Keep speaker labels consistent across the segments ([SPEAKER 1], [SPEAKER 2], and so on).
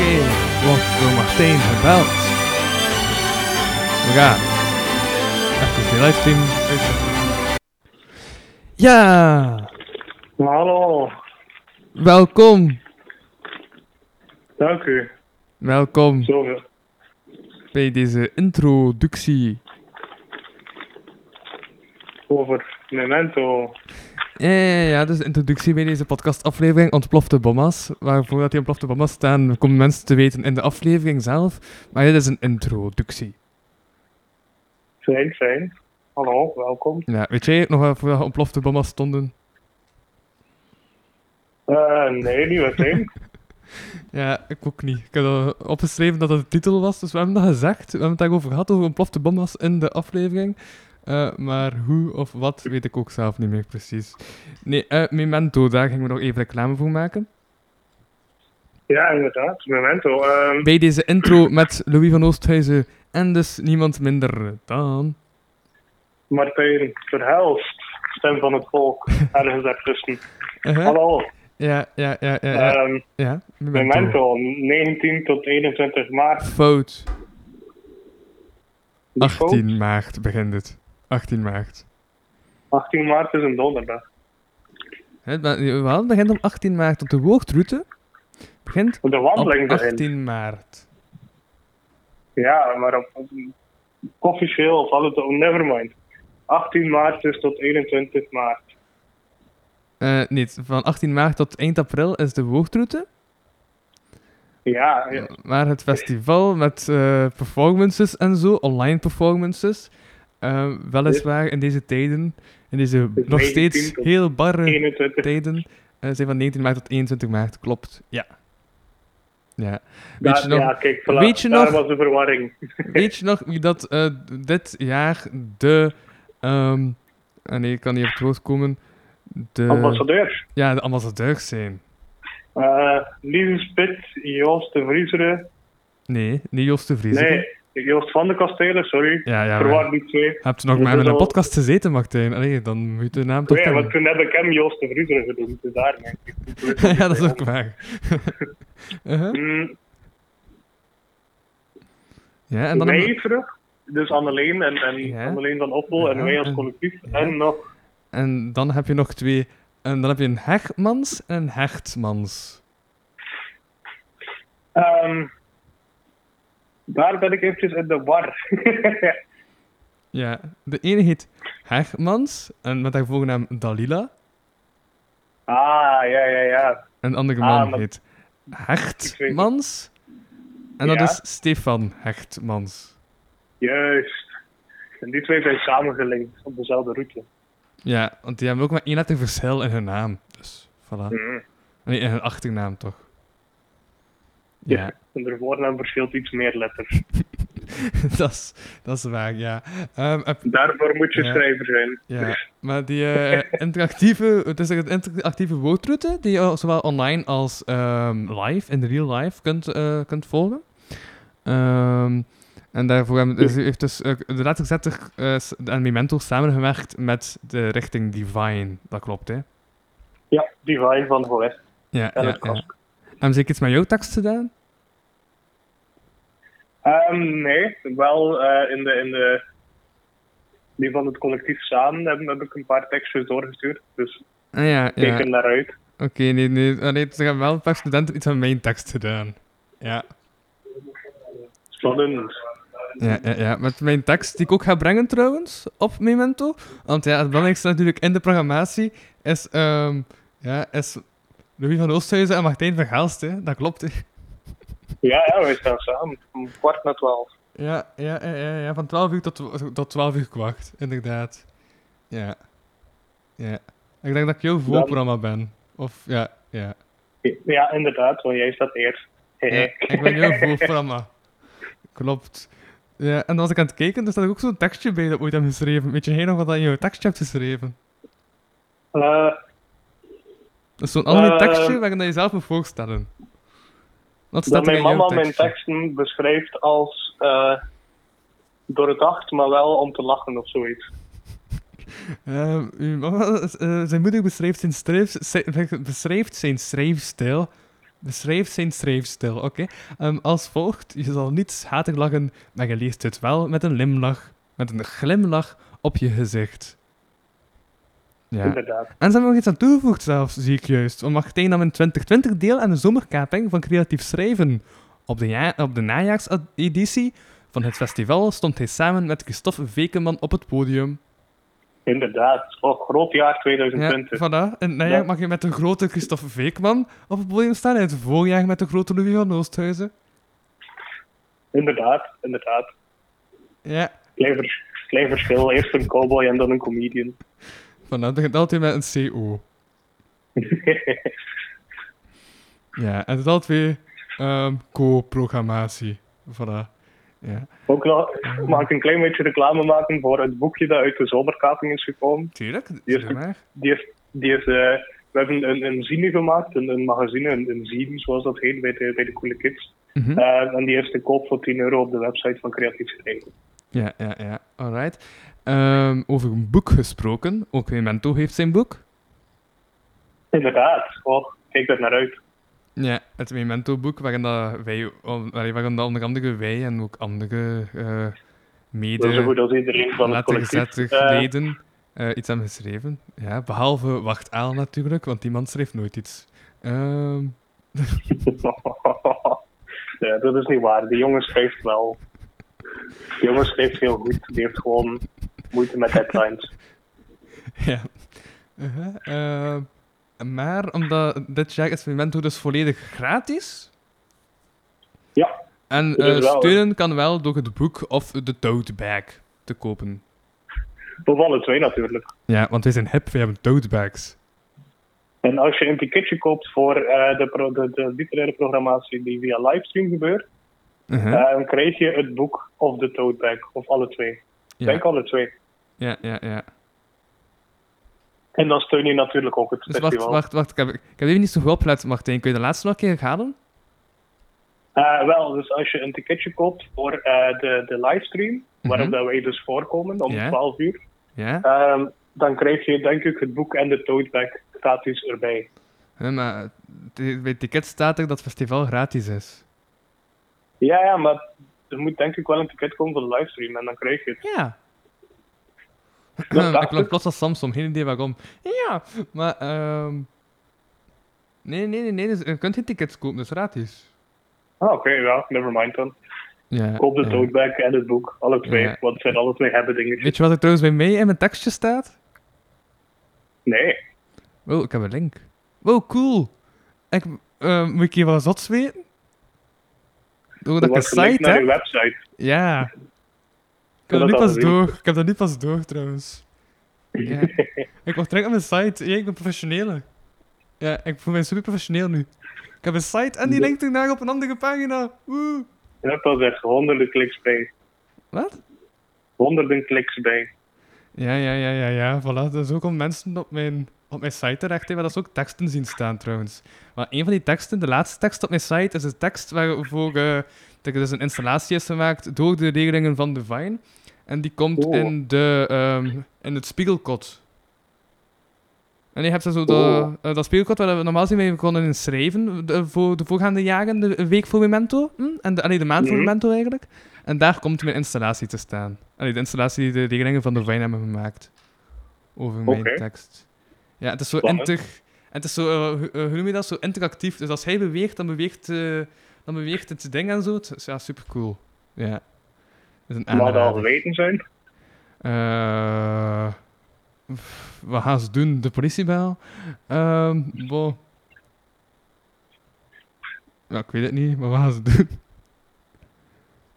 [SPEAKER 1] Heel wordt door Martijn gebeld. We gaan. Even de livestream uitzetten. Ja,
[SPEAKER 2] Nou, Hallo,
[SPEAKER 1] welkom.
[SPEAKER 2] dank u.
[SPEAKER 1] Welkom
[SPEAKER 2] Zo,
[SPEAKER 1] bij deze introductie.
[SPEAKER 2] over Memento.
[SPEAKER 1] Ja, ja, ja, ja, dus de introductie bij deze podcastaflevering Ontplofte Bomma's. Waarvoor dat die ontplofte bomma's staan, komen mensen te weten in de aflevering zelf. Maar dit is een introductie.
[SPEAKER 2] Fijn, fijn. Hallo, welkom.
[SPEAKER 1] Ja, weet jij nog wel voor ontplofte bomma's stonden?
[SPEAKER 2] Eh, nee, niet meteen.
[SPEAKER 1] Ja, ik ook niet. Ik heb al opgeschreven dat dat de titel was, dus we hebben dat gezegd. We hebben het daarover gehad, over ontplofte bomma's in de aflevering. Eh, maar hoe of wat, weet ik ook zelf niet meer precies. Nee, eh, Memento, daar gingen we nog even reclame voor maken.
[SPEAKER 2] ja, inderdaad, Memento. Ehm,
[SPEAKER 1] Bij deze intro met Louis van Oosthuizen en dus niemand minder dan...
[SPEAKER 2] Martijn Verhelst, stem van het volk, ergens daartussen.
[SPEAKER 1] Uh-huh.
[SPEAKER 2] Hallo,
[SPEAKER 1] Ja, ja, ja, ja. ja,
[SPEAKER 2] ehm,
[SPEAKER 1] ja. Memento.
[SPEAKER 2] Memento, 19 tot 21 maart.
[SPEAKER 1] Fout.
[SPEAKER 2] Die foto-
[SPEAKER 1] 18 maart begint het. 18 maart.
[SPEAKER 2] 18 maart is een donderdag.
[SPEAKER 1] Het be- wel, het begint om 18 maart, want de woordroute begint
[SPEAKER 2] De
[SPEAKER 1] op
[SPEAKER 2] wandeling begint.
[SPEAKER 1] 18 maart.
[SPEAKER 2] Ja, maar op, op, officieel oh, valt het op, nevermind. 18 maart is tot 21 maart.
[SPEAKER 1] Eh niet, van 18 maart tot eind april is de woordroute.
[SPEAKER 2] Ah, Ja, ja.
[SPEAKER 1] Maar het festival met eh, performances en zo, online performances. eh, weliswaar in deze tijden, in deze
[SPEAKER 2] Dus
[SPEAKER 1] nog
[SPEAKER 2] 19
[SPEAKER 1] steeds
[SPEAKER 2] tot
[SPEAKER 1] heel barre
[SPEAKER 2] 21
[SPEAKER 1] tijden, eh, zijn van 19 maart tot 21 maart, klopt. Ja. Ja. Weet
[SPEAKER 2] Daar-
[SPEAKER 1] je nog,
[SPEAKER 2] Ja, kijk, voilà,
[SPEAKER 1] Weet je
[SPEAKER 2] daar
[SPEAKER 1] nog-
[SPEAKER 2] was de verwarring.
[SPEAKER 1] Weet je nog wie dat eh, dit jaar de. ehm ah nee, ik kan niet op het woord komen. De,
[SPEAKER 2] Ambassadeur.
[SPEAKER 1] Ja, de ambassadeurs zijn.
[SPEAKER 2] Eh Lieve Spit, Joost de Vriezeren.
[SPEAKER 1] Nee, niet Jos de Vries.
[SPEAKER 2] Nee, Joost van de Kastelen, sorry.
[SPEAKER 1] Ja, ja. maar-
[SPEAKER 2] Verwar die twee.
[SPEAKER 1] Heb je nog
[SPEAKER 2] Dit
[SPEAKER 1] maar
[SPEAKER 2] is
[SPEAKER 1] met een
[SPEAKER 2] al-
[SPEAKER 1] podcast gezeten, Martijn? Allee, dan moet je de naam toch
[SPEAKER 2] Nee,
[SPEAKER 1] kennen.
[SPEAKER 2] want toen heb ik hem Joost de Vriezeren genoemd. Dus daar, denk ik.
[SPEAKER 1] ja, dat is ook waar. Uh-huh.
[SPEAKER 2] Mm,
[SPEAKER 1] Ja, en dan...
[SPEAKER 2] mij
[SPEAKER 1] hebben we-
[SPEAKER 2] terug. Dus Anneleen en, en
[SPEAKER 1] Ja.
[SPEAKER 2] Anneleen van Oppel en
[SPEAKER 1] Ja,
[SPEAKER 2] wij als
[SPEAKER 1] en-
[SPEAKER 2] collectief.
[SPEAKER 1] ja.
[SPEAKER 2] En nog
[SPEAKER 1] En dan heb je nog twee... En dan heb je een Hegmans en een Hechtmans.
[SPEAKER 2] ehm, daar ben ik eventjes in de war.
[SPEAKER 1] Ja, de ene heet Hegmans, en met haar voornaam Dalila.
[SPEAKER 2] ah, ja, ja, ja.
[SPEAKER 1] En de andere
[SPEAKER 2] Ah,
[SPEAKER 1] man
[SPEAKER 2] maar-
[SPEAKER 1] heet
[SPEAKER 2] Ik weet het.
[SPEAKER 1] Hechtmans. En dat
[SPEAKER 2] Ja.
[SPEAKER 1] is Stefan Hechtmans.
[SPEAKER 2] Juist. En die twee zijn samengelinkt op dezelfde route.
[SPEAKER 1] Ja, want die hebben ook maar één letter verschil in hun naam. Dus, voilà.
[SPEAKER 2] Mm.
[SPEAKER 1] Nee, in hun achternaam toch.
[SPEAKER 2] Ja. En de voornaam verschilt iets meer letters.
[SPEAKER 1] dat, is, dat is waar, ja. Ehm, heb-
[SPEAKER 2] Daarvoor moet je
[SPEAKER 1] Ja.
[SPEAKER 2] schrijver zijn. Dus,
[SPEAKER 1] ja. Maar die eh, interactieve, het is een interactieve woordroute die je zowel online als ehm, live, in real life, kunt, eh, kunt volgen. Ehm, en daarvoor hebben, dus, heeft dus eh, de laatste zetter eh, s- en Memento samengewerkt met de richting Divine. Dat klopt, hè?
[SPEAKER 2] Ja, Divine van Hoest.
[SPEAKER 1] Ja,
[SPEAKER 2] En
[SPEAKER 1] ja,
[SPEAKER 2] het
[SPEAKER 1] ja.
[SPEAKER 2] kost.
[SPEAKER 1] Hebben ze ook iets met jouw tekst gedaan?
[SPEAKER 2] Ehm, nee, wel eh, in, de, in de. Die van het collectief samen hebben, heb ik een paar tekstjes doorgestuurd. Dus
[SPEAKER 1] Ah, ja,
[SPEAKER 2] kijk
[SPEAKER 1] ja.
[SPEAKER 2] er naar uit.
[SPEAKER 1] Oké, nee, nee, Ah, nee. Ze hebben wel een paar studenten iets aan mijn tekst gedaan. Ja.
[SPEAKER 2] Spannend.
[SPEAKER 1] Ja, ja, ja, met mijn tekst die ik ook ga brengen trouwens, op Memento. Want ja, het belangrijkste natuurlijk in de programmatie is, ehm, ja, is Louis van Oosthuizen en Martijn van Gaalst, hè. Dat klopt, hè.
[SPEAKER 2] Ja, ja, wij staan samen. Om kwart na twaalf.
[SPEAKER 1] Ja, ja, ja, ja, ja, van 12 uur tot, tot 12 uur kwart, inderdaad. Ja. Ja. Ik denk dat ik jouw voorprogramma ben. Of, ja, ja.
[SPEAKER 2] Ja, inderdaad, want jij staat eerst.
[SPEAKER 1] Ja,
[SPEAKER 2] Hehe.
[SPEAKER 1] ik ben heel voorprogramma. Klopt. Ja, en als ik aan het kijken, er staat ook zo'n tekstje bij dat ik ooit heb geschreven. Weet je geen nog wat dat je in jouw tekstje hebt geschreven?
[SPEAKER 2] Eh,
[SPEAKER 1] Dat is zo'n ander
[SPEAKER 2] Eh,
[SPEAKER 1] tekstje waarin dat je zelf moet voorstellen. Wat staat
[SPEAKER 2] dat
[SPEAKER 1] er
[SPEAKER 2] mijn
[SPEAKER 1] in jouw
[SPEAKER 2] mama mijn
[SPEAKER 1] tekstje?
[SPEAKER 2] teksten beschrijft als. eh doordacht, maar wel om te lachen of zoiets.
[SPEAKER 1] Ehm, uw mama, eh, zijn moeder beschrijft zijn, schrijf, beschrijft zijn schrijfstijl De schrijft zijn schrijfstijl, oké. Ehm, als volgt, je zal niet schatig lachen, maar je leest het wel met een limlach, met een glimlach op je gezicht. Ja.
[SPEAKER 2] Inderdaad.
[SPEAKER 1] En ze hebben nog iets aan toegevoegd zelfs, zie ik juist. Want Martijn nam in 2020 deel aan de zomerkaping van creatief schrijven. Op de, ja- op de najaarseditie van het festival stond hij samen met Christophe Vekeman op het podium.
[SPEAKER 2] Inderdaad. Oh, groot jaar
[SPEAKER 1] Ja,
[SPEAKER 2] 2020.
[SPEAKER 1] voilà. In het najaar
[SPEAKER 2] Ja.
[SPEAKER 1] mag je met de grote Christophe Veekman op het podium staan. En het voorjaar met de grote Louis van Oosthuizen.
[SPEAKER 2] Inderdaad, inderdaad.
[SPEAKER 1] Ja,
[SPEAKER 2] Klein, vers- klein verschil. Eerst een cowboy en dan een comedian.
[SPEAKER 1] voilà. Dat begint altijd met een CO. ja, en het is altijd ehm co-programmatie. Voilà. Ja,
[SPEAKER 2] Ook nog, mag ik een klein beetje reclame maken voor het boekje dat uit de zomerkaping is gekomen.
[SPEAKER 1] tuurlijk.
[SPEAKER 2] Eerst-
[SPEAKER 1] Zeg maar.
[SPEAKER 2] Die heeft, die heeft, eh, we hebben een, een zine gemaakt, een, een magazine, een, een zine zoals dat heet bij de, bij de Coole Kids.
[SPEAKER 1] Mhm.
[SPEAKER 2] Eh, en die is te koop voor 10 euro op de website van Creatief Schrijven.
[SPEAKER 1] Ja, ja, ja. Alright. Ehm, over een boek gesproken. Ook Memento heeft zijn boek.
[SPEAKER 2] Inderdaad, oh, kijk daar naar uit.
[SPEAKER 1] Ja, het Memento-boek waarin, dat wij, on- allee, waarin dat onder andere wij en ook andere eh mede...
[SPEAKER 2] Zo goed als iedereen van het
[SPEAKER 1] Laten
[SPEAKER 2] collectief.
[SPEAKER 1] gezettig
[SPEAKER 2] eh,
[SPEAKER 1] leden eh, iets hebben geschreven. Ja, behalve Wacht Aal natuurlijk, want die man schreef nooit iets. Ehm,
[SPEAKER 2] ja, dat is niet waar. Die jongen schrijft wel. Die jongen schrijft heel goed. Die heeft gewoon moeite met deadlines.
[SPEAKER 1] ja. Uh-huh, ehm, maar omdat dit jaar is Memento dus volledig gratis.
[SPEAKER 2] Ja.
[SPEAKER 1] En
[SPEAKER 2] Dat is
[SPEAKER 1] eh,
[SPEAKER 2] wel, hè.
[SPEAKER 1] steunen kan wel door het boek of de tote bag te kopen.
[SPEAKER 2] Voor alle twee natuurlijk.
[SPEAKER 1] Ja, want wij zijn hip, wij hebben tote bags.
[SPEAKER 2] En als je een ticketje koopt voor eh, de, pro- de, de literaire programmatie die via livestream gebeurt,
[SPEAKER 1] Uh-huh,
[SPEAKER 2] eh, dan krijg je het boek of de tote bag. Of alle twee. Ik
[SPEAKER 1] ja.
[SPEAKER 2] Denk alle twee.
[SPEAKER 1] ja, ja, ja.
[SPEAKER 2] En dan steun je natuurlijk ook het
[SPEAKER 1] Dus wacht,
[SPEAKER 2] festival.
[SPEAKER 1] wacht, wacht. Ik heb, ik heb even niet zo goed opgelet, Martijn. Kun je de laatste nog een keer herhalen?
[SPEAKER 2] Eh, wel, dus als je een ticketje koopt voor eh, de, de livestream, waarop
[SPEAKER 1] Mhm.
[SPEAKER 2] dat wij dus voorkomen om
[SPEAKER 1] Ja.
[SPEAKER 2] 12 uur,
[SPEAKER 1] Ja?
[SPEAKER 2] Ehm, dan krijg je denk ik het boek en de tote bag gratis erbij.
[SPEAKER 1] Ja, maar het- bij het ticket staat er dat het festival gratis is.
[SPEAKER 2] Ja, ja, maar er moet denk ik wel een ticket komen voor de livestream en dan krijg je het.
[SPEAKER 1] Ja.
[SPEAKER 2] dacht
[SPEAKER 1] Hm, ik klonk
[SPEAKER 2] ik.
[SPEAKER 1] plots als Samsung, geen idee waarom. Ja, maar... ehm Nee, nee, nee, nee, dus je kunt geen tickets kopen, dat is gratis.
[SPEAKER 2] Ah, oké, ja, never mind dan.
[SPEAKER 1] Ja,
[SPEAKER 2] Koop de
[SPEAKER 1] ja.
[SPEAKER 2] tote bag en het boek, alle twee,
[SPEAKER 1] Ja.
[SPEAKER 2] want het zijn alle twee hebben dingetjes.
[SPEAKER 1] Weet je wat er trouwens bij mij in mijn tekstje staat?
[SPEAKER 2] Nee,
[SPEAKER 1] Wow, ik heb een link. Wow, cool. Ik, eh, moet ik hier wat zots weten? Doordat
[SPEAKER 2] dat
[SPEAKER 1] ik een
[SPEAKER 2] was gelinkt
[SPEAKER 1] site
[SPEAKER 2] naar
[SPEAKER 1] heb?
[SPEAKER 2] je website.
[SPEAKER 1] Ja. Ik heb dat
[SPEAKER 2] dat
[SPEAKER 1] nu
[SPEAKER 2] al
[SPEAKER 1] pas
[SPEAKER 2] gezien?
[SPEAKER 1] door. Ik heb dat nu pas door, trouwens. Ja. ik word direct op mijn site. Ja, ik ben professionele. Ja, ik voel mij super professioneel nu. Ik heb een site en die
[SPEAKER 2] Ja.
[SPEAKER 1] linkt ernaar op een andere pagina. Woe.
[SPEAKER 2] Je hebt al echt honderden kliks bij.
[SPEAKER 1] Wat?
[SPEAKER 2] Honderden kliks bij.
[SPEAKER 1] Ja, ja, ja, ja, ja. Voilà. Dus ook om mensen op mijn, op mijn site terecht te hebben, dat ze ook teksten zien staan, trouwens. Maar een van die teksten, de laatste tekst op mijn site, is een tekst waarvoor eh, dat er dus een installatie is gemaakt door de regelingen van Divine. En die komt
[SPEAKER 2] Oh.
[SPEAKER 1] in, de, ehm, in het spiegelkot. En je hebt dan zo dat,
[SPEAKER 2] Oh.
[SPEAKER 1] eh, dat spiegelkot waar we normaal zien mee konden in schrijven de- voor de voorgaande jaren, de week voor Memento. Hm? En de, allee, de maand voor
[SPEAKER 2] Mhm.
[SPEAKER 1] Memento eigenlijk. En daar komt mijn installatie te staan. Allee, de installatie die de regelingen van Divine hebben gemaakt. Over mijn
[SPEAKER 2] Oké.
[SPEAKER 1] tekst. Ja, het is zo
[SPEAKER 2] Spannend.
[SPEAKER 1] inter... En het is zo, eh, hoe- eh, hoe noem je dat, zo interactief. Dus als hij beweegt, dan beweegt, eh, dan beweegt het ding en zo. Het is ja, super cool. Ja. Ah, Dat is een
[SPEAKER 2] Mag dat al
[SPEAKER 1] aanrader.
[SPEAKER 2] geweten zijn?
[SPEAKER 1] Eh, pff, wat gaan ze doen? De politiebel? Ehm bon. Ja, ik weet het niet, maar wat gaan ze doen?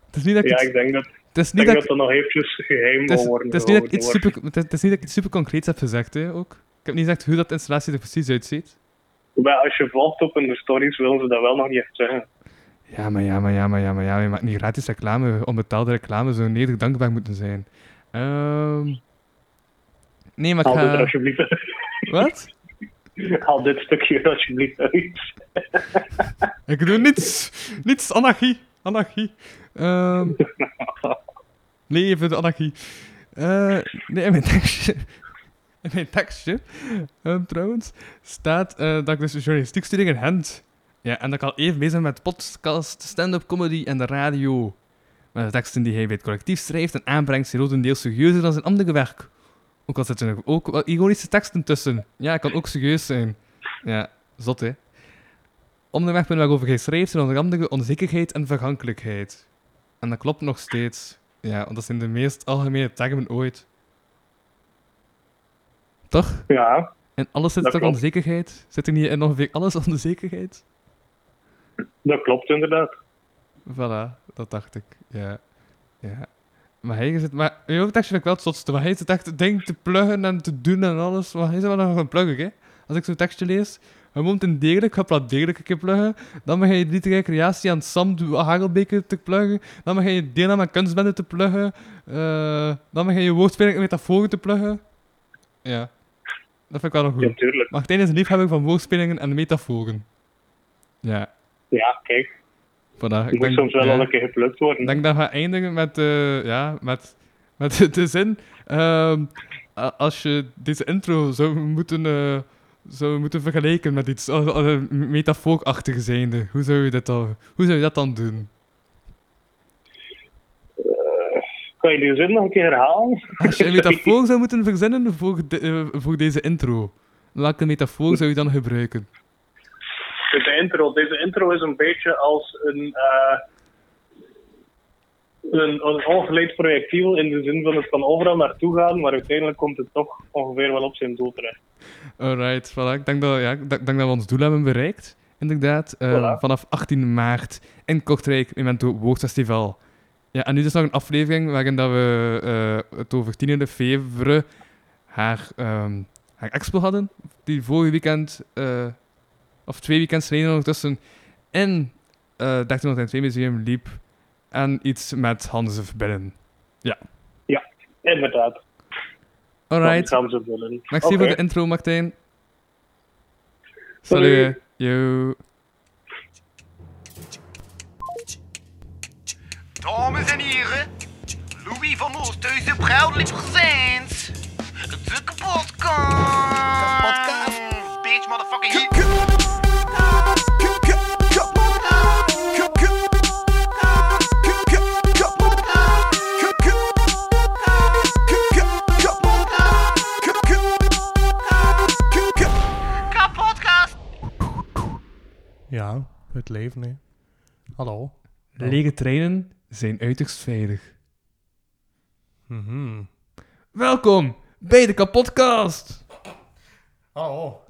[SPEAKER 1] Het is niet dat ik
[SPEAKER 2] Ja,
[SPEAKER 1] iets-
[SPEAKER 2] ik denk dat,
[SPEAKER 1] het is niet
[SPEAKER 2] denk
[SPEAKER 1] dat
[SPEAKER 2] dat,
[SPEAKER 1] ik-
[SPEAKER 2] dat nog eventjes geheim
[SPEAKER 1] het is-
[SPEAKER 2] wil worden.
[SPEAKER 1] het is niet dat ik
[SPEAKER 2] gehouden,
[SPEAKER 1] iets
[SPEAKER 2] hoor.
[SPEAKER 1] super- het is- het is niet dat ik iets super concreets heb gezegd, hè, ook. Ik heb niet gezegd hoe dat de installatie er precies uitziet.
[SPEAKER 2] Maar als je volgt op in de stories, willen ze dat wel nog niet echt zeggen.
[SPEAKER 1] Ja, maar ja, maar ja, maar ja, maar ja. Je maakt niet gratis reclame. Onbetaalde reclame zou nederig dankbaar moeten zijn. Ehm, Nee, maar ik
[SPEAKER 2] Haal dit er
[SPEAKER 1] ga...
[SPEAKER 2] alsjeblieft uit.
[SPEAKER 1] Wat?
[SPEAKER 2] Haal dit stukje er alsjeblieft uit.
[SPEAKER 1] Ik doe niets. Niets. Anarchie. Anarchie. Ehm, Leven de anarchie. Eh, nee, in mijn tekstje... In mijn tekstje, ehm, trouwens, staat eh, dat ik dus journalistiek studeer in Gent. Ja, en dat kan even bezig zijn met podcast, stand-up comedy en de radio. Maar de teksten die hij bij het collectief schrijft en aanbrengt zijn grotendeels serieuzer dan zijn andere werk. Ook al zitten er ook wel ironische teksten tussen. Ja, kan ook serieus zijn. Ja, zot hè. Om de weg waarover hij schreef zijn onder andere onzekerheid en vergankelijkheid. En dat klopt nog steeds. Ja, want dat zijn de meest algemene termen ooit. Toch?
[SPEAKER 3] Ja,
[SPEAKER 1] En alles zit
[SPEAKER 3] Dat
[SPEAKER 1] toch
[SPEAKER 3] klopt.
[SPEAKER 1] onzekerheid? Zit er niet in ongeveer alles onzekerheid?
[SPEAKER 3] dat klopt inderdaad.
[SPEAKER 1] Voilà, dat dacht ik. Ja. ja. Maar hij zit, maar je hoeft eigenlijk wel het zotste. Maar hij zit echt het ding te pluggen en te doen en alles. Maar hij is wel nog een plugger, hè? Als ik zo'n tekstje lees, hij moet een degelijk, ga plat degelijk een keer pluggen. Dan mag je literaire creatie aan Sam de Hagelbeke te pluggen. Dan mag je deelname aan kunstbende te pluggen. Eh, dan mag je woordspeling en metaforen te pluggen. Ja, dat vind ik wel nog
[SPEAKER 3] Ja,
[SPEAKER 1] goed.
[SPEAKER 3] tuurlijk.
[SPEAKER 1] Martijn is een liefhebber van woordspelingen en metaforen. Ja,
[SPEAKER 3] Ja, kijk,
[SPEAKER 1] voilà.
[SPEAKER 3] je moet
[SPEAKER 1] denk-
[SPEAKER 3] soms wel
[SPEAKER 1] ja.
[SPEAKER 3] al een keer geplukt worden.
[SPEAKER 1] Ik denk dat we eindigen met, eh, ja, met, met de zin. ehm, a- als je deze intro zou moeten, eh, zou moeten vergelijken met iets als- als een metafoorachtig zijnde, hoe zou je dat dan, hoe zou je dat dan doen?
[SPEAKER 3] Kan je die zin nog een keer herhalen?
[SPEAKER 1] Als je een metafoor zou moeten verzinnen voor, de- eh, voor deze intro, welke metafoor zou je dan gebruiken?
[SPEAKER 3] Deze intro, deze intro is een beetje als een, eh, een, een ongeleid projectiel in de zin van het kan overal naartoe gaan, maar uiteindelijk komt het toch ongeveer wel op zijn doel terecht.
[SPEAKER 1] Alright, voilà. Ik denk dat, ja, ik denk- denk dat we ons doel hebben bereikt. Inderdaad, eh,
[SPEAKER 3] Voilà.
[SPEAKER 1] vanaf 18 maart in Kortrijk, Memento Woordfestival. Ja, en nu dus nog een aflevering waarin dat we eh, het over 10 februari haar, ehm, haar expo hadden. Die vorige weekend, eh, of twee weekends geleden ondertussen, in eh 1302 Museum liep. En iets met Hans of Binnen.
[SPEAKER 3] Inderdaad.
[SPEAKER 1] Alright,
[SPEAKER 3] Dat gaan ze willen.
[SPEAKER 1] merci
[SPEAKER 3] Oké.
[SPEAKER 1] voor de intro, Martijn.
[SPEAKER 3] Salut.
[SPEAKER 1] Salut. Yo.
[SPEAKER 4] Dames en heren, Louis van Oosthuizen proudly presents de kapotkast. Kapotkast. Bitch, motherfucking hit. Kapotkast.
[SPEAKER 2] Ja, het leven, hè. Hallo.
[SPEAKER 1] Lege treinen zijn uiterst veilig.
[SPEAKER 2] Mhm.
[SPEAKER 1] Welkom bij de kapotcast.
[SPEAKER 2] Hallo.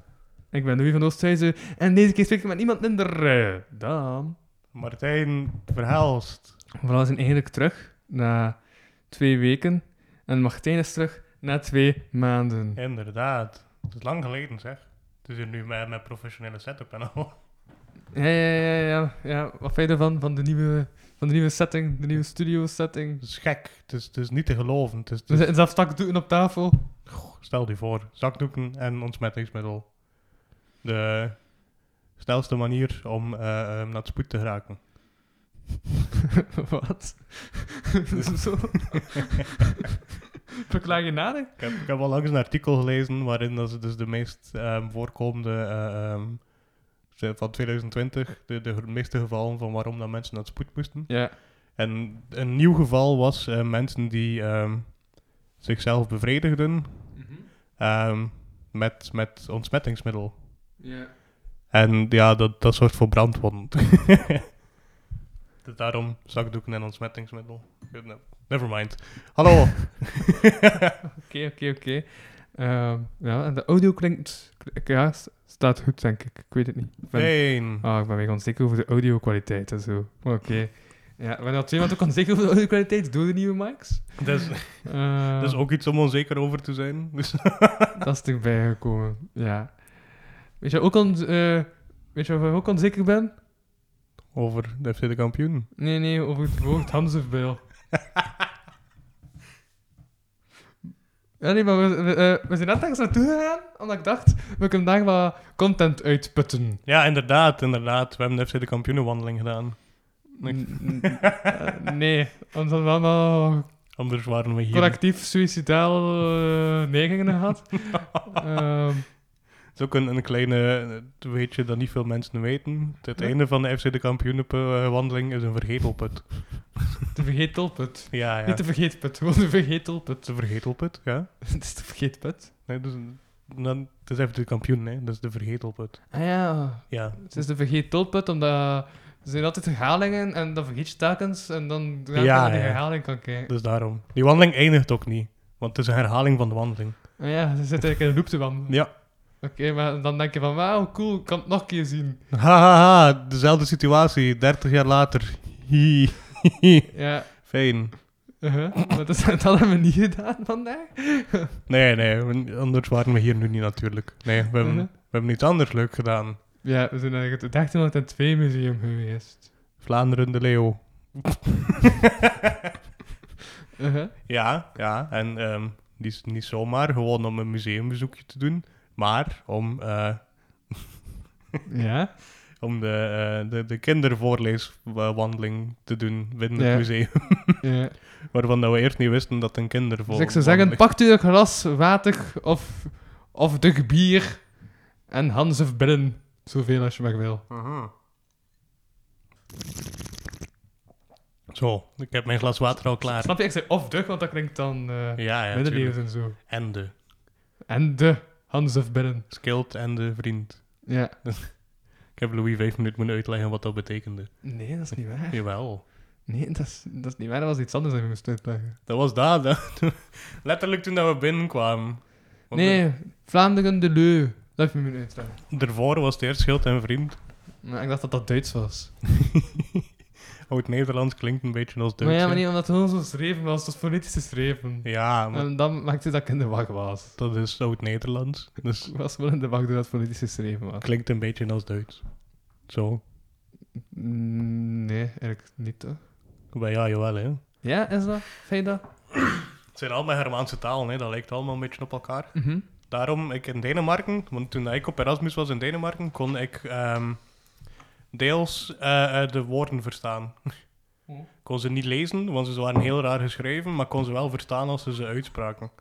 [SPEAKER 1] Ik ben Louis van Oosthuizen en deze keer spreek ik met niemand minder eh, dan...
[SPEAKER 2] Martijn Verhelst.
[SPEAKER 1] Voilà, we zijn eigenlijk terug na twee weken en Martijn is terug na twee maanden.
[SPEAKER 2] Inderdaad. Het is lang geleden, zeg. Het is hier nu met mijn professionele setup en al.
[SPEAKER 1] Ja, ja, ja, ja. ja. Wat vind je ervan, van de nieuwe, van de nieuwe setting, de nieuwe studio setting?
[SPEAKER 2] Het is gek. Het is, het is niet te geloven. Het is, het
[SPEAKER 1] We
[SPEAKER 2] is-
[SPEAKER 1] zitten zelfs zakdoeken op tafel.
[SPEAKER 2] Stel je voor, zakdoeken en ontsmettingsmiddel. De snelste manier om eh, eh, naar het spoed te geraken.
[SPEAKER 1] Wat? Zo. Verklaar je nadenken?
[SPEAKER 2] Ik heb, ik heb al langs een artikel gelezen waarin dat ze dus de meest ehm, voorkomende eh, ehm, ze- van 2020, de, de meeste gevallen van waarom dat mensen naar het spoed moesten.
[SPEAKER 1] Ja.
[SPEAKER 2] En een nieuw geval was eh, mensen die ehm, zichzelf bevredigden ehm, met, met ontsmettingsmiddel.
[SPEAKER 1] Ja.
[SPEAKER 2] En ja, dat, dat zorgt voor brandwonden. Dus Daarom zakdoeken en ontsmettingsmiddel. Never mind. Hallo.
[SPEAKER 1] Oké, oké, oké. Ehm, Ja, en de audio klinkt... kl- Ja, s- staat goed, denk ik. Ik weet het niet. Ik ben,
[SPEAKER 2] Fijn.
[SPEAKER 1] Ah, ik ben weer onzeker over de audio-kwaliteit en zo. Maar Oké. Ja, ben dat iemand ook onzeker over de audio-kwaliteit door de nieuwe mics?
[SPEAKER 2] Dat is-
[SPEAKER 1] Eh,
[SPEAKER 2] Dat is ook iets om onzeker over te zijn. Dus
[SPEAKER 1] Dat is erbij gekomen, ja. Weet je, ook on, eh, weet je waar ik ook onzeker ben?
[SPEAKER 2] over de FC de kampioen.
[SPEAKER 1] Nee, nee, over het woord Hamzefbijl. Ja, nee, maar we, we, eh, we zijn net ergens naartoe gegaan, omdat ik dacht, we kunnen daar wat content uitputten.
[SPEAKER 2] Ja, inderdaad, inderdaad. We hebben de FC de kampioenenwandeling gedaan. Nee.
[SPEAKER 1] N- n- eh, nee, ons hadden we allemaal
[SPEAKER 2] Anders waren we hier.
[SPEAKER 1] collectief suicidaal eh, neigingen gehad. Ehm,
[SPEAKER 2] Het is ook een, een kleine eh, weetje dat niet veel mensen weten. Het
[SPEAKER 1] Ja.
[SPEAKER 2] einde van de FC de Kampioenenwandeling is een vergetelput.
[SPEAKER 1] De vergetelput.
[SPEAKER 2] Ja, ja.
[SPEAKER 1] Niet de vergeetput, gewoon de vergetelput.
[SPEAKER 2] Het is een vergetelput, ja.
[SPEAKER 1] Het is de vergeetput.
[SPEAKER 2] Nee, dus, dan, het is even de kampioen, hè. Dat is de vergetelput.
[SPEAKER 1] Ah ja,
[SPEAKER 2] Ja.
[SPEAKER 1] het is de vergetelput omdat er zijn altijd herhalingen en dan vergeet je telkens en dan raak je
[SPEAKER 2] Ja,
[SPEAKER 1] naar die
[SPEAKER 2] ja.
[SPEAKER 1] herhaling kan kijken.
[SPEAKER 2] Dus daarom. Die wandeling eindigt ook niet. Want het is een herhaling van de wandeling.
[SPEAKER 1] Ah ja, ze zitten eigenlijk in een loop te wandelen.
[SPEAKER 2] Ja.
[SPEAKER 1] Oké, maar dan denk je van, wauw, cool, ik kan het nog een keer zien.
[SPEAKER 2] Ha, ha, ha. Dezelfde situatie. 30 jaar later. Hi.
[SPEAKER 1] Ja,
[SPEAKER 2] Fijn.
[SPEAKER 1] uh-huh. maar dat, dat hebben we niet gedaan vandaag.
[SPEAKER 2] Nee, nee. we- Anders waren we hier nu niet natuurlijk. Nee, we hebben,
[SPEAKER 1] Mhm.
[SPEAKER 2] we hebben iets anders leuk gedaan.
[SPEAKER 1] Ja, we zijn naar het 1302 museum geweest.
[SPEAKER 2] Vlaanderen de Leeuw.
[SPEAKER 1] Uh-huh.
[SPEAKER 2] Ja, ja. En ehm, niet, niet zomaar gewoon om een museumbezoekje te doen. Maar om, eh,
[SPEAKER 1] Ja,
[SPEAKER 2] om de, eh, de, de kindervoorleeswandeling te doen binnen
[SPEAKER 1] Ja.
[SPEAKER 2] het museum.
[SPEAKER 1] ja.
[SPEAKER 2] Waarvan dat we eerst niet wisten dat een kindervol.
[SPEAKER 1] Dus ik zou zeggen, pakt u een glas water of, of dug bier en Hans of Brillen. Zoveel als je maar wil.
[SPEAKER 2] Zo, ik heb mijn glas water al klaar.
[SPEAKER 1] Snap je? Ik zei of dug, want dat klinkt dan eh
[SPEAKER 2] Ja, ja.
[SPEAKER 1] middeleeuws
[SPEAKER 2] tuurlijk.
[SPEAKER 1] en zo.
[SPEAKER 2] En de
[SPEAKER 1] En de Hans of Brillen.
[SPEAKER 2] skilt en de vriend.
[SPEAKER 1] Ja.
[SPEAKER 2] Ik heb Louis vijf minuten moeten uitleggen wat dat betekende.
[SPEAKER 1] Nee, dat is niet waar.
[SPEAKER 2] Jawel.
[SPEAKER 1] Nee, dat is, dat is niet waar. Dat was iets anders dat we moesten uitleggen.
[SPEAKER 2] Dat was daar. dat- Letterlijk toen dat we binnenkwamen. Want
[SPEAKER 1] Nee, Vlaanderen de Leu. Dat heb je me uitleggen.
[SPEAKER 2] d- Daarvoor was het eerst schild en vriend.
[SPEAKER 1] Maar ik dacht dat dat Duits was.
[SPEAKER 2] Oud-Nederlands klinkt een beetje als Duits.
[SPEAKER 1] Maar ja,
[SPEAKER 2] hè?
[SPEAKER 1] maar niet omdat het gewoon zo schreven was. Dat is fonetisch geschreven.
[SPEAKER 2] Ja, maar
[SPEAKER 1] En dan maakte dat ik in de wacht was.
[SPEAKER 2] dat is Oud-Nederlands. Dus
[SPEAKER 1] Ik was wel in de wacht doordat het fonetisch geschreven was.
[SPEAKER 2] klinkt een beetje als Duits. Zo.
[SPEAKER 1] Mm, Nee, eigenlijk niet toch?
[SPEAKER 2] Maar ja, jawel hè.
[SPEAKER 1] Ja, is dat? Vind je dat?
[SPEAKER 2] Het zijn allemaal Germaanse talen, hè. dat lijkt allemaal een beetje op elkaar.
[SPEAKER 1] Mhm.
[SPEAKER 2] Daarom, ik in Denemarken, want toen ik op Erasmus was in Denemarken, kon ik ehm, deels eh, eh, de woorden verstaan.
[SPEAKER 1] Hmm.
[SPEAKER 2] kon ze niet lezen, want ze waren heel raar geschreven, maar kon ze wel verstaan als ze ze uitspraken.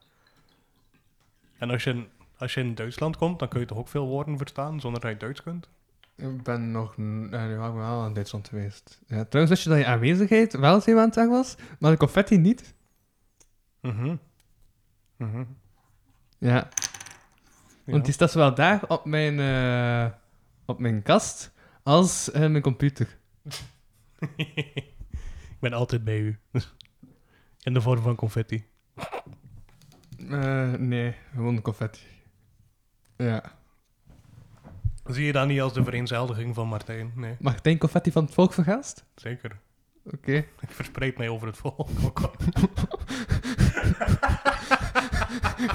[SPEAKER 2] En als je, in- als je in Duitsland komt, dan kun je toch ook veel woorden verstaan zonder dat je Duits kunt?
[SPEAKER 1] Ik ben nog... n- eh, Ja, ik ben wel in Duitsland geweest. Ja, trouwens wist je dat je aanwezigheid wel zeer aan het zeggen was, maar de confetti niet.
[SPEAKER 2] Mhm. Mhm.
[SPEAKER 1] Ja,
[SPEAKER 2] Ja.
[SPEAKER 1] want die staat zowel daar op mijn, eh, op mijn kast als eh, mijn computer.
[SPEAKER 2] ik ben altijd bij u. in de vorm van confetti.
[SPEAKER 1] Eh, nee, gewoon confetti. Ja.
[SPEAKER 2] Zie je dat niet als de vereenzeldiging van Martijn? Nee,
[SPEAKER 1] Martijn confetti van het volk vergaast?
[SPEAKER 2] zeker.
[SPEAKER 1] Oké.
[SPEAKER 2] Ik verspreid mij over het
[SPEAKER 1] Oh
[SPEAKER 2] volk.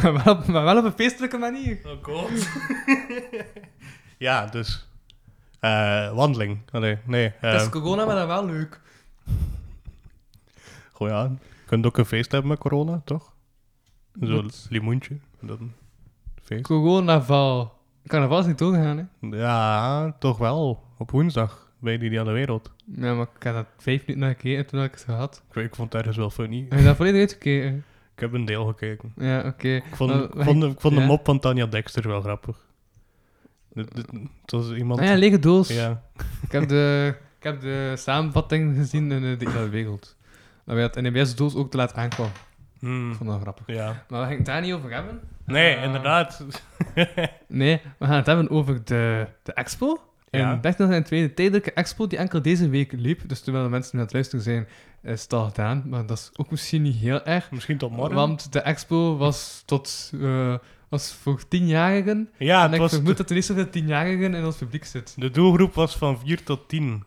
[SPEAKER 1] maar, wel op- maar wel op een feestelijke manier.
[SPEAKER 2] Oh god. ja, dus. eh, wandeling. Oh, nee, nee.
[SPEAKER 1] Het is
[SPEAKER 2] eh,
[SPEAKER 1] corona, maar dan wel leuk.
[SPEAKER 2] goh, ja. Je kunt ook een feest hebben met corona, toch? Zo'n
[SPEAKER 1] Wat?
[SPEAKER 2] limoentje. en Dan feest.
[SPEAKER 1] Coronaval. Carnaval is niet doorgegaan, hè?
[SPEAKER 2] Ja, toch wel. Op woensdag. Bij die de wereld.
[SPEAKER 1] Ja, maar ik had dat vijf minuten naar gekeken toen had ik het gehad.
[SPEAKER 2] Ik, weet- ik vond het ergens wel funny.
[SPEAKER 1] Heb je dat volledig uitgekeken?
[SPEAKER 2] Ik heb een deel gekeken.
[SPEAKER 1] Ja, oké.
[SPEAKER 2] Ik vond,
[SPEAKER 1] Maar
[SPEAKER 2] ik vond, de- ik vond de
[SPEAKER 1] Oh, ja.
[SPEAKER 2] mop van Tanja Dexter wel grappig. Het het- het was iemand...
[SPEAKER 1] Ah ja, lege doos.
[SPEAKER 2] ja.
[SPEAKER 1] Ik, heb de, ik heb de samenvatting gezien in eh, de hele wereld. Dat wij dat NBS-doos ook te laat aankwam.
[SPEAKER 2] Hmm,
[SPEAKER 1] Ik vond dat grappig.
[SPEAKER 2] ja.
[SPEAKER 1] Maar we gaan het daar niet over hebben.
[SPEAKER 2] Nee,
[SPEAKER 1] Ah.
[SPEAKER 2] inderdaad.
[SPEAKER 1] Nee, we gaan het hebben over de, de expo.
[SPEAKER 2] Ja.
[SPEAKER 1] En dacht nog een tweede tijdelijke expo die enkel deze week liep. Dus terwijl de mensen nu aan het luisteren zijn, eh, is het al gedaan. Maar dat is ook misschien niet heel erg.
[SPEAKER 2] Misschien tot morgen.
[SPEAKER 1] Want de expo was, tot, eh, was voor tienjarigen.
[SPEAKER 2] ja,
[SPEAKER 1] en
[SPEAKER 2] het
[SPEAKER 1] ik
[SPEAKER 2] was...
[SPEAKER 1] vermoed dat er niet zoveel tienjarigen in ons publiek zit.
[SPEAKER 2] De doelgroep was van 4 tot 10.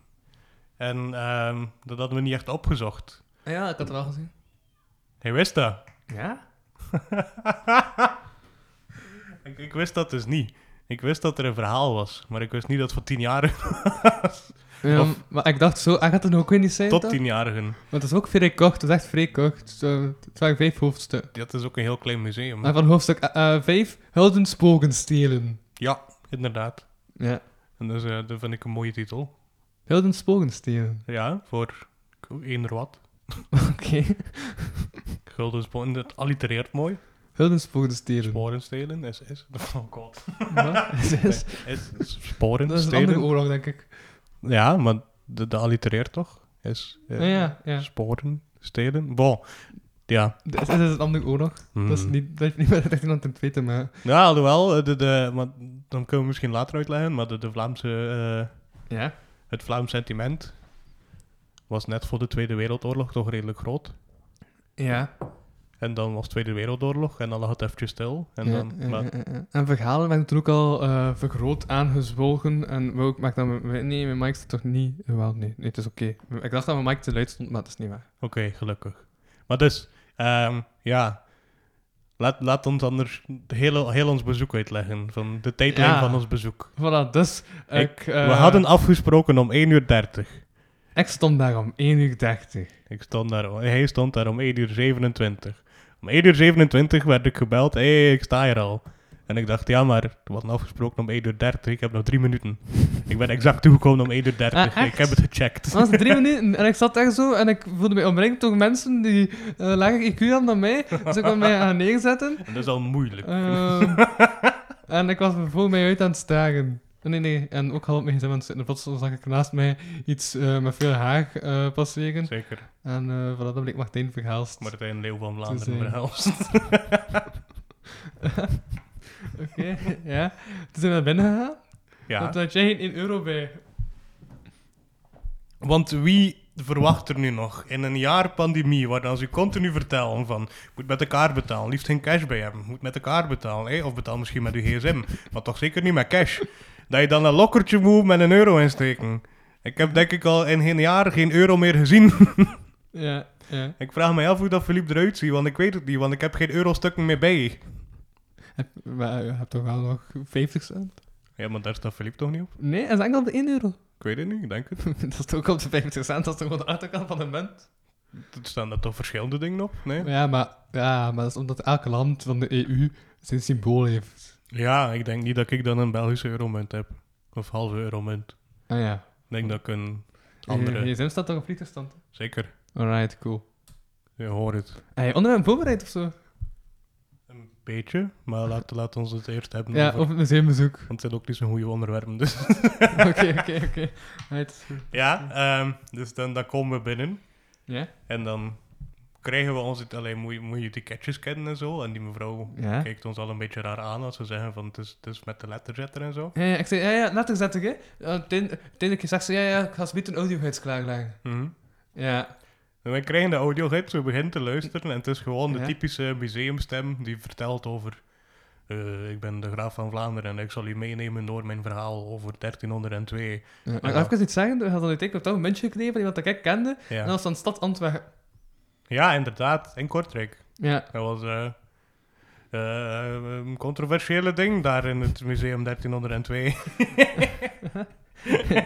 [SPEAKER 2] En ehm, dat hadden we niet echt opgezocht.
[SPEAKER 1] Ja, ik had het wel gezien.
[SPEAKER 2] Hij wist dat.
[SPEAKER 1] Ja?
[SPEAKER 2] Ik, ik wist dat dus niet. Ik wist dat er een verhaal was, maar ik wist niet dat het voor 10-jarigen Of-
[SPEAKER 1] maar ik dacht zo, hij gaat het nog ook weer niet zijn.
[SPEAKER 2] tot
[SPEAKER 1] dan?
[SPEAKER 2] 10-jarigen.
[SPEAKER 1] Want het is ook vrij kort, het is echt vrij kort. Zo, het waren vijf hoofdstukken.
[SPEAKER 2] Dat is ook een heel klein museum.
[SPEAKER 1] En van hoofdstuk eh, 5, Hulden spoken stelen.
[SPEAKER 2] Ja, inderdaad.
[SPEAKER 1] Ja.
[SPEAKER 2] En dus, eh, dat vind ik een mooie titel.
[SPEAKER 1] Hulden spoken stelen.
[SPEAKER 2] Ja, voor eender wat.
[SPEAKER 1] Oké.
[SPEAKER 2] Gulden Spoon. Het allitereert mooi.
[SPEAKER 1] Huldensporen stelen.
[SPEAKER 2] Sporen stelen is... is oh god.
[SPEAKER 1] Ja, dat is-
[SPEAKER 2] Is, is sporen
[SPEAKER 1] dat is een andere
[SPEAKER 2] stelen.
[SPEAKER 1] oorlog, denk ik.
[SPEAKER 2] Ja, maar de, de allitereert toch? Is, eh,
[SPEAKER 1] Ja, ja. ja.
[SPEAKER 2] Sporen stelen. Bon. Ja.
[SPEAKER 1] Dat is, dat is een andere oorlog. Dat, is
[SPEAKER 2] Hmm.
[SPEAKER 1] niet, dat heeft niet met het aan te weten, maar...
[SPEAKER 2] Ja, alhoewel, eh, de, de, maar dan kunnen we misschien later uitleggen, maar de, de Vlaamse, eh,
[SPEAKER 1] Ja.
[SPEAKER 2] het Vlaams sentiment was net voor de Tweede Wereldoorlog toch redelijk groot.
[SPEAKER 1] Ja.
[SPEAKER 2] En dan was Tweede Wereldoorlog en dan lag het eventjes stil. En,
[SPEAKER 1] ja,
[SPEAKER 2] dan,
[SPEAKER 1] ja,
[SPEAKER 2] maar,
[SPEAKER 1] ja, ja. En verhalen werden toen ook al eh, vergroot aangezwolgen. En we ook, maar ik dacht, nee, mijn mic staat toch niet... eh, Wel, nee, nee, het is oké. Ik dacht dat mijn mic te luid stond, maar dat is niet waar.
[SPEAKER 2] Oké, gelukkig. Maar dus, ehm, ja. Laat, laat ons anders heel, heel ons bezoek uitleggen. Van de tijdlijn
[SPEAKER 1] Ja.
[SPEAKER 2] van ons bezoek.
[SPEAKER 1] Voilà, dus
[SPEAKER 2] Ik-
[SPEAKER 1] ik...
[SPEAKER 2] We
[SPEAKER 1] eh,
[SPEAKER 2] hadden afgesproken om 1 uur 30.
[SPEAKER 1] Ik stond daar om 1 uur 30.
[SPEAKER 2] Ik stond daar, hij stond daar om 1 uur 27. Om 1 uur 27 werd ik gebeld. Hé, hey, ik sta hier al. En ik dacht, ja, maar we hadden afgesproken om 1 uur 30. Ik heb nog 3 minuten. Ik ben exact toegekomen om 1 uur 30.
[SPEAKER 1] Ah, echt?
[SPEAKER 2] ik heb het gecheckt.
[SPEAKER 1] Dat was drie minuten en ik zat echt zo en ik voelde me omringd door mensen die eh lager IQ hadden dan mij. Dus ik kon mij aan neerzetten.
[SPEAKER 2] En dat is al moeilijk.
[SPEAKER 1] Ehm, en ik was voor mij uit aan het stagen. Nee, nee, en ook al op mijn gezin aan het zitten. Plots zag ik naast mij iets eh, met veel haar eh, passeren.
[SPEAKER 2] Zeker.
[SPEAKER 1] En eh voilà, dat bleek Martijn verhaalst.
[SPEAKER 2] Martijn Leeuw van
[SPEAKER 1] zijn.
[SPEAKER 2] Vlaanderen verhelst.
[SPEAKER 1] Oké, ja. Toen zijn we naar binnen gegaan.
[SPEAKER 2] Ja.
[SPEAKER 1] Toen had jij geen 1 euro bij.
[SPEAKER 2] Want wie verwacht er nu nog in een jaar pandemie, waar dan ze continu vertellen van moet met de kaart betalen, liefst geen cash bij hebben, moet met de kaart betalen, hè? of betaal misschien met uw gsm, maar toch zeker niet met cash. Dat je dan een lokkertje moet met een euro insteken. Ik heb denk ik al in geen jaar geen euro meer gezien.
[SPEAKER 1] Ja, ja.
[SPEAKER 2] ik vraag me af hoe dat Philippe eruit ziet, want ik weet het niet, want ik heb geen eurostukken meer bij.
[SPEAKER 1] Heb, maar eh, je hebt toch wel nog 50 cent?
[SPEAKER 2] Ja, maar daar staat Philippe toch niet op?
[SPEAKER 1] Nee, dat is enkel op de 1 euro.
[SPEAKER 2] Ik weet het niet, ik denk het.
[SPEAKER 1] dat is toch ook op de 50 cent, dat is toch gewoon de achterkant van de munt?
[SPEAKER 2] Er staan daar toch verschillende dingen op? Nee?
[SPEAKER 1] Ja, maar, ja, maar dat is omdat elk land van de EU zijn symbool heeft.
[SPEAKER 2] Ja, ik denk niet dat ik dan een Belgische euromunt heb. Of halve euromunt.
[SPEAKER 1] Ah ja.
[SPEAKER 2] Ik denk dat ik een
[SPEAKER 1] Je,
[SPEAKER 2] andere...
[SPEAKER 1] je gsm staat toch op vliegtuigstand?
[SPEAKER 2] Zeker,
[SPEAKER 1] Alright, cool.
[SPEAKER 2] je hoort het.
[SPEAKER 1] Hey, onderwerp voorbereid of zo?
[SPEAKER 2] Een beetje, maar laten laat ons het eerst hebben
[SPEAKER 1] Ja,
[SPEAKER 2] over...
[SPEAKER 1] of een museumbezoek.
[SPEAKER 2] Want het zijn ook niet zo'n goede onderwerpen, dus...
[SPEAKER 1] Oké, oké, oké. Right.
[SPEAKER 2] ja, ehm, dus dan, dan komen we binnen.
[SPEAKER 1] Ja?
[SPEAKER 2] En dan krijgen we ons... Het, alleen moet je, moet je ticketjes kennen en zo. En die mevrouw
[SPEAKER 1] Ja.
[SPEAKER 2] kijkt ons al een beetje raar aan als ze zeggen van... Het is, het is met de letterzetter en zo.
[SPEAKER 1] Ja, ja, ik zei, ja, ja, later zet ik, hè. Ja, Uiteindelijk uiteindelijk zegt ze, ja, ja, ik ga ze niet een audiogids klaarleggen.
[SPEAKER 2] Mhm.
[SPEAKER 1] Ja.
[SPEAKER 2] En wij krijgen de audiogids, we beginnen te luisteren en het is gewoon
[SPEAKER 1] Ja.
[SPEAKER 2] de typische museumstem die vertelt over... eh, ik ben de graaf van Vlaanderen en ik zal u meenemen door mijn verhaal over 1302.
[SPEAKER 1] ja. Mag ik
[SPEAKER 2] Ja.
[SPEAKER 1] even iets zeggen? We hadden uiteindelijk op dat moment gekregen van iemand dat ik kende. En dat
[SPEAKER 2] Ja,
[SPEAKER 1] was van Stad Antwerpen.
[SPEAKER 2] ja inderdaad, in Kortrijk.
[SPEAKER 1] Ja.
[SPEAKER 2] Dat was eh, eh, een controversiële ding daar in het museum 1302.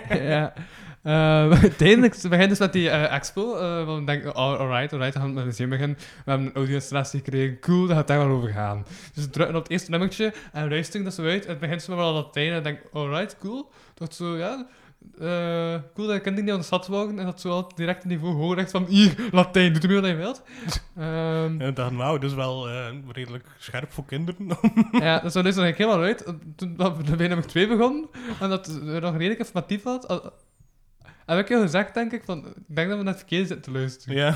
[SPEAKER 1] ja. Eh, uiteindelijk we beginnen dus met die eh, expo. eh want we denken, oh, alright, alright, we gaan met een museum beginnen. We hebben een audio-installatie gekregen, cool, daar gaat het daar wel over gaan. Dus we drukken op het eerste nummertje en we luisteren dat zo uit. Het begint zo wel Latijn en ik denk, alright, cool. Dat zo, ja, eh, cool dat ik kinderen die aan de stad wonen en dat zo al direct een niveau hoger rechts van, hier, Latijn, doe ermee wat je wilt. Ehm,
[SPEAKER 2] En ik dacht, wauw, dat is wel eh, redelijk scherp voor kinderen.
[SPEAKER 1] ja, dus we luisterden eigenlijk helemaal uit. Toen dat we bij nummer 2 begonnen, en dat het nog redelijk informatief was, al- heb ik heel gezegd, denk ik, van, ik denk dat we naar het verkeerde zitten te luisteren.
[SPEAKER 2] ja.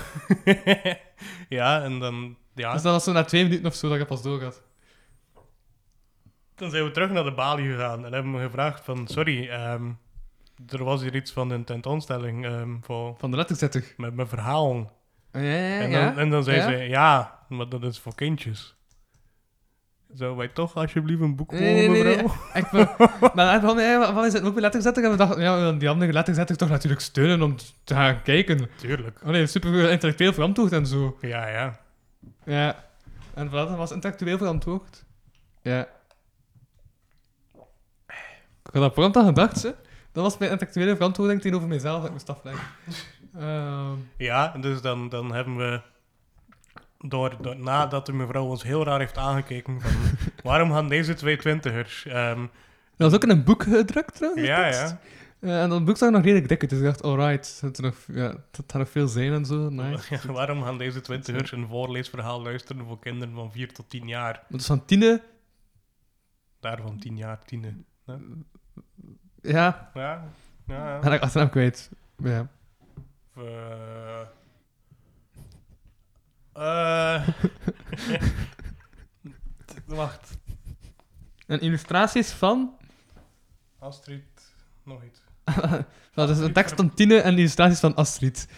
[SPEAKER 2] ja, en dan... Ja,
[SPEAKER 1] Dus dat was zo na twee minuten of zo dat ik pas doorgaat.
[SPEAKER 2] Dan zijn we terug naar de balie gegaan en hebben we gevraagd van... Sorry, ehm, er was hier iets van een tentoonstelling ehm, voor,
[SPEAKER 1] Van de letterzetter.
[SPEAKER 2] met mijn verhaal.
[SPEAKER 1] Ja, ja,
[SPEAKER 2] En
[SPEAKER 1] Eh,
[SPEAKER 2] dan,
[SPEAKER 1] ja.
[SPEAKER 2] en dan zei
[SPEAKER 1] Ja?
[SPEAKER 2] ze... Ja, maar dat is voor kindjes. Zou wij toch alsjeblieft een boek mogen,
[SPEAKER 1] Nee, nee, nee, nee.
[SPEAKER 2] mevrouw?
[SPEAKER 1] Ik ben, maar ik vond, ja, wat is het ook bij letterzetter? En we dachten, ja, we willen die andere letterzetter toch natuurlijk steunen om te gaan kijken.
[SPEAKER 2] Tuurlijk.
[SPEAKER 1] Oh nee, super intellectueel verantwoord en zo.
[SPEAKER 2] Ja, ja.
[SPEAKER 1] Ja. En voilà, dat was intellectueel verantwoord. Ja. Ik had dat prompt aan gedacht, hè. Dat was mijn intellectuele verantwoording tegenover mezelf dat ik moest afleggen. Ehm,
[SPEAKER 2] Ja, dus dan, dan hebben we... Door, door- nadat de mevrouw ons heel raar heeft aangekeken van... waarom gaan deze twee twintigers... ehm,
[SPEAKER 1] dat was ook in een boek gedrukt, trouwens. de
[SPEAKER 2] ja,
[SPEAKER 1] tekst.
[SPEAKER 2] ja.
[SPEAKER 1] Eh, en dat boek zag nog redelijk dik uit, dus ik dacht, alright, het, is nog, ja, het had nog veel zijn en zo, nice.
[SPEAKER 2] Ja, waarom gaan deze twintigers een voorleesverhaal luisteren voor kinderen van 4 tot 10 jaar?
[SPEAKER 1] Want dus van tiende,
[SPEAKER 2] Daarvan 10 jaar, tiende.
[SPEAKER 1] ja,
[SPEAKER 2] Ja, ja. ja.
[SPEAKER 1] had ik achternaam kwijt. Ja.
[SPEAKER 2] Of, eh, eh, Wacht,
[SPEAKER 1] En illustraties van,
[SPEAKER 2] Astrid, nog iets.
[SPEAKER 1] dat is een tekst van tiende en illustraties van Astrid.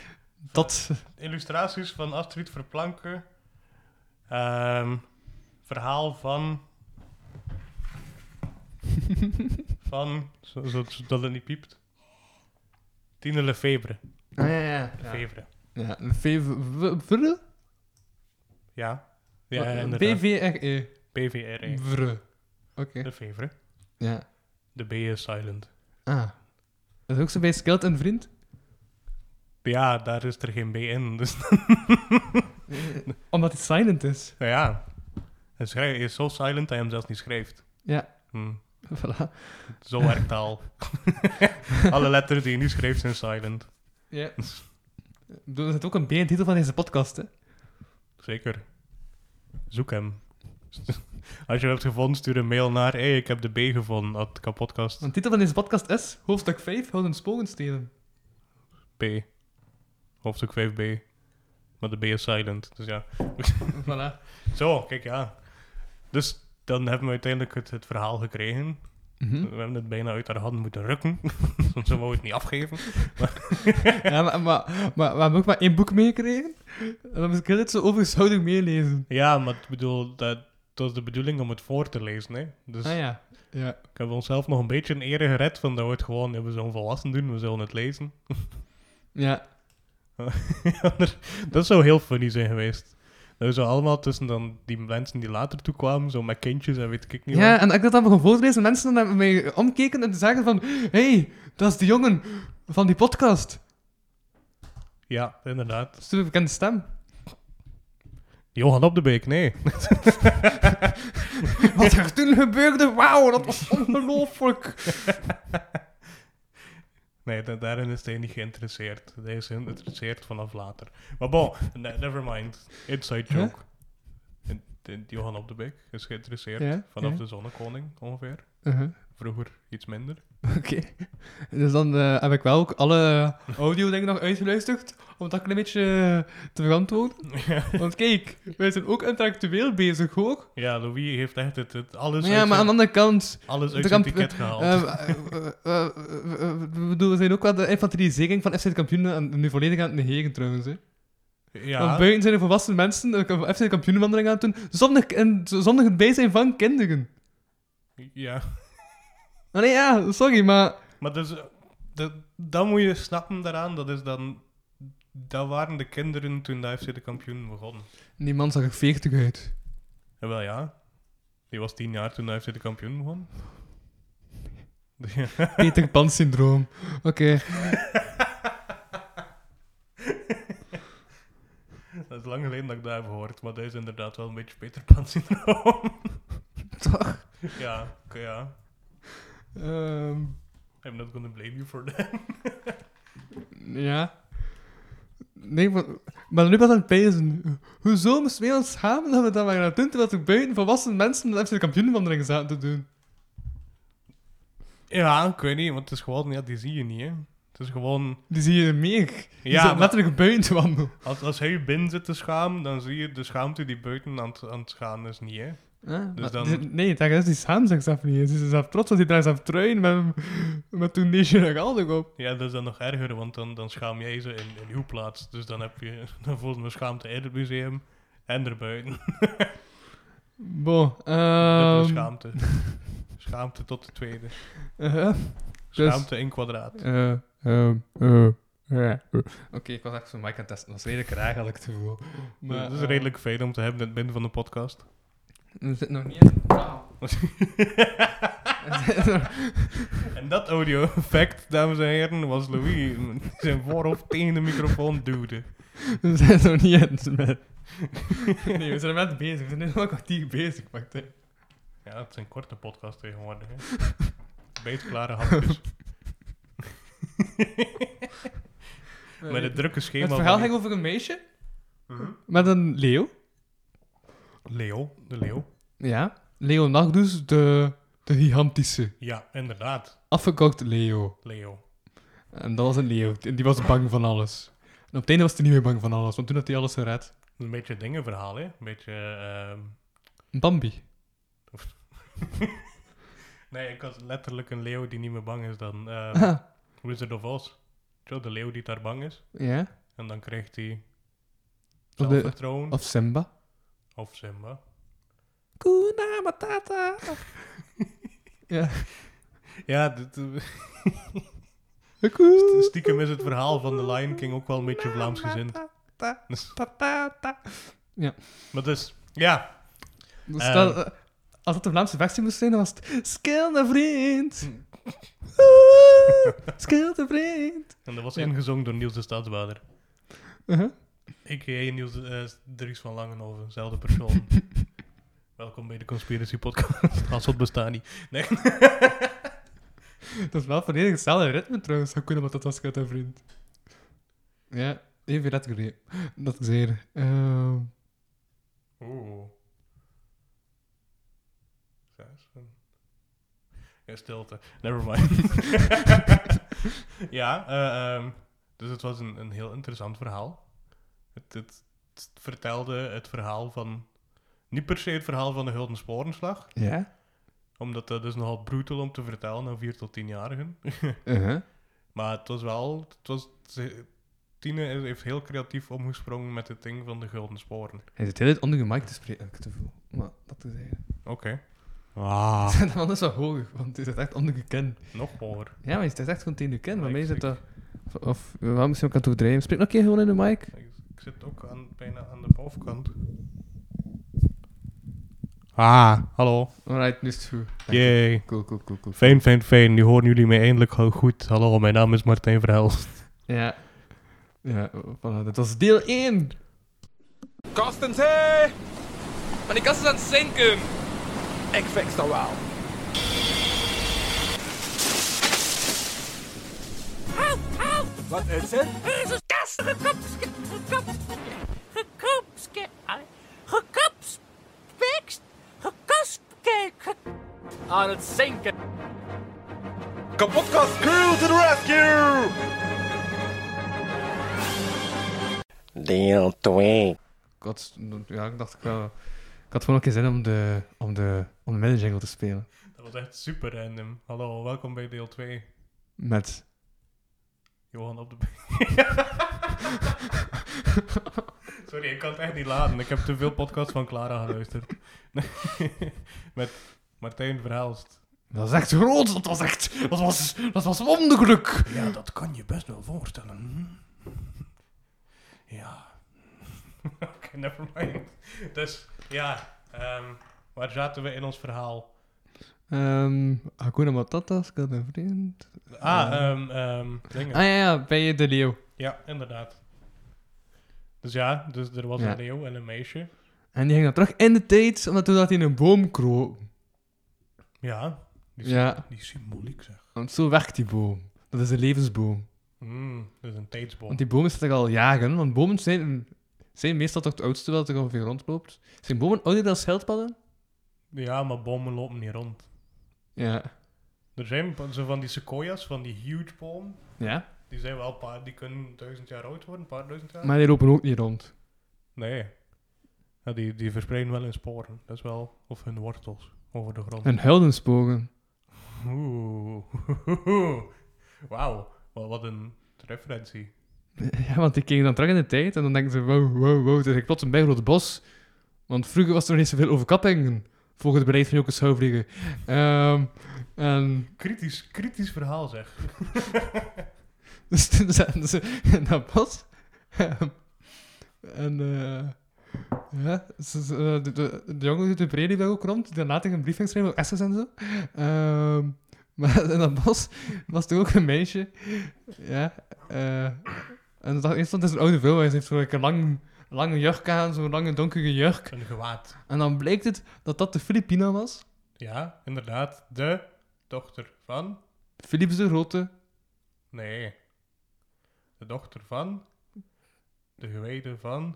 [SPEAKER 1] Dat,
[SPEAKER 2] Illustraties van Astrid Verplanken. Ehm, verhaal van. van. zo- zo- Zodat het niet piept. Tine Lefebvre.
[SPEAKER 1] ah, ja, ja.
[SPEAKER 2] Lefebvre.
[SPEAKER 1] Ja, Vrre?
[SPEAKER 2] Ja.
[SPEAKER 1] Oh,
[SPEAKER 2] Ja, inderdaad.
[SPEAKER 1] BVRE.
[SPEAKER 2] PVRE.
[SPEAKER 1] Vrre. E. Oké.
[SPEAKER 2] Lefebvre.
[SPEAKER 1] Ja.
[SPEAKER 2] De B is silent.
[SPEAKER 1] Ah. Dat is ook zo bij Skeld en Vriend?
[SPEAKER 2] Ja, daar is er geen B in. Dus
[SPEAKER 1] Omdat het silent is.
[SPEAKER 2] nou ja. Hij schrijft- hij is zo silent dat hij hem zelfs niet schrijft.
[SPEAKER 1] Ja,
[SPEAKER 2] Hm.
[SPEAKER 1] voilà.
[SPEAKER 2] Zo werkt taal. Alle letters die je nu schrijft zijn silent.
[SPEAKER 1] Ja. Ik bedoel, Er zit ook een B in de titel van deze podcast, hè.
[SPEAKER 2] Zeker. Zoek hem. Als je hem hebt gevonden, stuur een mail naar hey, ik heb de B gevonden, at kapotkast
[SPEAKER 1] Want de titel van deze podcast is hoofdstuk 5, Houden Spogen stelen.
[SPEAKER 2] B. Hoofdstuk 5B. Maar de B is silent, dus ja.
[SPEAKER 1] Voilà.
[SPEAKER 2] Zo, kijk ja. Dus dan hebben we uiteindelijk het, het verhaal gekregen.
[SPEAKER 1] Hm?
[SPEAKER 2] We hebben het bijna uit haar hand moeten rukken, want ze wou het niet afgeven.
[SPEAKER 1] Ja, maar, maar, maar, maar we hebben ook maar één boek meegekregen. En dan moest ik het zo over schouder meelezen.
[SPEAKER 2] Ja, maar ik bedoel, dat, het was de bedoeling om het voor te lezen, hè. Dus
[SPEAKER 1] Ah ja. Ja.
[SPEAKER 2] ik heb onszelf nog een beetje een ere gered van dat we het gewoon, ja, we zullen volwassen doen, we zullen het lezen.
[SPEAKER 1] Ja.
[SPEAKER 2] Ander- dat zou heel funny zijn geweest. Dat we zo allemaal tussen dan die mensen die later toekwamen, zo met kindjes en weet ik niet
[SPEAKER 1] Ja,
[SPEAKER 2] wat.
[SPEAKER 1] en ik dat dan begon voorlezen en mensen naar mij omkeken en zagen van... hey, dat is de jongen van die podcast.
[SPEAKER 2] Ja, inderdaad.
[SPEAKER 1] Superbekende stem.
[SPEAKER 2] Johan op de Beek, nee.
[SPEAKER 1] Wat er toen gebeurde, wauw, dat was ongelooflijk.
[SPEAKER 2] Nee, da- daarin is hij niet geïnteresseerd. Hij is geïnteresseerd vanaf later. Maar bon, ne- never mind. Inside
[SPEAKER 1] Huh?
[SPEAKER 2] joke. En- en Johan op de Beek is geïnteresseerd
[SPEAKER 1] Ja, Uh-huh.
[SPEAKER 2] vanaf
[SPEAKER 1] ja.
[SPEAKER 2] de Zonnekoning ongeveer. Vroeger iets minder.
[SPEAKER 1] Oké. Dus dan eh, heb ik wel ook alle audio dingen nog uitgeluisterd, om dat een beetje eh, te verantwoorden. Want kijk, wij zijn ook intellectueel bezig, hoor.
[SPEAKER 2] ja, Louis heeft echt het, het alles,
[SPEAKER 1] Maar
[SPEAKER 2] uit
[SPEAKER 1] ja, maar aan
[SPEAKER 2] zijn,
[SPEAKER 1] de andere kant...
[SPEAKER 2] alles uit
[SPEAKER 1] de
[SPEAKER 2] zijn
[SPEAKER 1] kamp-
[SPEAKER 2] ticket gehaald.
[SPEAKER 1] eh, eh, eh, eh, eh, we bedoel, we zijn ook wel de infantilisering van FC de Kampioenen en nu volledig aan het negeren trouwens. Hè. Want
[SPEAKER 2] ja,
[SPEAKER 1] buiten zijn er volwassen mensen eh, FC de Kampioenenwandeling aan het doen, zonder, en, zonder het bijzijn van kinderen.
[SPEAKER 2] ja.
[SPEAKER 1] Maar nee, ja, sorry, maar...
[SPEAKER 2] Maar dus, eh, dat, dat moet je snappen daaraan. Dat is dan... Dat waren de kinderen toen de FC de kampioen begon.
[SPEAKER 1] Die man zag er 40 uit.
[SPEAKER 2] En wel ja. Die was tien jaar toen de FC de kampioen begon. Dus Ja.
[SPEAKER 1] Peter Pan syndroom. Oké.
[SPEAKER 2] dat is lang geleden dat ik dat heb gehoord. Maar dat is inderdaad wel een beetje Peter Pan syndroom.
[SPEAKER 1] Toch?
[SPEAKER 2] ja, oké, ja.
[SPEAKER 1] Ehm,
[SPEAKER 2] I'm not gonna blame you for that.
[SPEAKER 1] ja. Nee, maar, maar nu was aan het pijzen. Hoezo moesten wij ons schamen dat we dat waren aan het doen, terwijl er buiten volwassen mensen de FC de kampioenenwandeling zaten te doen?
[SPEAKER 2] Ja, ik weet niet. Want het is gewoon... Ja, die zie je niet, hè. Het is gewoon...
[SPEAKER 1] Die zie je meer. Die
[SPEAKER 2] Ja,
[SPEAKER 1] ja,
[SPEAKER 2] maar- Dus
[SPEAKER 1] letterlijk buiten te wandelen.
[SPEAKER 2] Als, als hij binnen zit te schamen, dan zie je de schaamte die buiten aan het, aan het gaan is niet, hè.
[SPEAKER 1] Ja,
[SPEAKER 2] Dus
[SPEAKER 1] maar
[SPEAKER 2] dan-
[SPEAKER 1] die- Nee, daar is die schaam zichzelf niet. Ze is zelf trots, want die draait zelf truien met, met toen deze Regaldig op.
[SPEAKER 2] Ja, dat is dan nog erger, want dan, dan schaam jij ze in, in uw plaats. Dus dan, heb je, dan voel je me schaamte in het museum en erbuiten.
[SPEAKER 1] Bo.
[SPEAKER 2] Dubbele
[SPEAKER 1] ehm
[SPEAKER 2] schaamte. Schaamte tot de tweede.
[SPEAKER 1] eh, Dus-
[SPEAKER 2] Schaamte in kwadraat.
[SPEAKER 1] Eh, ehm, eh, eh, eh. Oké, ik was echt zo'n mic aan het testen. Dat was redelijk raar, had ik het gevoel. Maar,
[SPEAKER 2] dat is
[SPEAKER 1] eh,
[SPEAKER 2] redelijk veel om te hebben in het midden van de podcast.
[SPEAKER 1] we zitten nog niet in.
[SPEAKER 2] en dat audio effect, dames en heren, was Louis. Zijn voorhoofd tegen de microfoon duwde.
[SPEAKER 1] We zijn nog niet in. Met... nee, we zijn er net bezig. We zijn nu nog een kwartier bezig, pakt hè.
[SPEAKER 2] Ja, het zijn korte podcasts tegenwoordig. hè. Beetklare hapjes. Met het drukke schema
[SPEAKER 5] Het verhaal
[SPEAKER 2] van
[SPEAKER 5] ging over een meisje met een leeuw.
[SPEAKER 2] Leo, de leeuw.
[SPEAKER 5] Ja, Leonardus de, de gigantische.
[SPEAKER 2] Ja, inderdaad,
[SPEAKER 5] Afgekort Leo.
[SPEAKER 2] Leo.
[SPEAKER 5] En dat was een leeuw. En die was bang van alles. En op het einde was hij niet meer bang van alles, want toen had hij alles gered.
[SPEAKER 2] Een beetje dingenverhaal, hè? Een beetje... ehm,
[SPEAKER 5] Bambi.
[SPEAKER 2] Nee, ik was letterlijk een leeuw die niet meer bang is dan ehm,
[SPEAKER 5] Ah,
[SPEAKER 2] Wizard of Oz. Zo, de leeuw die daar bang is.
[SPEAKER 5] ja.
[SPEAKER 2] En dan krijgt hij
[SPEAKER 5] Of, de,
[SPEAKER 2] zelfvertrouwen. Of,
[SPEAKER 5] of Simba.
[SPEAKER 2] Simba.
[SPEAKER 5] Kuna Matata. ja.
[SPEAKER 2] Ja, dit, eh,
[SPEAKER 5] Hakuna
[SPEAKER 2] stiekem is het verhaal van The Lion King ook wel een beetje Vlaams gezind. Dus,
[SPEAKER 5] Matata, Patata. Ja.
[SPEAKER 2] Maar dus, ja.
[SPEAKER 5] Dus
[SPEAKER 2] Ehm.
[SPEAKER 5] dat, eh, als het de Vlaamse versie moest zijn, dan was het... Skelde vriend. Skelde vriend.
[SPEAKER 2] En dat was
[SPEAKER 5] Ja.
[SPEAKER 2] ingezongen door Niels de Stadsbader.
[SPEAKER 5] Uh-huh.
[SPEAKER 2] Ik Niels eh Dries van Langenhoven, dezelfde persoon. Welkom bij de Conspiracy Podcast. Als het bestaat niet. Nee.
[SPEAKER 5] Dat is wel volledig hetzelfde ritme trouwens. Hoe kunnen we dat als ik uit een vriend? Ja, even dat ik Dat ik zeer. Ehm,
[SPEAKER 2] Oeh. Zes. en- Ja, stilte. Never mind. ja, eh, ehm, dus het was een, een heel interessant verhaal. Het, het, het vertelde het verhaal van. Niet per se het verhaal van de Gulden Sporenslag,
[SPEAKER 5] ja.
[SPEAKER 2] omdat dat is nogal brutal om te vertellen aan 4 tot 10-jarigen.
[SPEAKER 1] eh,
[SPEAKER 5] Uh-huh.
[SPEAKER 2] Maar het was wel. Het was, ze- Tine is- heeft heel creatief omgesprongen met het ding van de Gulden Sporen.
[SPEAKER 5] Hij zit heel het onder je mic te spreken, heb eh, ik het gevoel. Maar dat is eigenlijk.
[SPEAKER 2] Oké. Ah.
[SPEAKER 5] Dat anders wel hoger, want hij zit echt onder je kin.
[SPEAKER 2] Nog hoger.
[SPEAKER 5] Ja, maar hij zit echt gewoon tegen je kin. Maar
[SPEAKER 2] Ja,
[SPEAKER 5] mij
[SPEAKER 2] ik-
[SPEAKER 5] zit
[SPEAKER 2] ik-
[SPEAKER 5] dat. eh, Of, of waarom is hij ook aan het overdrijven? Spreek nog een keer gewoon in de mic.
[SPEAKER 2] Ik, ik zit ook aan, bijna aan de bovenkant. Ah, hallo.
[SPEAKER 5] Alright, nu is het goed. Dank je.
[SPEAKER 2] Yay.
[SPEAKER 5] Cool, cool, cool, cool.
[SPEAKER 2] Fijn, fijn, fijn. Nu horen jullie mij eindelijk al goed. Hallo, mijn naam is Martijn Verhelst.
[SPEAKER 5] Ja. Ja, voilà, dat was deel 1.
[SPEAKER 6] Kastens, hé! Maar die kast is aan het zinken. Ik fix dat wel. Wat is het?
[SPEAKER 7] Er is een kast gekapske, gekapske, gekapske, gekapspekst, gekaspke, ge-
[SPEAKER 6] Aan het zinken.
[SPEAKER 8] Deel 2.
[SPEAKER 5] Ik had, ja, ik dacht, ik, wel- ik had gewoon ook geen zin om de, om de, om de middenzijde te spelen.
[SPEAKER 2] Dat was echt super random. Hallo, welkom bij deel 2.
[SPEAKER 5] Met.
[SPEAKER 2] Johan op de... Sorry, ik kan het echt niet laten. Ik heb te veel podcasts van Clara geluisterd. Met Martijn Verhelst.
[SPEAKER 5] Dat was echt groot, dat was echt. Dat was, dat was wonderlijk!
[SPEAKER 2] Ja, dat kan je best wel voorstellen. Hm. Ja. Oké, never mind. Dus ja, ehm, waar zaten we in ons verhaal?
[SPEAKER 5] Ehm Hakuna Matata, Skat en Vriend.
[SPEAKER 2] Ah, ehm, ehm, dingen.
[SPEAKER 5] Ah ja, ja, bij de leeuw.
[SPEAKER 2] Ja, inderdaad. Dus ja, dus er was
[SPEAKER 5] Ja.
[SPEAKER 2] een leeuw en een meisje.
[SPEAKER 5] En die ging dan terug in de tijd, omdat toen dat hij in een boom kroop.
[SPEAKER 2] Ja. Die, sy-
[SPEAKER 5] Ja,
[SPEAKER 2] die symboliek zeg.
[SPEAKER 5] want zo werkt die boom. Dat is een levensboom.
[SPEAKER 2] Mm, dat is een tijdsbom.
[SPEAKER 5] Want die bomen zitten er al jaren, want bomen zijn, zijn meestal toch het oudste dat er ongeveer rondloopt. Zijn bomen ouder dan schildpadden?
[SPEAKER 2] Ja, maar bomen lopen niet rond.
[SPEAKER 5] Ja.
[SPEAKER 2] Er zijn zo van die sequoias, van die huge boom.
[SPEAKER 5] Ja,
[SPEAKER 2] Die zijn wel een paar, die kunnen duizend jaar oud worden, een paar duizend jaar.
[SPEAKER 5] maar die lopen ook niet rond.
[SPEAKER 2] Nee. Ja, die, die verspreiden wel hun sporen. Dat is wel. Of hun wortels over de grond.
[SPEAKER 5] Een huildenspogen.
[SPEAKER 2] Oeh. Oeh. Wauw. Wat, wat een referentie.
[SPEAKER 5] Ja, want die keken dan terug in de tijd en dan denken ze, wow, wow, wow, toen ik plots een bijgroot bos. Want vroeger was er nog niet zoveel overkappingen, volgens het beleid van Jokke Schouwvliegen. Ehm en
[SPEAKER 2] Kritisch, kritisch verhaal zeg.
[SPEAKER 5] dus toen zaten ze in dat bos. Ehm, en eh, ja, ze, ze- eh, de, de, de jongen uit de Brede die daar ook rond, die daarna tegen een brief ging schrijven op Esses en zo. Ehm, maar in dat bos was toen ook een meisje. Ja, eh, en ik dacht eerst dat het een oude vrouw is. Ze heeft zo'n lang, lange jurk aan, zo'n lange donkere jurk.
[SPEAKER 2] Een gewaad.
[SPEAKER 5] En dan bleek het dat dat de Filipina was.
[SPEAKER 2] Ja, inderdaad. De dochter van.
[SPEAKER 5] Philips de Grote.
[SPEAKER 2] Nee. de dochter van, de gewijde van,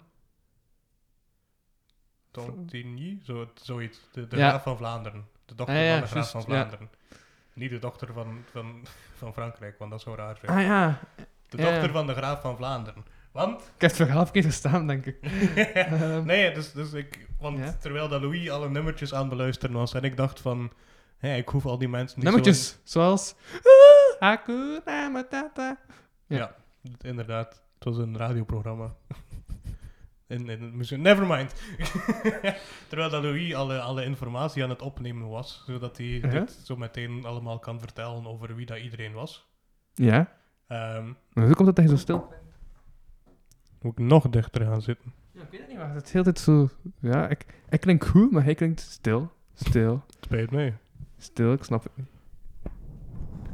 [SPEAKER 2] Tontigny, zo, zoiets. De, de
[SPEAKER 5] Ja.
[SPEAKER 2] graaf van Vlaanderen. De dochter
[SPEAKER 5] Ah, ja,
[SPEAKER 2] van de graaf
[SPEAKER 5] juist,
[SPEAKER 2] van
[SPEAKER 5] ja.
[SPEAKER 2] Vlaanderen. Niet de dochter van, van, van Frankrijk, want dat zou raar zijn.
[SPEAKER 5] Ah ja,
[SPEAKER 2] De
[SPEAKER 5] ja.
[SPEAKER 2] dochter van de graaf van Vlaanderen. Want,
[SPEAKER 5] ik heb het verhaal verkeerd verstaan, denk ik. Ehm,
[SPEAKER 2] nee, dus, dus ik, want
[SPEAKER 5] Ja.
[SPEAKER 2] terwijl dat Louis alle nummertjes aan het beluisteren was en ik dacht van, hé, ik hoef al die mensen niet zo in-
[SPEAKER 5] Nummertjes, zoals... "Ah, Hakuna Matata. Ja.
[SPEAKER 2] Ja, inderdaad. Het was een radioprogramma. in, in het museum. Nevermind. Terwijl dat Louis alle, alle informatie aan het opnemen was, zodat hij
[SPEAKER 5] Ja.
[SPEAKER 2] dit zo meteen allemaal kan vertellen over wie dat iedereen was.
[SPEAKER 5] Ja,
[SPEAKER 2] Ehm,
[SPEAKER 5] maar hoe komt dat dat je zo stil bent?
[SPEAKER 2] moet ik nog dichter gaan zitten?
[SPEAKER 5] Ja, ik weet het niet, maar het is heel tijd zo... Ja, ik, ik klink goed, maar hij klinkt stil, stil,
[SPEAKER 2] Spijt mee.
[SPEAKER 5] stil, ik snap het niet.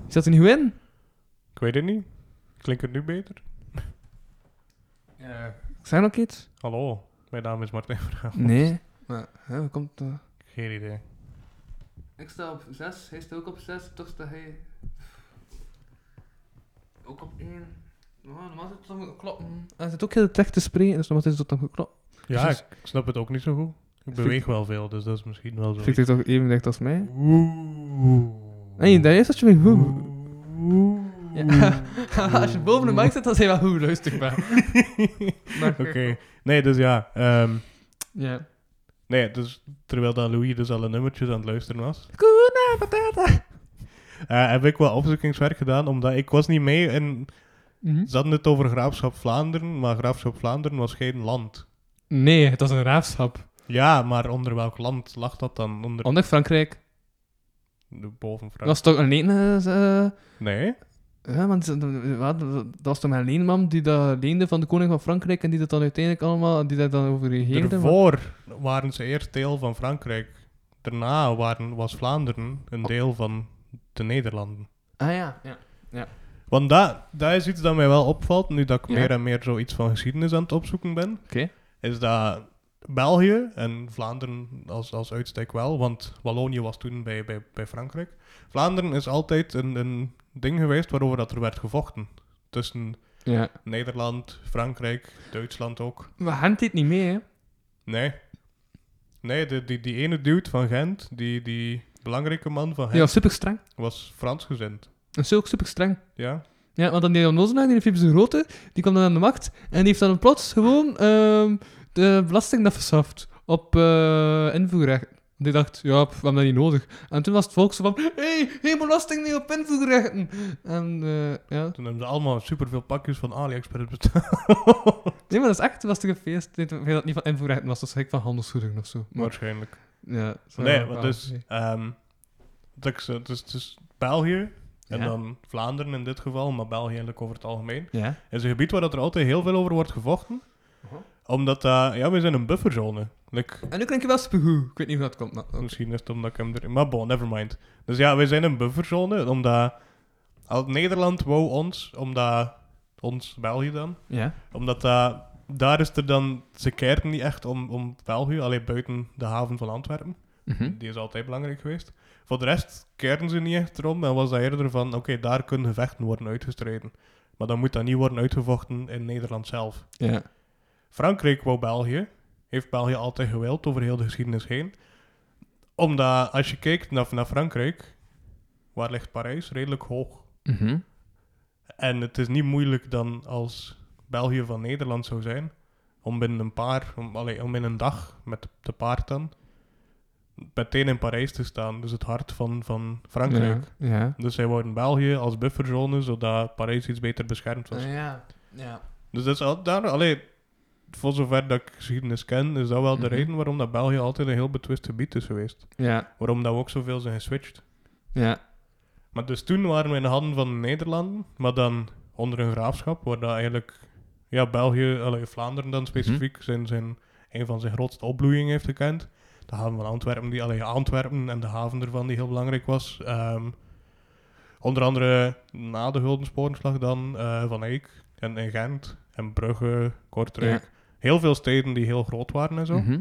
[SPEAKER 5] Zit er niet goed in?
[SPEAKER 2] Ik weet het niet. Klinkt het nu beter?
[SPEAKER 5] Ik zei nog iets?
[SPEAKER 2] Hallo, mijn naam is Martijn Verhaal.
[SPEAKER 5] Nee. Maar, hè, hoe komt dat?
[SPEAKER 2] Geen idee.
[SPEAKER 5] Ik sta op 6, hij staat ook op 6, toch staat hij. Ook op 1. normaal zit het dan goed kloppen. Hij zit ook heel terecht te spreken, dus normaal zit het dan goed kloppen.
[SPEAKER 2] Ja,
[SPEAKER 5] Dus-
[SPEAKER 2] ik snap het ook niet zo goed. Ik beweeg wel veel, dus dat is misschien wel zo.
[SPEAKER 5] Vind ik dit toch even dicht als mij?
[SPEAKER 2] Oeh.
[SPEAKER 5] Nee, daar is alsjeblieft goed. Ja. als je boven de mic zit, dan zijn wel goed luisterbaar. maar,
[SPEAKER 2] Oké, nee, dus ja. ehm,
[SPEAKER 5] Ja.
[SPEAKER 2] nee, dus terwijl dat Louis dus alle nummertjes aan het luisteren was,
[SPEAKER 5] Kuna patata.
[SPEAKER 2] eh, heb ik wel opzoekingswerk gedaan, omdat ik was niet mee en
[SPEAKER 5] Mhm.
[SPEAKER 2] ze hadden het over Graafschap Vlaanderen, maar Graafschap Vlaanderen was geen land.
[SPEAKER 5] Nee, het was een raafschap.
[SPEAKER 2] Ja, maar onder welk land lag dat dan? Onder
[SPEAKER 5] Ondanks Frankrijk.
[SPEAKER 2] de boven
[SPEAKER 5] Dat was toch alleen. eh, eh,
[SPEAKER 2] Nee,
[SPEAKER 5] Ja, want ze- de- wat, dat was toch mijn leenman die dat leende van de koning van Frankrijk en die dat dan uiteindelijk allemaal, die dat dan over regeerde. maar-
[SPEAKER 2] daarvoor waren ze eerst deel van Frankrijk. Daarna waren, was Vlaanderen een deel van de Nederlanden.
[SPEAKER 5] Ah ja, ja.
[SPEAKER 2] Want dat, dat is iets dat mij wel opvalt, nu dat ik
[SPEAKER 5] Ja.
[SPEAKER 2] meer en meer zoiets van geschiedenis aan het opzoeken ben.
[SPEAKER 5] Oké.
[SPEAKER 2] Is dat België en Vlaanderen als, als uitstek wel, want Wallonië was toen bij, bij, bij Frankrijk. Vlaanderen is altijd een, een ding geweest waarover dat er werd gevochten. Tussen
[SPEAKER 5] Ja.
[SPEAKER 2] Nederland, Frankrijk, Duitsland ook.
[SPEAKER 5] We hangt dit niet mee, hè?
[SPEAKER 2] Nee. Nee, de, die, die ene dude van Gent, die, die belangrijke man van
[SPEAKER 5] Die was
[SPEAKER 2] Gent,
[SPEAKER 5] super streng.
[SPEAKER 2] was Frans gezind.
[SPEAKER 5] Dat is ook super streng.
[SPEAKER 2] Ja?
[SPEAKER 5] Ja, want dan die Onnozenaar, die Philips de Grote, die kwam dan aan de macht en die heeft dan plots gewoon ehm, de belasting afgeschaft op eh invoerrecht. Die dacht, ja, pff, we hebben dat niet nodig. En toen was het volk zo van, hey, geen belasting meer op invoerrechten. En eh, ja,
[SPEAKER 2] Toen hebben ze allemaal superveel pakjes van AliExpress betaald.
[SPEAKER 5] Nee, maar dat is echt, was toch een feest. Ik weet dat het niet van invoerrechten was, dat is gek van handelsgoederen of zo. Maar,
[SPEAKER 2] Waarschijnlijk.
[SPEAKER 5] ja, zo-
[SPEAKER 2] Nee, want
[SPEAKER 5] ah,
[SPEAKER 2] dus,
[SPEAKER 5] nee.
[SPEAKER 2] ehm, dat ik zo- het is dus België en
[SPEAKER 5] Ja.
[SPEAKER 2] dan Vlaanderen in dit geval, maar België eigenlijk over het algemeen,
[SPEAKER 5] Ja.
[SPEAKER 2] is een gebied waar dat er altijd heel veel over wordt gevochten.
[SPEAKER 5] Uh-huh.
[SPEAKER 2] Omdat, eh, ja, we zijn een bufferzone. Like,
[SPEAKER 5] En nu klink je wel supergoed. Ik weet niet hoe dat komt, maar... oké.
[SPEAKER 2] Misschien is het omdat ik hem erin... Maar bon, nevermind. Dus ja, we zijn een bufferzone, omdat... Al Nederland wou ons, omdat... Ons, België dan.
[SPEAKER 5] Ja.
[SPEAKER 2] Omdat eh, daar is er dan... Ze keren niet echt om, om België, alleen buiten de haven van Antwerpen.
[SPEAKER 1] Hm?
[SPEAKER 5] Mhm.
[SPEAKER 2] Die is altijd belangrijk geweest. Voor de rest keren ze niet echt erom. En was dat eerder van, oké, daar kunnen gevechten worden uitgestreden. Maar dan moet dat niet worden uitgevochten in Nederland zelf.
[SPEAKER 5] Ja.
[SPEAKER 2] Frankrijk wou België. Heeft België altijd gewild over heel de geschiedenis heen. Omdat, als je kijkt naar, naar Frankrijk, waar ligt Parijs? Redelijk hoog.
[SPEAKER 5] Mhm.
[SPEAKER 2] En het is niet moeilijk dan als België van Nederland zou zijn, om binnen een paar, om, allee, om in een dag met de paard dan, meteen in Parijs te staan. Dus het hart van, van Frankrijk.
[SPEAKER 5] Ja. Ja.
[SPEAKER 2] Dus zij worden België als bufferzone, zodat Parijs iets beter beschermd was.
[SPEAKER 5] Ah, ja. Ja.
[SPEAKER 2] Dus dat is al, daar, allee, voor zover dat ik geschiedenis ken, is dat wel
[SPEAKER 5] Mhm.
[SPEAKER 2] de reden waarom dat België altijd een heel betwist gebied is geweest.
[SPEAKER 5] Ja.
[SPEAKER 2] Waarom dat we ook zoveel zijn geswitcht.
[SPEAKER 5] Ja.
[SPEAKER 2] Maar dus toen waren we in de handen van de Nederlanden, maar dan onder een graafschap, waar dat eigenlijk ja, België, allee, Vlaanderen dan specifiek, zijn, zijn, een van zijn grootste opbloeiingen heeft gekend. De haven van Antwerpen, die, allee, Antwerpen en de haven ervan die heel belangrijk was. Ehm, onder andere na de Guldensporenslag dan, eh, Van Eyck en, en Gent en Brugge, Kortrijk. Heel veel steden die heel groot waren en zo.
[SPEAKER 5] Mhm.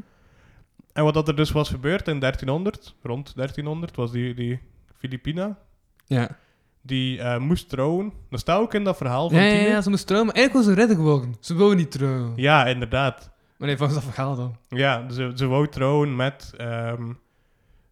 [SPEAKER 2] En wat dat er dus was gebeurd in 1300, rond 1300, was die, die Filipina,
[SPEAKER 5] Ja.
[SPEAKER 2] die eh, moest trouwen. Dat staat ook in dat verhaal van
[SPEAKER 5] Ja, ja,
[SPEAKER 2] Tine.
[SPEAKER 5] ja,
[SPEAKER 2] Ja,
[SPEAKER 5] ze moest trouwen. Maar eigenlijk was ze redder geworden. Ze wou niet trouwen.
[SPEAKER 2] inderdaad.
[SPEAKER 5] Maar nee, volgens dat verhaal dan.
[SPEAKER 2] Ja, ze, ze wou trouwen met, ehm,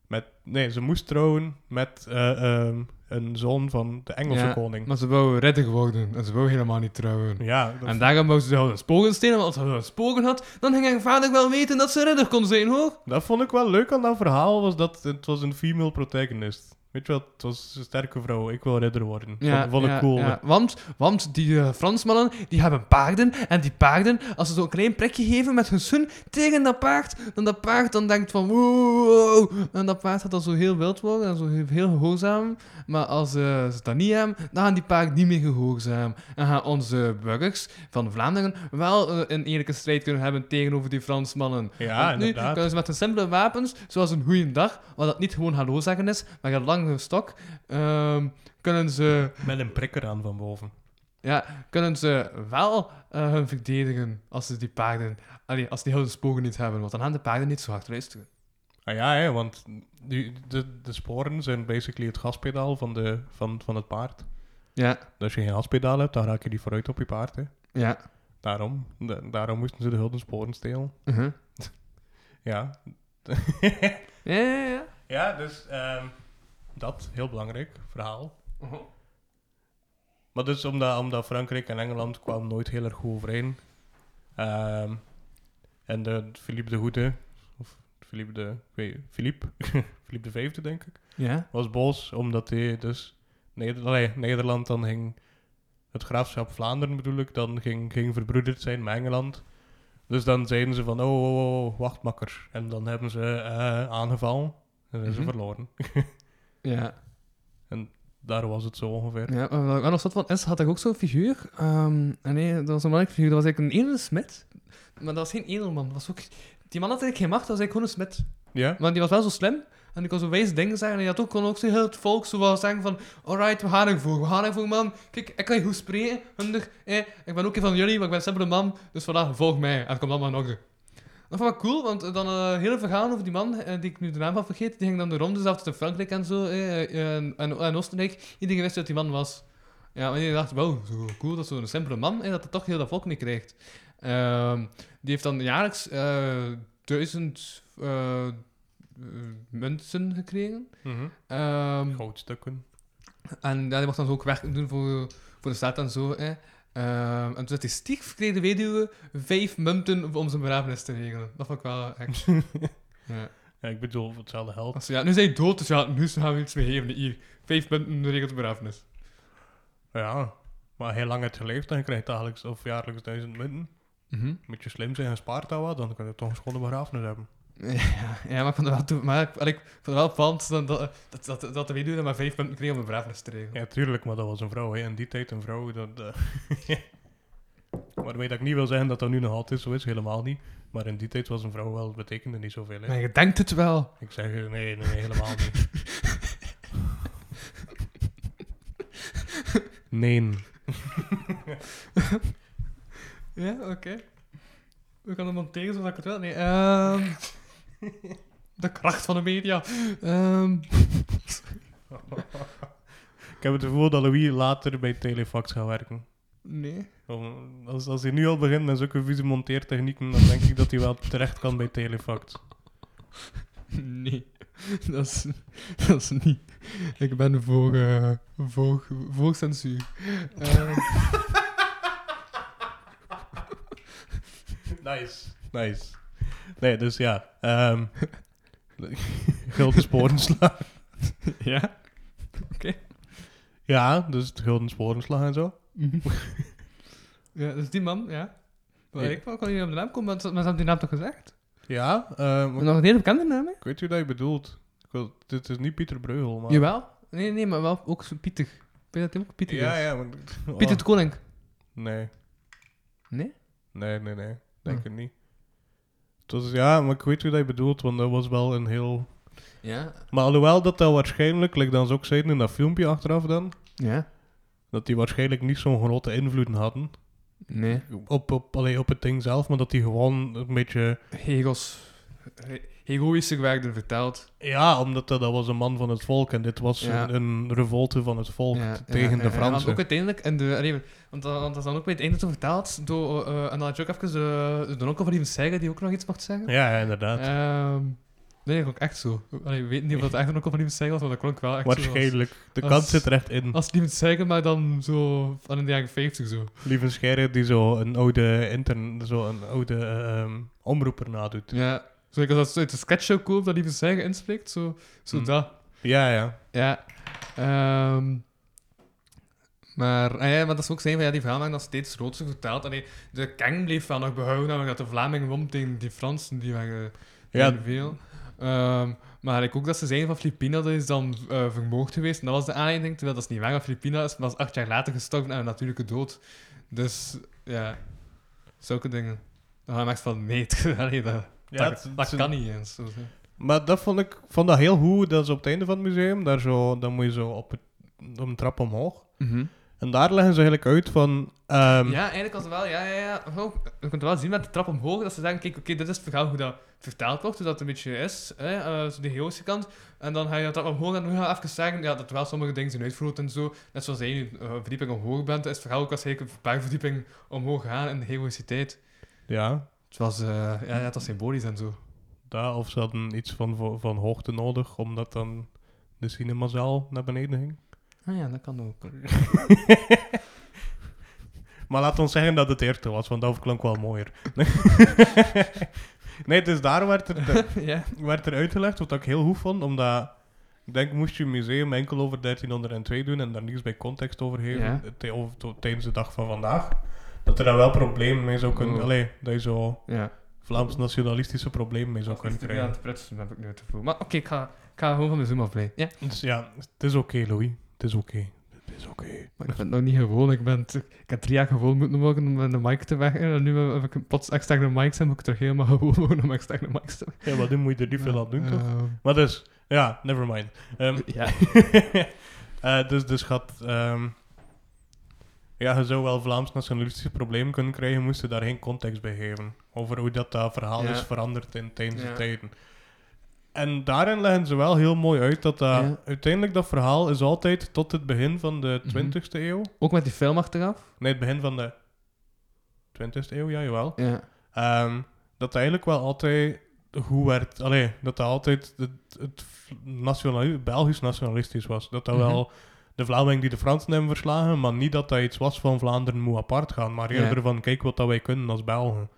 [SPEAKER 2] met... Nee, ze moest trouwen met eh, ehm, een zoon van de Engelse
[SPEAKER 5] Ja,
[SPEAKER 2] koning.
[SPEAKER 5] Maar ze wou redder geworden. En ze wou helemaal niet trouwen.
[SPEAKER 2] Ja, dat-
[SPEAKER 5] En daarom wou ze de een sporen stelen. Want als ze een sporen had, dan ging haar vader wel weten dat ze redder kon zijn, hoor.
[SPEAKER 2] Dat vond ik wel leuk aan dat verhaal, was dat het was een female protagonist. Weet je wat, het was een sterke vrouw, ik wil redder worden. vond, vond ik cool.
[SPEAKER 5] ja. Want, want die eh, Fransmannen, die hebben paarden. En die paarden, als ze zo'n klein prikje geven met hun sun tegen dat paard, dan dat paard dan denkt van wow. En dat paard gaat dan zo heel wild worden en zo heel, heel gehoorzaam. Maar als eh, ze dat niet hebben, dan gaan die paarden niet meer gehoorzaam. En gaan onze burgers van Vlaanderen wel eh, een eerlijke strijd kunnen hebben tegenover die Fransmannen.
[SPEAKER 2] Ja,
[SPEAKER 5] Want nu
[SPEAKER 2] inderdaad.
[SPEAKER 5] kunnen ze met hun simpele wapens, zoals een goeiendag, wat dat niet gewoon hallo zeggen is, maar een lange stok, ehm, kunnen ze
[SPEAKER 2] Met een prikker aan van boven.
[SPEAKER 5] ja, kunnen ze wel eh, hun verdedigen als ze die paarden... Allee, als die heel de sporen niet hebben, want dan gaan de paarden niet zo hard luisteren.
[SPEAKER 2] Ah ja, hè, want die, de, de sporen zijn basically het gaspedaal van, de, van, van het paard.
[SPEAKER 5] Ja,
[SPEAKER 2] Dus als je geen gaspedaal hebt, dan raak je die vooruit op je paard. Hè.
[SPEAKER 5] ja.
[SPEAKER 2] Daarom, da- daarom moesten ze de hulde sporen stelen.
[SPEAKER 5] mhm.
[SPEAKER 2] Ja.
[SPEAKER 5] Ja, ja, ja.
[SPEAKER 2] ja, dus ehm, dat, heel belangrijk verhaal. Maar dus omdat, omdat Frankrijk en Engeland kwamen nooit heel erg goed overeen. Ehm, en de Philippe de Goede, of Philippe de... ik weet- Philippe? Philippe de Vijfde, denk ik,
[SPEAKER 5] Ja,
[SPEAKER 2] was boos omdat hij dus... Neder- allee, Nederland dan ging... Het graafschap Vlaanderen bedoel ik, dan ging, ging verbroederd zijn met Engeland. Dus dan zeiden ze van, oh, oh, oh, wacht makker. En dan hebben ze eh, aangevallen en zijn ze
[SPEAKER 5] Mhm.
[SPEAKER 2] verloren.
[SPEAKER 5] ja.
[SPEAKER 2] Daar was het zo ongeveer.
[SPEAKER 5] ja maar wat ik ook nog zat van is, had ik ook zo'n figuur. Ehm, ah nee, dat was een mannelijk figuur. Dat was eigenlijk een edele smid. Maar dat was geen edelman. Dat was ook... Die man had eigenlijk geen macht, dat was eigenlijk gewoon een smid.
[SPEAKER 2] Ja?
[SPEAKER 5] Maar die was wel zo slim. En die kon zo wijze dingen zeggen. En die had ook, kon ook zo heel het volk zo wel zeggen van... Alright, we gaan ervoor. We gaan ervoor, man. Kijk, ik kan je goed spreken. Hunder. Eh, ik ben ook een van jullie, maar ik ben een simpele man. Dus voilà, volg mij. En het komt allemaal in orde. Dat vond ik cool, want eh, dan eh hele verhaal over die man, eh, die ik nu de naam van vergeet, die ging dan de ronde zelfs in Frankrijk en zo, eh, eh, en, en, en Oostenrijk. Iedereen wist dat die man was. Ja, maar die dacht, wauw, zo cool dat zo'n simpele man, en dat het toch heel dat volk mee krijgt. Ehm, die heeft dan jaarlijks eh, duizend eh, eh, munten gekregen.
[SPEAKER 2] Mhm.
[SPEAKER 5] Ehm,
[SPEAKER 2] Goudstukken.
[SPEAKER 5] en ja, die mocht dan zo ook werk doen voor, voor de staat en zo. Hè. Ehm, en toen had hij stief kreeg de weduwe vijf munten om zijn begrafenis te regelen. Dat vond ik wel echt... ja.
[SPEAKER 2] Ja, ik bedoel, hetzelfde geld.
[SPEAKER 5] Als, ja, nu zijn hij dood, dus ja, nu gaan we iets mee geven. Hier, vijf munten regelt de begrafenis.
[SPEAKER 2] Ja, maar heel lang het geleefd en je krijgt dagelijks of jaarlijks duizend munten.
[SPEAKER 5] Mhm.
[SPEAKER 2] Moet je slim zijn en spaart dat wat, dan kun je toch een schone begrafenis hebben.
[SPEAKER 5] Ja, ja, maar ik vond het wel, toe- maar ik, allee, ik vond het wel opvallend dat, dat, dat, dat, dat de weduwe dan maar vijf munten kreeg om een begrafenis te regelen.
[SPEAKER 2] Ja, tuurlijk, maar dat was een vrouw, hè. In die tijd een vrouw, dat... eh, Waarmee dat ik niet wil zeggen dat dat nu nog altijd zo is, helemaal niet. Maar in die tijd was een vrouw wel, betekende niet zoveel, hè.
[SPEAKER 5] Maar je denkt het wel.
[SPEAKER 2] Ik zeg, eh, nee, nee, helemaal niet. nee.
[SPEAKER 5] Ja, oké. We gaan hem monteren zoals ik het wil. Nee, ehm, de kracht van de media. Ehm,
[SPEAKER 2] Ik heb het gevoel dat Louis later bij Telefax gaat werken.
[SPEAKER 5] nee.
[SPEAKER 2] Om- Als, als hij nu al begint met zulke vieze monteertechnieken, dan denk ik dat hij wel terecht kan bij Telefact.
[SPEAKER 5] Nee. Dat is, dat is niet. Ik ben voor, eh, voor, voor censuur. Ehm,
[SPEAKER 2] Nice. Nice. Nee, dus ja. ehm Gulden sporenslag.
[SPEAKER 5] ja?
[SPEAKER 2] Ja, dus het Gulden sporenslag en zo.
[SPEAKER 5] Ja, dus die man, ja. Maar
[SPEAKER 2] Ja.
[SPEAKER 5] ik wou- kon niet op de naam komen, maar ze maar ze hebben die naam toch gezegd?
[SPEAKER 2] Ja, ehm,
[SPEAKER 5] Nog een hele bekende naam, hè?
[SPEAKER 2] ik weet hoe dat je bedoelt. Ik wil- dit is niet Pieter Breugel, maar...
[SPEAKER 5] Jawel. Nee, nee, maar wel ook zo Pieter. Ik weet dat hij ook Pieter
[SPEAKER 2] Ja,
[SPEAKER 5] is.
[SPEAKER 2] ja, maar...
[SPEAKER 5] Pieter
[SPEAKER 2] Oh,
[SPEAKER 5] de Koning.
[SPEAKER 2] Nee,
[SPEAKER 5] Nee?
[SPEAKER 2] nee, nee, nee. Denk
[SPEAKER 5] Hm.
[SPEAKER 2] het niet. Het was, ja, maar ik weet hoe dat je bedoelt, want dat was wel een heel...
[SPEAKER 5] Ja.
[SPEAKER 2] Maar alhoewel dat dat waarschijnlijk, like dan ze ook zeiden in dat filmpje achteraf dan,
[SPEAKER 5] Ja?
[SPEAKER 2] dat die waarschijnlijk niet zo'n grote invloed hadden
[SPEAKER 5] Nee.
[SPEAKER 2] op, op, allee, op het ding zelf, maar dat die gewoon een beetje
[SPEAKER 5] Hegels. heroïscher werden verteld.
[SPEAKER 2] Ja, omdat dat, dat was een man van het volk en dit was
[SPEAKER 5] Ja.
[SPEAKER 2] een, een revolte van het volk
[SPEAKER 5] Ja,
[SPEAKER 2] tegen
[SPEAKER 5] ja,
[SPEAKER 2] de
[SPEAKER 5] ja, ja, want
[SPEAKER 2] Fransen.
[SPEAKER 5] ook uiteindelijk, in de, allee, want, dat, want dat is dan ook bij het einde zo vertaald door, eh, en dan had je ook even eh, de onkel van Ivan Sega die ook nog iets mocht zeggen.
[SPEAKER 2] ja, ja, inderdaad.
[SPEAKER 5] Ehm, nee, dat klonk echt zo. Allee, ik weet niet of dat echt een onkel van Ivan Sega was, maar dat klonk wel echt zo.
[SPEAKER 2] Waarschijnlijk. De
[SPEAKER 5] als-
[SPEAKER 2] kans zit er echt in.
[SPEAKER 5] Als, als Ivan Sega, maar dan zo van in de jaren 50 zo.
[SPEAKER 2] Lieve Scheire die zo een oude, intern, zo een oude ehm, omroeper nadoet.
[SPEAKER 5] Ja. Zo, ik als dat zo uit de sketchshow komt, dat Ivan Sega inspreekt, zo, zo
[SPEAKER 2] Hmm.
[SPEAKER 5] dat.
[SPEAKER 2] Ja, ja.
[SPEAKER 5] Ja. Ehm, maar, ah ja, maar dat is ook zijn van ja, die verhalen werden dan steeds groter verteld. Allee, de kern bleef wel nog behouden, namelijk dat de Vlamingen won tegen die Fransen, die waren
[SPEAKER 2] Ja.
[SPEAKER 5] ja. veel. Ehm, maar ik ook dat ze zeiden van Filipina, dat is dan eh vermoord geweest. En dat was de aanleiding, terwijl dat is niet waar, want Filipina is pas acht jaar later gestorven aan een natuurlijke dood. Dus ja, zulke dingen. Dan ga je echt van nee, allee, dat,
[SPEAKER 2] Ja,
[SPEAKER 5] dat,
[SPEAKER 2] het-
[SPEAKER 5] dat
[SPEAKER 2] het-
[SPEAKER 5] kan niet eens. Zo, zo.
[SPEAKER 2] Maar dat vond ik vond dat heel goed. Dat is op het einde van het museum. Daar zo, dan moet je zo op het, op een trap omhoog. En daar leggen ze eigenlijk uit van... ehm,
[SPEAKER 5] Ja, eigenlijk als wel. Ja, ja, ja. Oh, je kunt wel zien met de trap omhoog dat ze zeggen: kijk, oké, dit is het verhaal hoe dat vertaald wordt, hoe dat een beetje is, hè, eh, zo de heroïsche kant. En dan ga je de trap omhoog en dan ga je even zeggen ja, dat wel sommige dingen zijn uitvergroot en zo. Net zoals jij nu eh, een verdieping omhoog bent, is het verhaal ook waarschijnlijk een paar verdiepingen omhoog gaan in de heroïciteit.
[SPEAKER 2] ja,
[SPEAKER 5] Het was, eh, ja, ja, het was symbolisch en zo.
[SPEAKER 2] daar. Of ze hadden iets van, vo- van hoogte nodig, omdat dan de cinemazaal naar beneden ging.
[SPEAKER 5] Ah ja, dat kan ook.
[SPEAKER 2] Maar laat ons zeggen dat het eerste was, want dat klonk wel mooier. nee, dus daar werd er,
[SPEAKER 5] ja.
[SPEAKER 2] werd er uitgelegd, wat ik heel goed vond, omdat... Ik denk, moest je een museum enkel over 1302 doen en daar niets bij context over geven,
[SPEAKER 5] Ja.
[SPEAKER 2] te- over- to- tijdens de dag van vandaag, dat er daar wel problemen mee zou kunnen...
[SPEAKER 5] Oh.
[SPEAKER 2] Allee, dat je zo
[SPEAKER 5] ja.
[SPEAKER 2] Vlaams-nationalistische problemen mee zou kunnen
[SPEAKER 5] Ik ben aan
[SPEAKER 2] krijgen.
[SPEAKER 5] het prutsen, heb ik nu het gevoel. Maar oké, ik, ga, ik ga gewoon van mijn Zoom afleiden. Ja.
[SPEAKER 2] Dus ja, het is oké, Louis. Het is oké. Het is oké.
[SPEAKER 5] Maar ik ben het nog niet gewoon. Ik, ben het- ik heb drie jaar gewoon moeten worden om met de mic te weg. En nu heb ik plots externe mics en moet ik terug helemaal gewoon worden om externe mics te weg.
[SPEAKER 2] Ja, maar dan moet je er niet veel aan doen, toch?
[SPEAKER 5] Ehm,
[SPEAKER 2] Maar dus, ja, never mind. Ehm,
[SPEAKER 5] ja.
[SPEAKER 2] Eh, dus, dus gaat. ehm, ja, je zou wel Vlaams-nationalistische problemen kunnen krijgen, moest je daar geen context bij geven. Over hoe dat, dat verhaal
[SPEAKER 5] Ja.
[SPEAKER 2] is veranderd in, tijdens
[SPEAKER 5] Ja.
[SPEAKER 2] de tijden. En daarin leggen ze wel heel mooi uit dat, dat
[SPEAKER 5] Ja. Mhm.
[SPEAKER 2] uiteindelijk dat verhaal is altijd tot het begin van de 20e eeuw.
[SPEAKER 5] Ook met die film achteraf.
[SPEAKER 2] Nee, het begin van de 20e eeuw, ja, jawel.
[SPEAKER 5] Ja.
[SPEAKER 2] Ehm, dat eigenlijk wel altijd hoe werd, allee, dat dat altijd het, het nationali- Belgisch nationalistisch was. Dat dat
[SPEAKER 5] Mhm.
[SPEAKER 2] wel de Vlamingen die de Fransen hebben verslagen, maar niet dat dat iets was van Vlaanderen moet apart gaan, maar
[SPEAKER 5] Ja.
[SPEAKER 2] eerder van kijk wat dat wij kunnen als Belgen.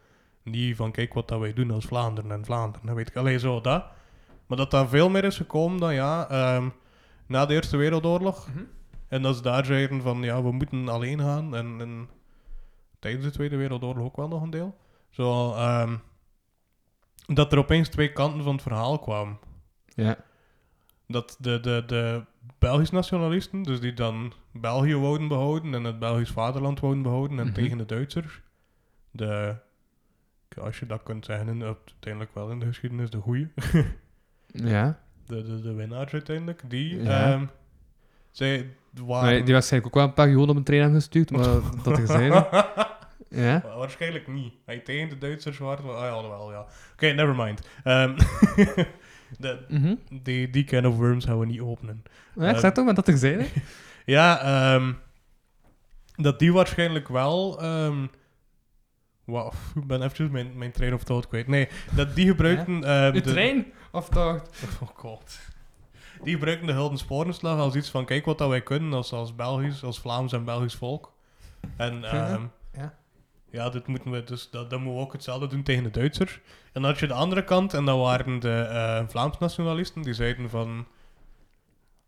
[SPEAKER 2] Niet van kijk wat dat wij doen als Vlaanderen en Vlaanderen, dat weet ik. Allee, zo dat. Maar dat daar veel meer is gekomen dan ja, ehm, na de Eerste Wereldoorlog.
[SPEAKER 5] Mhm.
[SPEAKER 2] En dat ze daar zeiden van ja, we moeten alleen gaan. En, en tijdens de Tweede Wereldoorlog ook wel nog een deel. Zo, ehm, dat er opeens twee kanten van het verhaal kwamen.
[SPEAKER 5] Ja.
[SPEAKER 2] Dat de, de, de Belgisch nationalisten, dus die dan België wouden behouden en het Belgisch vaderland wouden behouden, en
[SPEAKER 5] Mhm.
[SPEAKER 2] tegen de Duitsers, de, als je dat kunt zeggen, in- uiteindelijk wel in de geschiedenis, de goeie,
[SPEAKER 5] Ja.
[SPEAKER 2] de, de, de winnaars uiteindelijk, die
[SPEAKER 5] Ja.
[SPEAKER 2] ehm, zij waren...
[SPEAKER 5] Nee, die was eigenlijk ook wel een paar joden op een train hebben gestuurd, maar dat gezegd. Ja.
[SPEAKER 2] Wa- Waarschijnlijk niet. Hij tegen de Duitsers waren. wa- Ah, ja, alhoewel, ja. Oké, never mind. Ehm, de,
[SPEAKER 5] Mhm.
[SPEAKER 2] die, die can of worms gaan we niet openen.
[SPEAKER 5] ja ik zei toch, maar dat gezegd.
[SPEAKER 2] Ja, ehm, dat die waarschijnlijk wel. ehm Wauw, ik ben even mijn, mijn train of thought kwijt. Nee, dat die gebruikten. ehm,
[SPEAKER 5] De
[SPEAKER 2] de-
[SPEAKER 5] trein? Of toch?
[SPEAKER 2] Oh god. Die gebruiken de Hulden Sporenslag als iets van: kijk wat dat wij kunnen als, als Belgisch, als Vlaams en Belgisch volk. En ehm,
[SPEAKER 5] ja.
[SPEAKER 2] ja, dit moeten we dus, dat, dat moeten we ook hetzelfde doen tegen de Duitsers. En dan had je de andere kant, en dat waren de eh Vlaams nationalisten, die zeiden van...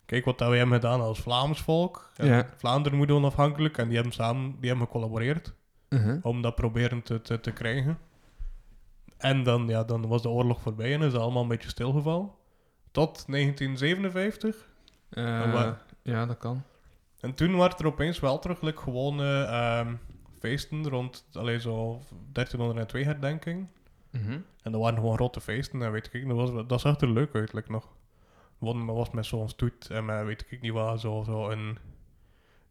[SPEAKER 2] Kijk wat dat wij hebben gedaan als Vlaams volk. En
[SPEAKER 5] Ja.
[SPEAKER 2] Vlaanderen moet onafhankelijk. En die hebben samen die hebben gecollaboreerd
[SPEAKER 5] Mhm.
[SPEAKER 2] om dat proberen te, te, te krijgen. En dan, ja, dan was de oorlog voorbij en is het allemaal een beetje stilgevallen. Tot 1957.
[SPEAKER 5] Eh,
[SPEAKER 2] Oh, wat?
[SPEAKER 5] ja, dat kan.
[SPEAKER 2] En toen waren er opeens wel terug like, gewone ehm, feesten rond allee, zo 1302 herdenking.
[SPEAKER 5] Mhm.
[SPEAKER 2] En dat waren gewoon rotte feesten en weet ik. Dat, was, dat zag er leuk uit, like, nog. Want dat was met zo'n stoet en met, weet ik niet wat, zo, zo een...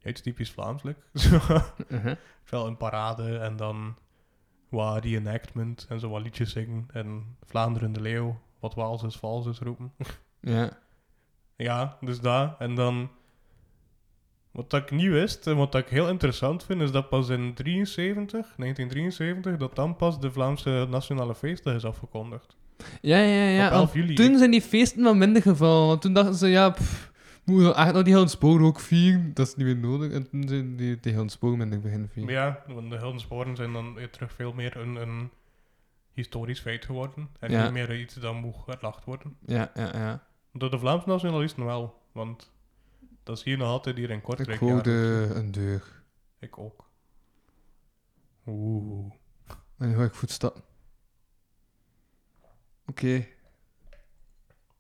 [SPEAKER 2] Iets typisch Vlaams, like. Zo,
[SPEAKER 5] Mhm.
[SPEAKER 2] Wel een parade en dan wat reenactment en zo wat liedjes zingen. En Vlaanderen de Leeuw, wat Waals is vals is roepen.
[SPEAKER 5] Ja.
[SPEAKER 2] Ja, dus daar. En dan... Wat dat ik niet wist en wat dat ik heel interessant vind, is dat pas in 73, 1973, dat dan pas de Vlaamse Nationale Feestdag is afgekondigd.
[SPEAKER 5] Ja, ja, ja.
[SPEAKER 2] Op
[SPEAKER 5] want
[SPEAKER 2] 11 juli.
[SPEAKER 5] Toen zijn die feesten wel minder gevallen. Want toen dachten ze, ja, pff, moeten we echt nog die hele spoor ook vieren? Dat is niet meer nodig. En toen zijn die, die hele spoor minder beginnen vieren.
[SPEAKER 2] Maar ja, want de Heldensporen zijn dan weer terug veel meer een, een historisch feit geworden. En
[SPEAKER 5] Ja.
[SPEAKER 2] niet meer iets dat moet gelacht worden.
[SPEAKER 5] Ja, ja, ja.
[SPEAKER 2] Door de Vlaamse nationalisten wel, want dat zie je nog altijd hier in
[SPEAKER 5] Ik
[SPEAKER 2] Kortrijk.
[SPEAKER 5] hoorde
[SPEAKER 2] jaarlijks.
[SPEAKER 5] een deur.
[SPEAKER 2] Ik ook. Oeh.
[SPEAKER 5] En nu hoor ik voetstappen. Oké.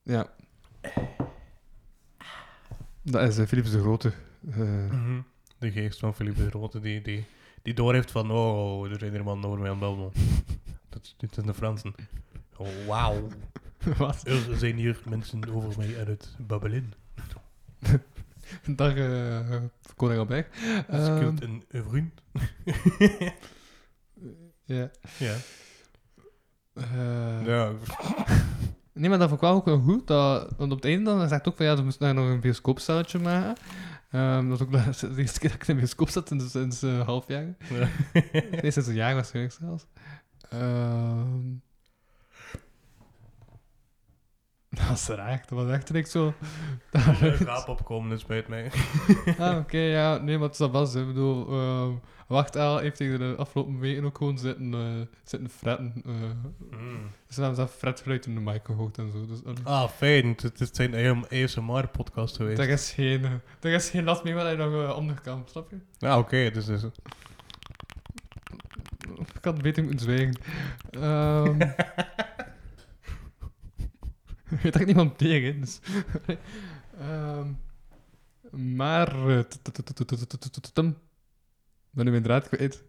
[SPEAKER 5] Ja. Dat is eh, Philips de Grote. eh,
[SPEAKER 2] Mhm. De geest van Philippe de Grote, die, die, die door heeft van, oh, er zijn hier mannen over mij aan het babbelen. Dat is dit zijn de Fransen. Oh, wauw.
[SPEAKER 5] Wat?
[SPEAKER 2] Er zijn hier mensen over mij aan het babbelen.
[SPEAKER 5] Dag, eh koning Albert.
[SPEAKER 2] Dat
[SPEAKER 5] Ehm,
[SPEAKER 2] scheelt een een vriend.
[SPEAKER 5] ja.
[SPEAKER 2] Ja.
[SPEAKER 5] Eh,
[SPEAKER 2] ja.
[SPEAKER 5] Nee, maar dat vond ik wel ook wel goed. Dat, want op het einde dan zegt ook van ja, ze moesten daar nog een bioscoopstelletje maken. Ehm, dat is ook de eerste keer dat ik in de bioscoop zat sinds, sinds eh, half jaar. Nee, sinds een jaar waarschijnlijk zelfs. Ehm. Dat is raar. Dat was echt niks zo.
[SPEAKER 2] Een raap opkomen, dat spijt mij.
[SPEAKER 5] Ah, oké, ja. Nee, maar het is dat was. Ik bedoel, ehm, Wacht Al heeft tegen de afgelopen weken ook gewoon zitten, eh, zitten fretten. eh.
[SPEAKER 2] Mm.
[SPEAKER 5] Ze hebben zelf fretgeluid in de mic gehoord en zo. Dus, allee.
[SPEAKER 2] Ah, fijn. Het, het zijn een ASMR-podcast geweest.
[SPEAKER 5] Er is geen, eh, er is geen last meer wat hij nog eh, onder kan, snap je?
[SPEAKER 2] Ja, oké. dus, dus,
[SPEAKER 5] Ik had beter moeten zwijgen. Ehm weet echt niemand tegen, dus... Ehm, maar... eh, t- t- t- t- t- t- t- t- tum. Ben nu mijn draad kwijt.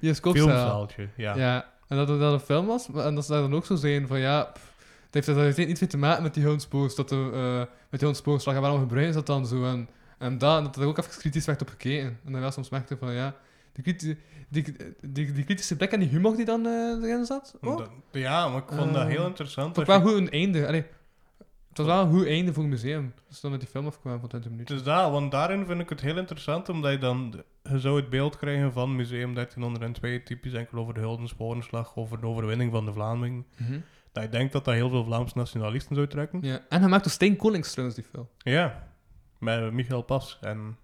[SPEAKER 5] Bioscoopzaal.
[SPEAKER 2] filmzaaltje, ja.
[SPEAKER 5] Ja, en dat het dan een film was, maar- en dat ze daar dan ook zo zijn van ja, pff, het heeft er dan uiteindelijk niet veel te maken met die hondspoors, dat de, eh met die hondspoorslag en waarom gebruiken ze dat dan zo? En, en dat, en dat er ook even kritisch werd op gekeken. En dan wel soms merkte van ja, die, kriti- die, die, die kritische blik en die humor die dan eh, erin zat, ook.
[SPEAKER 2] Dat- ja, maar ik vond dat
[SPEAKER 5] Ehm,
[SPEAKER 2] heel interessant.
[SPEAKER 5] vond ik
[SPEAKER 2] als
[SPEAKER 5] wel
[SPEAKER 2] je-
[SPEAKER 5] goed een einde. Allee, het was wel een goed einde voor het museum, dus dan met die film afkwamen van 20 minuten.
[SPEAKER 2] Dus daar, want daarin vind ik het heel interessant, omdat je dan de- je zou het beeld krijgen van Museum 1302, typisch enkel over de Heldensporenslag, over de overwinning van de Vlamingen.
[SPEAKER 5] Mhm.
[SPEAKER 2] Dat je denkt dat dat heel veel Vlaamse nationalisten zou trekken.
[SPEAKER 5] Ja. En hij maakt ook Steen Collins trouwens, die film.
[SPEAKER 2] Ja, met Michael Pas en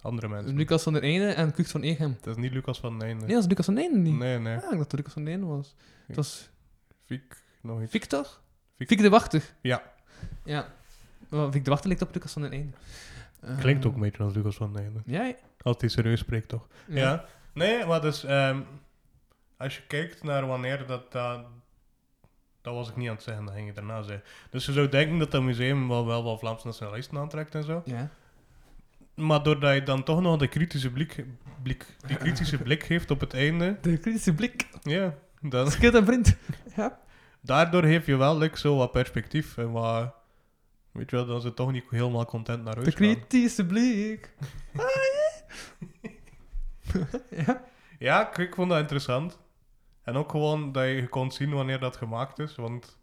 [SPEAKER 2] andere mensen.
[SPEAKER 5] Lucas van der Einde en Kucht van Egem.
[SPEAKER 2] Het is niet Lucas van Nijnen.
[SPEAKER 5] Nee, dat is Lucas van der Einde niet.
[SPEAKER 2] nee, nee.
[SPEAKER 5] Ja, ik dacht dat Lucas van der Einde was. Het was
[SPEAKER 2] Fiek, nog iets.
[SPEAKER 5] Victor?
[SPEAKER 2] Vic-
[SPEAKER 5] Vic de Wachter.
[SPEAKER 2] Ja.
[SPEAKER 5] Ja. Wel, Vic de Wachter lijkt op Lucas van den Einde. Eh,
[SPEAKER 2] Klinkt ook een beetje als Lucas van Nijnen.
[SPEAKER 5] Ja, ja.
[SPEAKER 2] Als hij serieus spreekt, toch? Ja. Nee, maar dus... ehm, als je kijkt naar wanneer dat... dat dat was ik niet aan het zeggen, dat ging ik daarna zeggen. Dus je zou denken dat dat museum wel wel, wel Vlaamse nationalisten aantrekt en zo.
[SPEAKER 5] Ja.
[SPEAKER 2] Maar doordat je dan toch nog de kritische blik, blik, die kritische blik geeft op het einde...
[SPEAKER 5] De kritische blik.
[SPEAKER 2] Ja, dan,
[SPEAKER 5] Skilt en vriend. Ja.
[SPEAKER 2] daardoor geef je wel like, zo wat perspectief. En wat, weet je wel, dan ze toch niet helemaal content naar
[SPEAKER 5] De
[SPEAKER 2] huis gaan.
[SPEAKER 5] kritische blik. Ah, ja. ja.
[SPEAKER 2] Ja, ik, ik vond dat interessant. En ook gewoon dat je kon zien wanneer dat gemaakt is. Want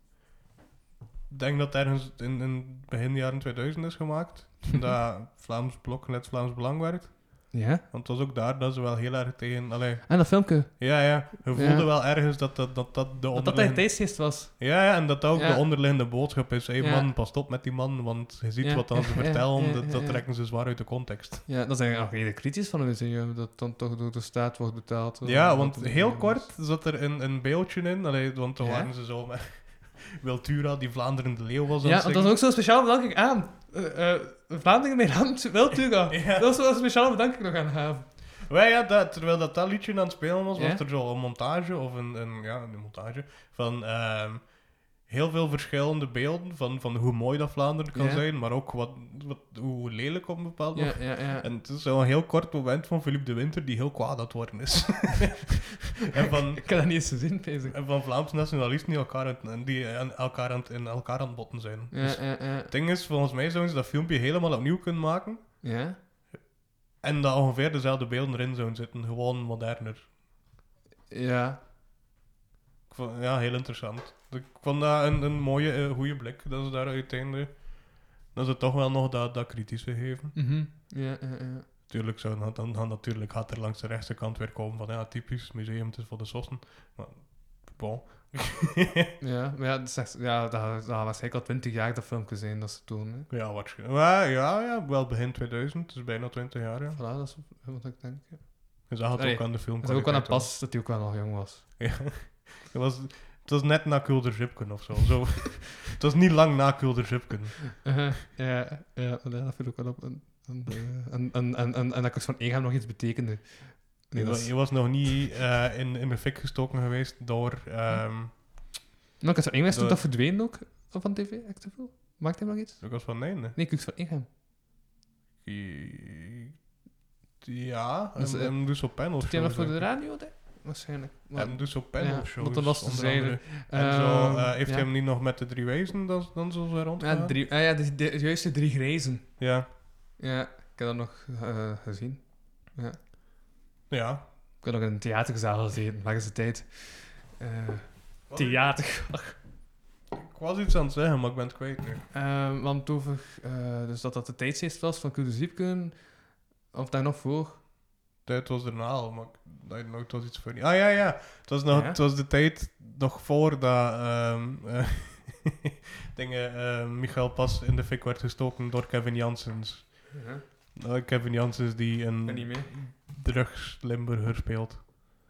[SPEAKER 2] ik denk dat het ergens in, in begin jaren 2000 is gemaakt. dat Vlaams Blok net Vlaams Belang werd.
[SPEAKER 5] Ja.
[SPEAKER 2] Want het was ook daar dat ze wel heel erg tegen... Allee,
[SPEAKER 5] En dat filmpje.
[SPEAKER 2] ja, ja. Je voelde
[SPEAKER 5] Ja.
[SPEAKER 2] wel ergens dat dat, dat, dat de
[SPEAKER 5] Dat dat de
[SPEAKER 2] onderliggende...
[SPEAKER 5] tijdsgeest was.
[SPEAKER 2] ja, ja, en dat dat ook
[SPEAKER 5] Ja.
[SPEAKER 2] de onderliggende boodschap is. Hé hey,
[SPEAKER 5] Ja.
[SPEAKER 2] man, pas op met die man, want je ziet
[SPEAKER 5] Ja,
[SPEAKER 2] wat dan ze
[SPEAKER 5] ja,
[SPEAKER 2] vertellen.
[SPEAKER 5] ja, ja,
[SPEAKER 2] dat, dat
[SPEAKER 5] ja.
[SPEAKER 2] trekken ze zwaar uit de context.
[SPEAKER 5] Ja, dat zijn ook redelijk kritisch van een museum. Dat dan toch door de staat wordt betaald. eh,
[SPEAKER 2] Ja,
[SPEAKER 5] wat
[SPEAKER 2] want
[SPEAKER 5] er niet
[SPEAKER 2] heel
[SPEAKER 5] is.
[SPEAKER 2] kort zat er een, een beeldje in. Allee, want toen
[SPEAKER 5] Ja?
[SPEAKER 2] waren ze zo met Wiltura, die Vlaanderen de Leeuw was. aan
[SPEAKER 5] Ja,
[SPEAKER 2] het
[SPEAKER 5] want dat is ook zo'n speciaal bedanking aan. Eh, eh, Vlaanderen, mijn hand, wel Tuga.
[SPEAKER 2] Ja.
[SPEAKER 5] Dat is wel een speciaal bedanking nog aan hebben.
[SPEAKER 2] zingen. Wij, ja, dat, terwijl dat, dat liedje aan het spelen was,
[SPEAKER 5] Ja?
[SPEAKER 2] was er zo een montage, of een, een, ja, een montage, van ehm, heel veel verschillende beelden van, van hoe mooi dat Vlaanderen kan
[SPEAKER 5] Ja?
[SPEAKER 2] zijn, maar ook wat, wat, hoe lelijk op een bepaald
[SPEAKER 5] Ja,
[SPEAKER 2] moment.
[SPEAKER 5] ja, ja.
[SPEAKER 2] Oh. En het is zo'n heel kort moment van Philippe de Winter die heel kwaad aan het worden is. en van...
[SPEAKER 5] Ik kan dat niet eens zien, bezig.
[SPEAKER 2] En van Vlaamse nationalisten die elkaar aan, het- die aan elkaar aan, het- in elkaar aan het botten zijn.
[SPEAKER 5] Ja,
[SPEAKER 2] Dus
[SPEAKER 5] ja, ja.
[SPEAKER 2] het ding is, volgens mij zouden ze dat filmpje helemaal opnieuw kunnen maken.
[SPEAKER 5] Ja?
[SPEAKER 2] En dat ongeveer dezelfde beelden erin zouden zitten, gewoon moderner.
[SPEAKER 5] Ja.
[SPEAKER 2] Ik vond- ja, heel interessant. Ik vond dat een, een mooie, eh, goede blik dat ze daar uiteindelijk... Dat ze toch wel nog dat, dat kritische geven.
[SPEAKER 5] Mhm. Ja, ja, ja.
[SPEAKER 2] Tuurlijk zou dan, dan, dan natuurlijk gaat er langs de rechtse kant weer komen van ja, typisch museum, het is voor de sossen. Maar, bon.
[SPEAKER 5] Ja, maar ja, dat, is echt- ja, dat, dat was eigenlijk al twintig jaar dat filmpje zijn dat ze toen. Hè.
[SPEAKER 2] ja, waarschijnlijk. Maar ja, ja, wel begin 2000, dus bijna 20 jaar. Ja.
[SPEAKER 5] Voilà, dat is wat ik denk. ja.
[SPEAKER 2] Dus dat had
[SPEAKER 5] Allee,
[SPEAKER 2] ook aan de film.
[SPEAKER 5] Dat is ook wel een pas dat hij ook wel nog jong was.
[SPEAKER 2] Ja. Het was, het was net na Kulder Zipken of zo. zo. Het was niet lang na Kulder Zipken.
[SPEAKER 5] Eh, ja, ja, ja, dat viel ook wel op. En, en, eh, en, en, en, en, en dat ik van één hem nog iets betekende. Nee,
[SPEAKER 2] je,
[SPEAKER 5] dat
[SPEAKER 2] was,
[SPEAKER 5] is...
[SPEAKER 2] je was nog niet eh, in, in de fik gestoken geweest door... ehm
[SPEAKER 5] Nou, Kux van Ingham is toen
[SPEAKER 2] Dat-
[SPEAKER 5] dat verdween ook van tv, echt te veel. Maakt hij nog iets?
[SPEAKER 2] ik was van nee, nee.
[SPEAKER 5] Nee, Kux van Ingham.
[SPEAKER 2] Ja,
[SPEAKER 5] Dus,
[SPEAKER 2] een-
[SPEAKER 5] eh,
[SPEAKER 2] een Lusso Pen of
[SPEAKER 5] Doet hij
[SPEAKER 2] zo,
[SPEAKER 5] nog voor de
[SPEAKER 2] zeker.
[SPEAKER 5] radio, denk ik? Waarschijnlijk. Maar,
[SPEAKER 2] En dus op panel
[SPEAKER 5] Ja,
[SPEAKER 2] of shows.
[SPEAKER 5] want dan was de
[SPEAKER 2] onder
[SPEAKER 5] zijde.
[SPEAKER 2] andere. En zo,
[SPEAKER 5] ehm,
[SPEAKER 2] eh, heeft
[SPEAKER 5] ja.
[SPEAKER 2] hij hem niet nog met de drie wezen dan, dan zo zijn rond?
[SPEAKER 5] Ja, drie, ah, ja de, de, de juiste drie grijzen.
[SPEAKER 2] ja.
[SPEAKER 5] Ja, ik heb dat nog eh, gezien.
[SPEAKER 2] Ja.
[SPEAKER 5] Ik heb nog in een theaterzaal gezeten, lang is de tijd. Eh, theater.
[SPEAKER 2] Ik was iets aan het zeggen, maar ik ben het kwijt nu.
[SPEAKER 5] Eh, want over, eh, dus dat dat de tijdsgeest was van Kudu Ziepken, of daar nog voor.
[SPEAKER 2] Het was daarna al, maar ik dacht nog, het was iets voor... Ah ja, ja. Het was, nog,
[SPEAKER 5] Ja?
[SPEAKER 2] het was de tijd nog voor dat ehm, eh, dingen, eh, Michael Pas in de fik werd gestoken door Kevin Janssens. Eh, Kevin Janssens die
[SPEAKER 5] Ik ben niet
[SPEAKER 2] een
[SPEAKER 5] meer.
[SPEAKER 2] drugs-Limburger speelt.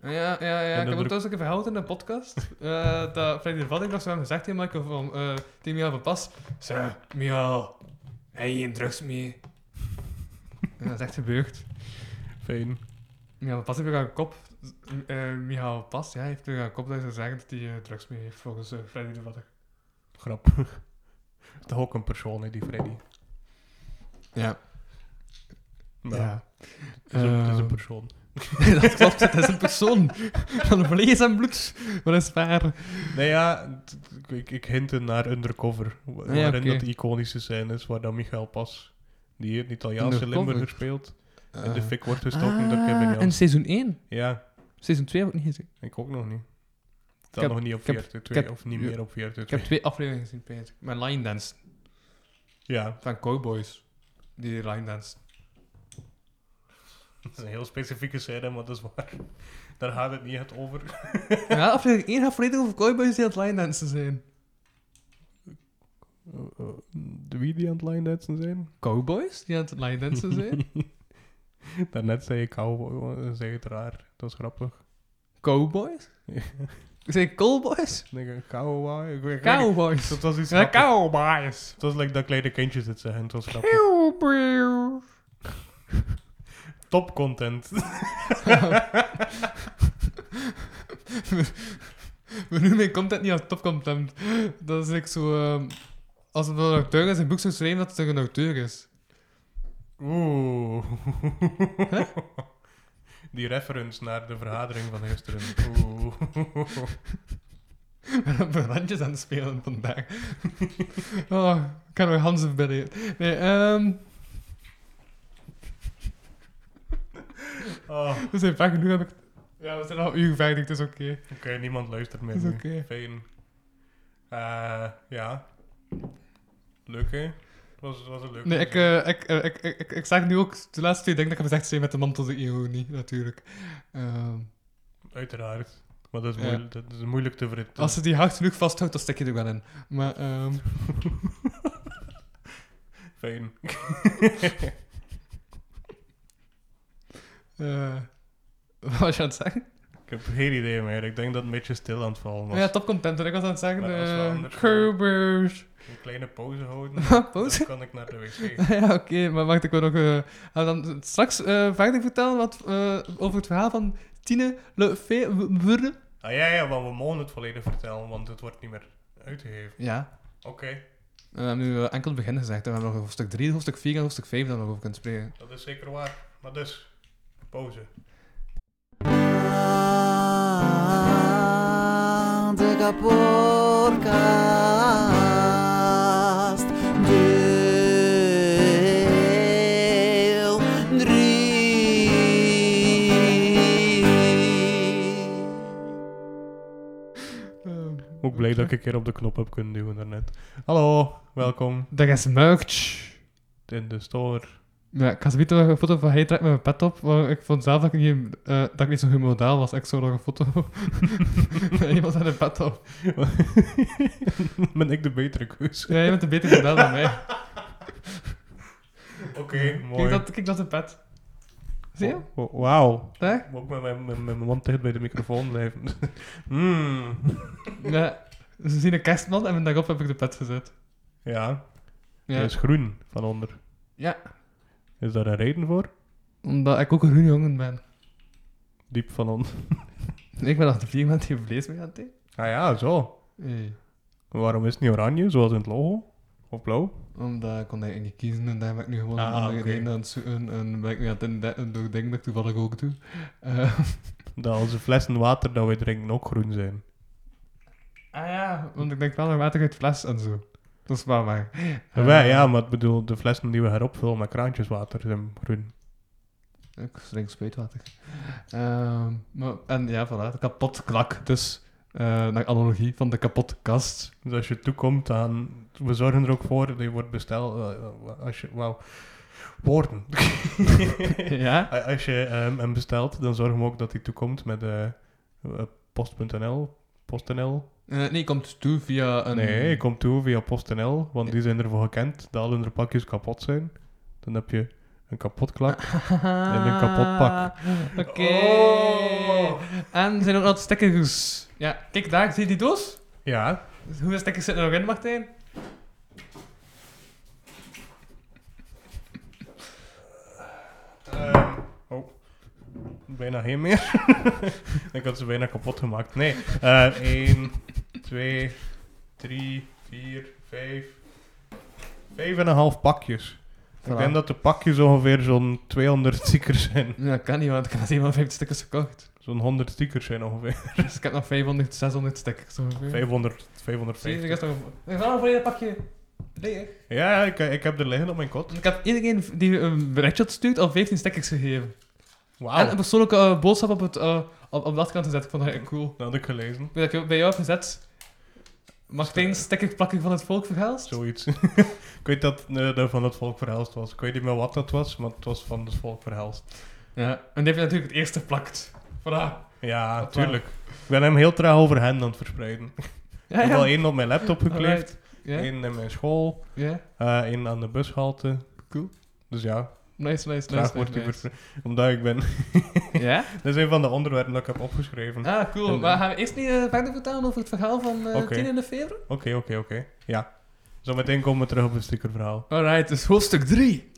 [SPEAKER 5] Ah, Ja, ja, ja.
[SPEAKER 2] dat
[SPEAKER 5] Ik heb
[SPEAKER 2] druk-
[SPEAKER 5] het dus trouwens ook verhaald in de podcast. eh, dat Freddy de Vadding nog zo aan gezegd heeft, maar ik heb van eh tegen Michael van Pas. Zo, Michael, heb je geen drugs mee? en dat is echt gebeurd.
[SPEAKER 2] Fijn.
[SPEAKER 5] Michael Pas heeft weer aan kop. eh Michael Pas, ja, heeft weer aan kop dat ze zeggen dat hij eh, drugs mee heeft, volgens eh, Freddy de Vadding.
[SPEAKER 2] Grappig. Toch ook een persoon, hè, die Freddy.
[SPEAKER 5] Ja.
[SPEAKER 2] Maar Het is,
[SPEAKER 5] Eh,
[SPEAKER 2] een, het is een persoon.
[SPEAKER 5] dat klopt, dat is een persoon van vlees en bloed. Maar dat is waar.
[SPEAKER 2] Nee, ja, t- t- ik, ik hinte naar Undercover. wa-
[SPEAKER 5] ja,
[SPEAKER 2] Waarin
[SPEAKER 5] oké.
[SPEAKER 2] dat de iconische scène is waar dan Michael Pas, die een Italiaanse
[SPEAKER 5] Undercover. Ah.
[SPEAKER 2] Limburger speelt,
[SPEAKER 5] Eh.
[SPEAKER 2] in de fik wordt gestoken door Kevin
[SPEAKER 5] En
[SPEAKER 2] Jans.
[SPEAKER 5] Ah, seizoen 1.
[SPEAKER 2] Ja,
[SPEAKER 5] Seizoen 2 heb ik niet gezien.
[SPEAKER 2] ik ook nog niet.
[SPEAKER 5] Ik
[SPEAKER 2] Dan
[SPEAKER 5] heb-
[SPEAKER 2] nog niet op
[SPEAKER 5] ik heb-
[SPEAKER 2] 42
[SPEAKER 5] ik heb-
[SPEAKER 2] of niet
[SPEAKER 5] ja.
[SPEAKER 2] meer op
[SPEAKER 5] Ik heb
[SPEAKER 2] 42.
[SPEAKER 5] twee afleveringen gezien, Peter. Mijn line dance
[SPEAKER 2] Ja,
[SPEAKER 5] van Cowboys. Die line dance.
[SPEAKER 2] dat is een heel specifieke scène, maar dat is waar. Daar gaat het niet echt over.
[SPEAKER 5] Ja, aflevering 1 gaat volledig over Cowboys die aan het line dansen zijn. Oh,
[SPEAKER 2] De wie die aan het line dansen zijn?
[SPEAKER 5] Cowboys die aan het line dansen zijn?
[SPEAKER 2] Daarnet zei ik cowboy, zeg het raar. Dat is grappig.
[SPEAKER 5] Cowboys? Zijn cowboys?
[SPEAKER 2] Nee, cowboy. ik weet-
[SPEAKER 5] Cowboys.
[SPEAKER 2] Dat was iets
[SPEAKER 5] Ja,
[SPEAKER 2] grappigs.
[SPEAKER 5] cowboys.
[SPEAKER 2] Het was like dat kleine kindje zit zeggen. Het was grappig.
[SPEAKER 5] Cowboys.
[SPEAKER 2] Top content.
[SPEAKER 5] We noemen mijn content niet als topcontent. Dat is ik zo... ehm, als een auteur in zijn boek zou schrijven dat het een auteur is.
[SPEAKER 2] Oeh. Die reference naar de vergadering van gisteren. Oeh.
[SPEAKER 5] Ik ben op mijn randjes aan het spelen vandaag. oh, ik kan weer Hans bellen. Nee, ehm,
[SPEAKER 2] Oh, Oké,
[SPEAKER 5] we zijn vaak genoeg. Heb ik... Ja, we zijn al een uur verder, het is oké.
[SPEAKER 2] niemand luistert meer.
[SPEAKER 5] Is
[SPEAKER 2] nu.
[SPEAKER 5] oké.
[SPEAKER 2] Fijn. Eh, ja. Leuk, hè? Het was, het was een leuke.
[SPEAKER 5] Nee, ik, eh, ik, eh, ik, ik, ik, ik zag nu ook de laatste twee dingen dat ik heb gezegd zijn met de man tot de ironie, natuurlijk. Ehm,
[SPEAKER 2] Uiteraard. Maar dat is,
[SPEAKER 5] Ja.
[SPEAKER 2] moeilijk, dat is moeilijk te verrichten.
[SPEAKER 5] als ze die hard genoeg vasthoudt, dan stek je er wel in. Maar, ehm,
[SPEAKER 2] Fijn.
[SPEAKER 5] eh, wat was je aan het zeggen?
[SPEAKER 2] Ik heb geen idee meer. Ik denk dat het een beetje stil aan het vallen was.
[SPEAKER 5] Ja, topcontent. En ik was aan het zeggen,
[SPEAKER 2] Maar dat is wel
[SPEAKER 5] eh,
[SPEAKER 2] anders.
[SPEAKER 5] Geubers.
[SPEAKER 2] Een kleine pauze houden.
[SPEAKER 5] Pauze?
[SPEAKER 2] Dan kan ik naar de wc.
[SPEAKER 5] ja, oké, maar wacht, ik wil nog eh, ga dan straks eh, verder vertellen wat, eh, over het verhaal van Tine Lefevre.
[SPEAKER 2] Ah ja, ja, want we mogen het volledig vertellen, want het wordt niet meer uitgegeven.
[SPEAKER 5] Ja,
[SPEAKER 2] Oké,
[SPEAKER 5] we hebben nu eh, enkel het begin gezegd. hè. We hebben nog hoofdstuk 3, hoofdstuk 4 en hoofdstuk 5 dat we nog over kunnen spreken.
[SPEAKER 2] dat is zeker waar. Maar dus, pauze.
[SPEAKER 4] De kapoorkast. Deel 3.
[SPEAKER 5] Ehm,
[SPEAKER 2] Ook blij dat ik een keer op de knop heb kunnen duwen daarnet. Hallo, welkom
[SPEAKER 5] Er is merch.
[SPEAKER 2] in de store.
[SPEAKER 5] Ja, ik had zoiets nog een foto van hij trekt met mijn pet op, maar ik vond zelf dat ik niet, eh, dat ik niet zo'n goed model was. Ik zo nog een foto van iemand met een pet op.
[SPEAKER 2] ben ik de betere keus?
[SPEAKER 5] Ja, jij bent een beter model dan mij.
[SPEAKER 2] Oké,
[SPEAKER 5] Kijk
[SPEAKER 2] mooi.
[SPEAKER 5] dat, kijk dat de pet. Zie je?
[SPEAKER 2] Oh, oh, Wauw.
[SPEAKER 5] Daar?
[SPEAKER 2] Ik moet ook met mijn, met mijn mond dicht bij de microfoon blijven. Mm.
[SPEAKER 5] Ja. Ze zien een kerstman en daarop heb ik de pet gezet.
[SPEAKER 2] Ja, die
[SPEAKER 5] Ja.
[SPEAKER 2] is groen van onder.
[SPEAKER 5] ja.
[SPEAKER 2] Is daar een reden voor?
[SPEAKER 5] Omdat ik ook een groene jongen ben.
[SPEAKER 2] Diep van onder.
[SPEAKER 5] Ik ben achter vier mensen die vlees mee aan het eten.
[SPEAKER 2] Ah ja, zo.
[SPEAKER 5] Nee.
[SPEAKER 2] Waarom is het niet oranje, zoals in het logo? Of blauw?
[SPEAKER 5] Omdat ik kon eigenlijk niet kiezen en daar ben ik nu gewoon een
[SPEAKER 2] Ah,
[SPEAKER 5] andere
[SPEAKER 2] oké.
[SPEAKER 5] reden aan het zoeken. En ben ik nu aan het indekken door dingen dat ik toevallig ook doe. Eh,
[SPEAKER 2] Dat onze flessen water dat wij drinken ook groen zijn.
[SPEAKER 5] ah ja, want ik denk wel aan water uit fles en zo. Dat is wel waar.
[SPEAKER 2] En wij, Ah,
[SPEAKER 5] Eh.
[SPEAKER 2] ja, maar ik bedoel, de flessen die we heropvullen met kraantjeswater zijn groen.
[SPEAKER 5] Eh, Ik drink spuitwater. Ehm, maar, en ja, voilà, de kapot klak. Dus eh, naar analogie van de kapot kast.
[SPEAKER 2] Dus als je toekomt aan... We zorgen er ook voor dat je wordt besteld... eh, eh, als je... Wauw. Woorden.
[SPEAKER 5] ja?
[SPEAKER 2] A- Als je ehm, hem bestelt, dan zorgen we ook dat hij toekomt met eh, eh, post.nl. PostNL.
[SPEAKER 5] Eh, nee, komt toe via een...
[SPEAKER 2] Nee, je komt toe via PostNL, want die zijn ervoor gekend dat al hun pakjes kapot zijn. Dan heb je een kapot klak.
[SPEAKER 5] en
[SPEAKER 2] een kapot pak.
[SPEAKER 5] Ah,
[SPEAKER 2] Oh.
[SPEAKER 5] Oké. En er zijn ook nog stekkers. Ja, kijk daar, zie je die doos?
[SPEAKER 2] Ja,
[SPEAKER 5] Hoeveel stekkers zitten er nog in, Martijn?
[SPEAKER 2] Ehm, oh. Bijna geen meer. ik had ze bijna kapot gemaakt. Nee. eh, 1, 2, 3, 4, 5. Vijf en een half pakjes. Ik
[SPEAKER 5] Voilà.
[SPEAKER 2] denk dat de pakjes ongeveer zo'n 200 stickers zijn.
[SPEAKER 5] Ja, kan niet, want ik heb maar 57 stickers gekocht.
[SPEAKER 2] Zo'n 100 stickers zijn ongeveer.
[SPEAKER 5] Dus ik heb nog 500, 600 stickers ongeveer.
[SPEAKER 2] 500,
[SPEAKER 5] Zie je,
[SPEAKER 2] 550.
[SPEAKER 5] er is nog een- er is wel een volledig pakje leeg.
[SPEAKER 2] Ja, ik, ik heb er liggen op mijn kot.
[SPEAKER 5] Ik heb iedereen die een berichtje had gestuurd al 15 stickers gegeven. En een
[SPEAKER 2] Wauw.
[SPEAKER 5] persoonlijke eh, boodschap op, het, eh, op, op de achterkant gezet. Ik vond dat echt cool.
[SPEAKER 2] Dat had ik gelezen.
[SPEAKER 5] Ik weet dat ik bij jou heb gezet. Martijn, stekkerplakker van het volk verhelst.
[SPEAKER 2] Zoiets. ik weet dat eh, dat van het volk verhelst was. Ik weet niet meer wat dat was, maar het was van het volk verhelst.
[SPEAKER 5] Ja. En die heb je natuurlijk het eerste geplakt. Voilà.
[SPEAKER 2] Ja,
[SPEAKER 5] Dat
[SPEAKER 2] tuurlijk. Ik ben hem heel traag over hen aan het verspreiden.
[SPEAKER 5] Ja,
[SPEAKER 2] Ik heb al
[SPEAKER 5] ja.
[SPEAKER 2] één op mijn laptop gekleefd,
[SPEAKER 5] Alright. Ja,
[SPEAKER 2] één in mijn school,
[SPEAKER 5] ja.
[SPEAKER 2] eh, één aan de bushalte.
[SPEAKER 5] Cool.
[SPEAKER 2] Dus ja,
[SPEAKER 5] Nice, nice,
[SPEAKER 2] traag
[SPEAKER 5] nice.
[SPEAKER 2] wordt die
[SPEAKER 5] nice, nice.
[SPEAKER 2] verspreid. Omdat ik ben...
[SPEAKER 5] Ja?
[SPEAKER 2] dat is een van de onderwerpen dat ik heb opgeschreven. Oké,
[SPEAKER 5] Ah, cool.
[SPEAKER 2] En-
[SPEAKER 5] Maar gaan we eerst niet eh, verder vertellen over het verhaal van eh
[SPEAKER 2] Oké.
[SPEAKER 5] 10 in de februari?
[SPEAKER 2] oké, oké. Ja. Zometeen komen we terug op het stickerverhaal.
[SPEAKER 5] Alright, dus hoofdstuk 3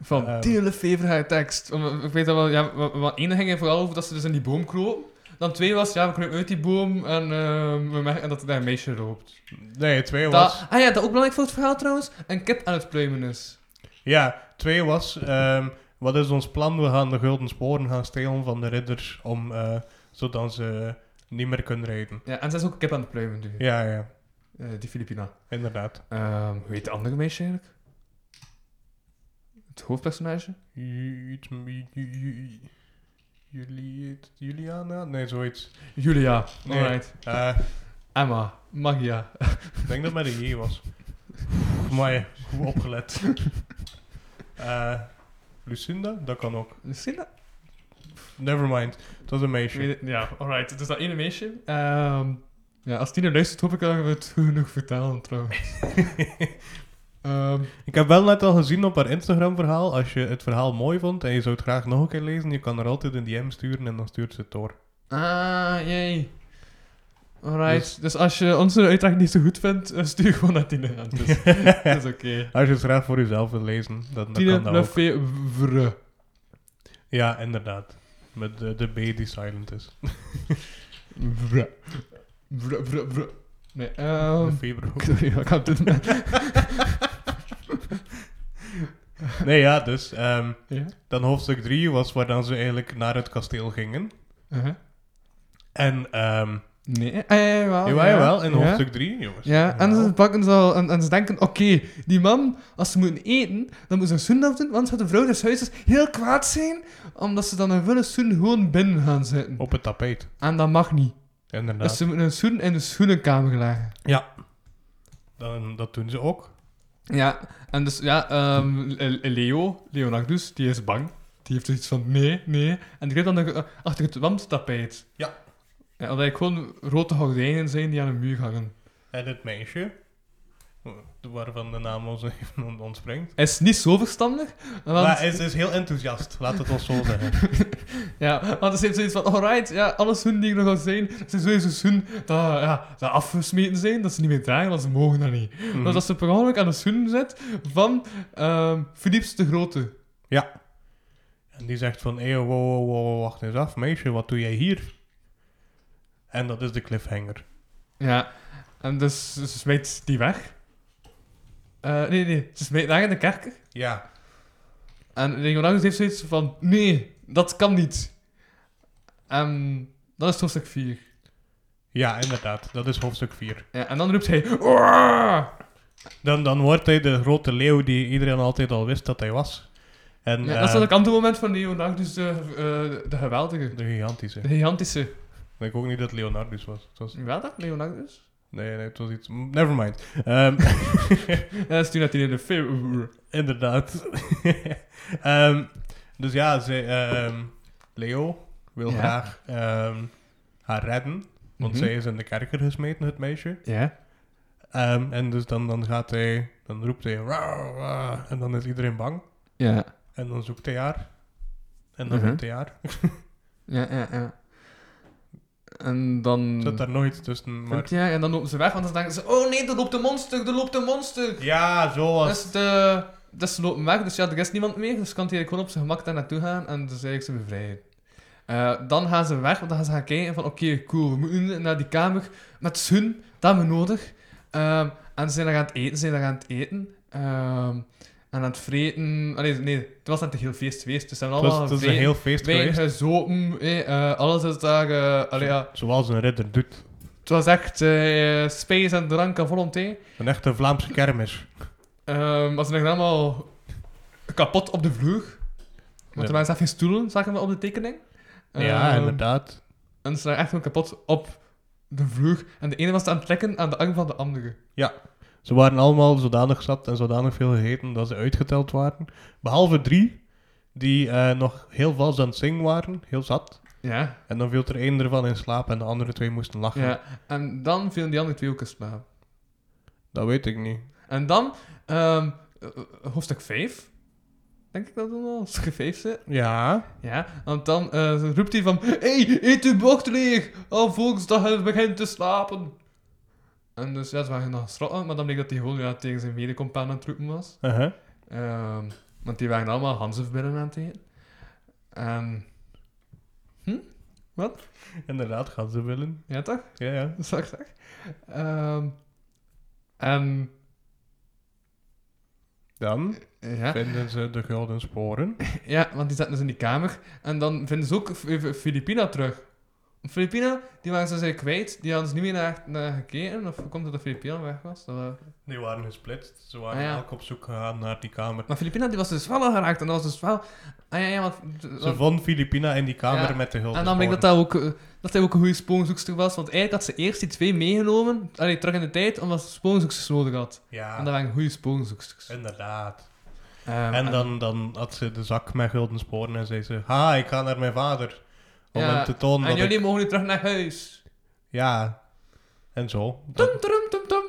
[SPEAKER 5] van
[SPEAKER 2] Ehm.
[SPEAKER 5] 10 in de februari tekst. Want eh, Ik weet dat wel, ja, wa- wa- één ging er vooral over dat ze dus in die boom kropen. Dan twee was, ja, we kruipen uit die boom en ehm, we merken dat er daar een meisje loopt.
[SPEAKER 2] Nee, twee was...
[SPEAKER 5] Dat, ah ja, dat ook belangrijk voor het verhaal trouwens, een kip aan het pluimen is.
[SPEAKER 2] Ja, twee was... ehm, wat is ons plan? We gaan de gulden sporen gaan stelen van de ridders, om, eh, zodat ze niet meer kunnen rijden.
[SPEAKER 5] Ja, en ze is ook een kip aan het pluimen nu,
[SPEAKER 2] Ja, ja,
[SPEAKER 5] eh, die Filipina.
[SPEAKER 2] inderdaad.
[SPEAKER 5] Ehm, hoe heet de andere meisje eigenlijk? Het hoofdpersonage?
[SPEAKER 2] Iets- ju- ju- ju- Juli- Juliana? Nee, zoiets.
[SPEAKER 5] Julia,
[SPEAKER 2] Nee.
[SPEAKER 5] alright.
[SPEAKER 2] Eh,
[SPEAKER 5] Emma, Magia.
[SPEAKER 2] ik denk dat het bij de J was. Mooi, goed opgelet. Eh, Lucinda? Dat kan ook.
[SPEAKER 5] Zie je dat?
[SPEAKER 2] Nevermind, het was een
[SPEAKER 5] Ik
[SPEAKER 2] meisje.
[SPEAKER 5] weet het- Ja, alright. Dus dat ene meisje. Ehm, ja, als Tina luistert, hoop ik dat we het goed genoeg vertalen trouwens. Ehm,
[SPEAKER 2] Ik heb wel net al gezien op haar Instagram-verhaal. Als je het verhaal mooi vond en je zou het graag nog een keer lezen, je kan er altijd een DM sturen en dan stuurt ze het door.
[SPEAKER 5] ah, jee. Alright. Dus, als je onze uitdaging niet zo goed vindt, eh, stuur gewoon naar Tina aan. Dus, dat is oké.
[SPEAKER 2] Als je het graag voor jezelf wil lezen, dan, dan
[SPEAKER 5] Tina
[SPEAKER 2] kan dat ook.
[SPEAKER 5] Lefevre.
[SPEAKER 2] Ja, inderdaad. Met de, de B die silent is.
[SPEAKER 5] Vre. Vre, vre, vre. Nee, ehm...
[SPEAKER 2] de Febro.
[SPEAKER 5] Sorry, ik had dit
[SPEAKER 2] Nee, ja, dus... ehm,
[SPEAKER 5] Ja?
[SPEAKER 2] Dan hoofdstuk 3 was waar dan ze eigenlijk naar het kasteel gingen.
[SPEAKER 5] Uh-huh.
[SPEAKER 2] En, ehm
[SPEAKER 5] Nee. Ah, ja, jawel.
[SPEAKER 2] jawel, jawel, in
[SPEAKER 5] ja.
[SPEAKER 2] hoofdstuk 3, jongens.
[SPEAKER 5] Ja, en
[SPEAKER 2] Jawel.
[SPEAKER 5] ze pakken ze al en, en ze denken, oké, die man, als ze moeten eten, dan moeten ze een zoen afdoen, want gaat de vrouw des huizes heel kwaad zijn, omdat ze dan een willen zoen gewoon binnen gaan zitten.
[SPEAKER 2] Op het tapijt.
[SPEAKER 5] En dat mag niet. Dus
[SPEAKER 2] Inderdaad.
[SPEAKER 5] ze moeten hun schoenen in de schoenenkamer leggen.
[SPEAKER 2] Ja. Dan, dat doen ze ook.
[SPEAKER 5] Ja, en dus ja, ehm, Le- Leo, Leonardus, die is bang. Die heeft zoiets van nee, nee. En die gaat dan eh, achter het wandtapijt.
[SPEAKER 2] Ja.
[SPEAKER 5] Ja, omdat ik gewoon rode gordijnen zijn die aan een muur hangen.
[SPEAKER 2] En het meisje, waarvan de naam ons even ontspringt.
[SPEAKER 5] Is niet zo verstandig. Want,
[SPEAKER 2] Maar ze is heel enthousiast, laat het ons zo zeggen.
[SPEAKER 5] Ja, want ze heeft zoiets van, alright, ja, alle schoenen die er nog al zijn, het zijn sowieso schoenen dat, ja, dat afgesmeten zijn, dat ze niet meer dragen, want ze mogen dat niet.
[SPEAKER 2] Mhm.
[SPEAKER 5] Dus als ze per ongeluk aan de schoen zet van ehm Philips de Grote.
[SPEAKER 2] Ja. En die zegt van, hey, wow, wow, wow, wacht eens af, meisje, wat doe jij hier? En dat is de cliffhanger.
[SPEAKER 5] Ja, en dus ze smijt die weg. Eh, nee, nee, ze smijt daar in de kerker.
[SPEAKER 2] Ja.
[SPEAKER 5] En Leonardus heeft zoiets van, nee, dat kan niet. En dat is hoofdstuk 4.
[SPEAKER 2] Ja, inderdaad. Dat is hoofdstuk 4.
[SPEAKER 5] Ja, en dan roept hij, "Oah!"
[SPEAKER 2] Dan, dan wordt hij de grote leeuw die iedereen altijd al wist dat hij was. En
[SPEAKER 5] Ja,
[SPEAKER 2] eh,
[SPEAKER 5] dat is dan ook ander moment van Leonardus, de, eh, de geweldige.
[SPEAKER 2] de gigantische.
[SPEAKER 5] De gigantische.
[SPEAKER 2] Ik denk ook niet dat Leonardus was. Het was
[SPEAKER 5] Wel dat, Leonardus?
[SPEAKER 2] nee, nee, het was iets... Nevermind. Ehm
[SPEAKER 5] Ja, dat is toen dat hij in de film...
[SPEAKER 2] Inderdaad. Ehm, dus ja, ze, ehm, Leo wil
[SPEAKER 5] Ja.
[SPEAKER 2] graag ehm, haar redden. Want
[SPEAKER 5] Mhm.
[SPEAKER 2] zij is in de kerker gesmeten, het meisje.
[SPEAKER 5] Ja.
[SPEAKER 2] Ehm, en dus dan, dan gaat hij, dan roept hij. "Rauw, rauw," en dan is iedereen bang.
[SPEAKER 5] Ja.
[SPEAKER 2] En dan zoekt hij haar. En dan
[SPEAKER 5] Mhm.
[SPEAKER 2] vindt hij haar.
[SPEAKER 5] Ja, ja, ja. En dan...
[SPEAKER 2] Zit daar nog iets tussen. Maar...
[SPEAKER 5] Ja, en dan lopen ze weg, want dan denken ze... Oh nee, er loopt een monster, er loopt een monster!
[SPEAKER 2] Ja, zo was.
[SPEAKER 5] Dus, de, dus ze lopen weg, dus ja, er is niemand meer. Dus kan hij eigenlijk gewoon op zijn gemak daar naartoe gaan en dus eigenlijk ze bevrijden. Eh, dan gaan ze weg, want dan gaan ze gaan kijken van... Oké, cool, we moeten naar die kamer met hun, dat hebben we nodig. Ehm, en ze zijn daar aan het eten, ze zijn daar aan het eten. Ehm, en aan het vreten... Allee, nee, het was net een heel feest geweest, dus ze hebben
[SPEAKER 2] Het was,
[SPEAKER 5] allemaal
[SPEAKER 2] het was een
[SPEAKER 5] gevreten.
[SPEAKER 2] heel feest
[SPEAKER 5] Wijn
[SPEAKER 2] geweest.
[SPEAKER 5] gezopen, eh, eh, alles is daar... eh, allee, ja,
[SPEAKER 2] Zoals een ridder doet.
[SPEAKER 5] het was echt eh space en drank en volonté.
[SPEAKER 2] Een echte Vlaamse kermis.
[SPEAKER 5] Ehm maar ze liggen allemaal kapot op de vloer. Want er
[SPEAKER 2] Ja.
[SPEAKER 5] waren zelf geen stoelen, zag ik maar op de tekening.
[SPEAKER 2] ja,
[SPEAKER 5] Ehm,
[SPEAKER 2] inderdaad.
[SPEAKER 5] En ze lagen echt gewoon kapot op de vloer. En de ene was aan het trekken aan de arm van de andere.
[SPEAKER 2] Ze waren allemaal zodanig zat en zodanig veel gegeten dat ze uitgeteld waren. Behalve drie, die eh, nog heel vals aan het zingen waren, heel zat.
[SPEAKER 5] Ja.
[SPEAKER 2] En dan viel er één ervan in slaap en de andere twee moesten lachen.
[SPEAKER 5] ja. En dan vielen die andere twee ook in slaap.
[SPEAKER 2] Dat weet ik niet.
[SPEAKER 5] En dan, ehm, eh, eh, hoofdstuk 5. Denk ik dat het al hoofdstuk 5 zit.
[SPEAKER 2] Ja.
[SPEAKER 5] Ja, want dan eh, roept hij van... hey, eet uw bord leeg! Alvorens dat hij begint te slapen. En dus ja, ze waren nog schrokken, maar dan bleek dat hij gewoon ja, tegen zijn medecompaan aan het roepen was.
[SPEAKER 2] Uh-huh.
[SPEAKER 5] Ehm, want die waren allemaal Hanzef binnen aan het eten. Ehm, En... Hm? Wat?
[SPEAKER 2] Inderdaad, gaan ze willen.
[SPEAKER 5] Ja toch?
[SPEAKER 2] Ja, ja.
[SPEAKER 5] Dat zag ik toch? Ehm, en...
[SPEAKER 2] Dan
[SPEAKER 5] Ja.
[SPEAKER 2] vinden ze de gouden sporen.
[SPEAKER 5] ja, want die zaten dus in die kamer. En dan vinden ze ook F- F- Filipina terug. Filipina, die waren ze dus kwijt. Die hadden ze niet meer naar, naar gekeken. Of hoe komt het dat Filipina weg was? Dat, eh,
[SPEAKER 2] Die waren gesplitst. Ze waren
[SPEAKER 5] Ah, ja.
[SPEAKER 2] elk op zoek gegaan naar die kamer.
[SPEAKER 5] Maar Filipina, die was dus wel al geraakt. En dat was dus wel... Ah ja, ja, want...
[SPEAKER 2] Ze vond Filipina in die kamer
[SPEAKER 5] Ja.
[SPEAKER 2] met de gouden
[SPEAKER 5] En dan bleek dat
[SPEAKER 2] sporen.
[SPEAKER 5] dat ook, eh, dat hij ook een goede spoonzoekster was. Want eigenlijk had ze eerst die twee meegenomen, allee, terug in de tijd, omdat ze spoonzoeksters nodig had. En dat
[SPEAKER 2] Ja,
[SPEAKER 5] waren goede spoonzoeksters.
[SPEAKER 2] inderdaad.
[SPEAKER 5] Ehm,
[SPEAKER 2] En dan, dan had ze de zak met gulden sporen en zei ze... Ha, ik ga naar mijn vader. Om
[SPEAKER 5] Ja,
[SPEAKER 2] hem te tonen
[SPEAKER 5] En
[SPEAKER 2] dat ik
[SPEAKER 5] jullie mogen nu terug naar huis.
[SPEAKER 2] Ja, en zo. Dat-
[SPEAKER 5] Tum, tum, tum, tum.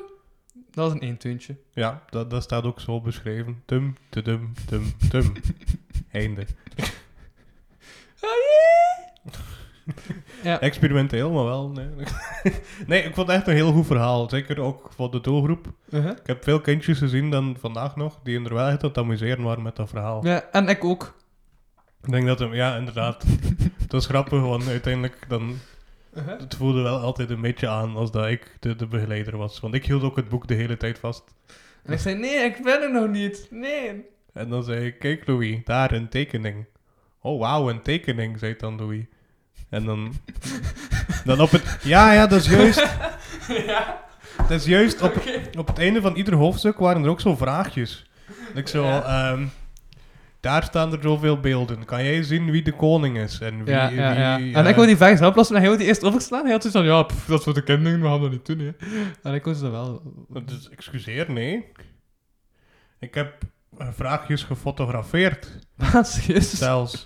[SPEAKER 5] Dat was een eentuntje.
[SPEAKER 2] ja, dat, dat staat ook zo beschreven. Tum, tudum, tum, tum. Einde.
[SPEAKER 5] Ja.
[SPEAKER 2] Experimenteel, maar wel. Nee. nee, ik vond het echt een heel goed verhaal. Zeker ook voor de doelgroep.
[SPEAKER 5] Uh-huh.
[SPEAKER 2] Ik heb veel kindjes gezien dan vandaag nog, die er wel echt aan het amuseren waren met dat verhaal.
[SPEAKER 5] Ja, en ik ook.
[SPEAKER 2] Ik denk dat hem, ja, inderdaad. het was grappig, want uiteindelijk dan.
[SPEAKER 5] Uh-huh.
[SPEAKER 2] Het voelde wel altijd een beetje aan als dat ik de, de begeleider was. Want ik hield ook het boek de hele tijd vast.
[SPEAKER 5] En ik zei, nee, ik ben er nog niet. Nee.
[SPEAKER 2] En dan zei ik, kijk Louis, daar een tekening. Oh wauw, een tekening, zei dan Louis. En dan... dan op het... Ja, ja, dat is juist. Dat is juist, op, op het einde van ieder hoofdstuk waren er ook zo vraagjes. Ik zo,
[SPEAKER 5] Ja.
[SPEAKER 2] ehm, Daar staan er zoveel beelden. Kan jij zien wie de koning is? En wie,
[SPEAKER 5] Ja, ja,
[SPEAKER 2] wie,
[SPEAKER 5] ja.
[SPEAKER 2] eh,
[SPEAKER 5] En ik wil die vraag zelf oplossen, maar hij wil die eerst overslaan. Hij had zoiets van, ja, pff, dat is voor de kinderen, we gaan dat niet doen, hè. En ik was dat wel...
[SPEAKER 2] Dus excuseer, nee. Ik heb eh, vraagjes gefotografeerd,
[SPEAKER 5] Wat? Ah, Serieus?
[SPEAKER 2] zelfs.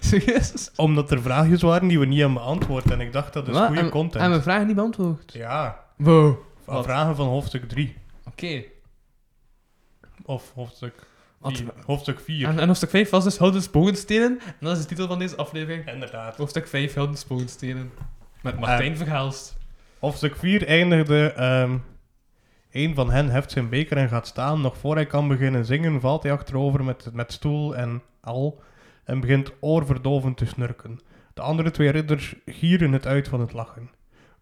[SPEAKER 5] Serieus?
[SPEAKER 2] Omdat er vraagjes waren die we niet hebben beantwoord. En ik dacht, dat is
[SPEAKER 5] Wat?
[SPEAKER 2] goede
[SPEAKER 5] En-
[SPEAKER 2] content.
[SPEAKER 5] En mijn vraag niet beantwoord.
[SPEAKER 2] Ja,
[SPEAKER 5] Wow.
[SPEAKER 2] van
[SPEAKER 5] Wat?
[SPEAKER 2] vragen van hoofdstuk 3.
[SPEAKER 5] Oké.
[SPEAKER 2] Of hoofdstuk
[SPEAKER 5] Wat?
[SPEAKER 2] 4. Hoofdstuk 4.
[SPEAKER 5] En, en hoofdstuk 5 was dus Houdens Bogenstenen. En dat is de titel van deze aflevering.
[SPEAKER 2] Inderdaad.
[SPEAKER 5] Hoofdstuk 5, Houdens Bogenstenen. Met Martijn Verhaalst.
[SPEAKER 2] Hoofdstuk 4 eindigde... ehm een van hen heft zijn beker en gaat staan. Nog voor hij kan beginnen zingen, valt hij achterover met, met stoel en al en begint oorverdovend te snurken. De andere twee ridders gieren het uit van het lachen.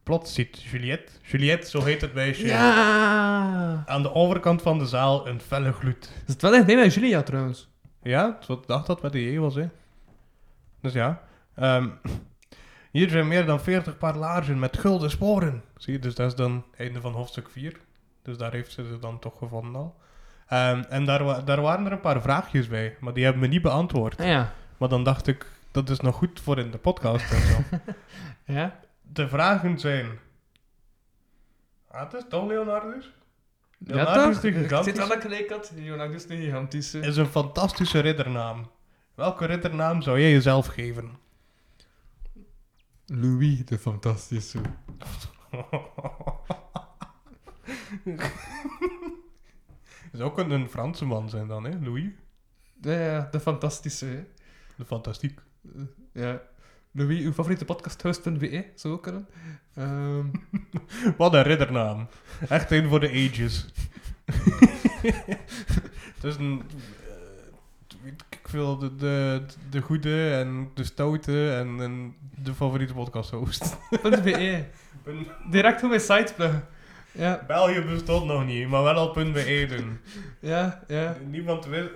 [SPEAKER 2] Plots ziet Juliette, Juliette, zo heet het meisje,
[SPEAKER 5] Ja!
[SPEAKER 2] aan de overkant van de zaal een felle gloed.
[SPEAKER 5] Is het wel echt nee naar Julia trouwens?
[SPEAKER 2] Ja, zo dacht dat met de J was, hè. Dus ja. ehm, hier zijn meer dan 40 paar laarzen met gulden sporen. Zie je, dus dat is dan einde van hoofdstuk 4. Dus daar heeft ze ze dan toch gevonden al. Ehm, en daar, wa- daar waren er een paar vraagjes bij, maar die hebben me niet beantwoord.
[SPEAKER 5] Ah, ja.
[SPEAKER 2] Maar dan dacht ik, dat is nog goed voor in de podcast en zo.
[SPEAKER 5] Ja?
[SPEAKER 2] De vragen zijn... Ah, het is toch Leonardus?
[SPEAKER 5] Ja,
[SPEAKER 2] Leonardus
[SPEAKER 5] toch?
[SPEAKER 2] de
[SPEAKER 5] Ik zit
[SPEAKER 2] Gigantische?
[SPEAKER 5] aan de kneekat. Leonardus de Gigantische.
[SPEAKER 2] Is een fantastische riddernaam. Welke riddernaam zou jij jezelf geven?
[SPEAKER 5] Louis de Fantastische.
[SPEAKER 2] Zou ook een, een Franse man zijn dan, hè? Louis?
[SPEAKER 5] Ja, ja, de Fantastische. hè.
[SPEAKER 2] De fantastiek.
[SPEAKER 5] Ja. Louis, uw favoriete podcasthost.be E, zou ook kunnen. Ehm,
[SPEAKER 2] Wat een riddernaam. Echt een voor de ages. Het is een... eh, weet ik wil de, de, de goede en de stoute en, en de favoriete podcasthost.
[SPEAKER 5] punt .be. Direct op mijn site pluggen. Ja,
[SPEAKER 2] België bestond nog niet, maar wel al punt beëden.
[SPEAKER 5] ja, ja.
[SPEAKER 2] Niemand wist...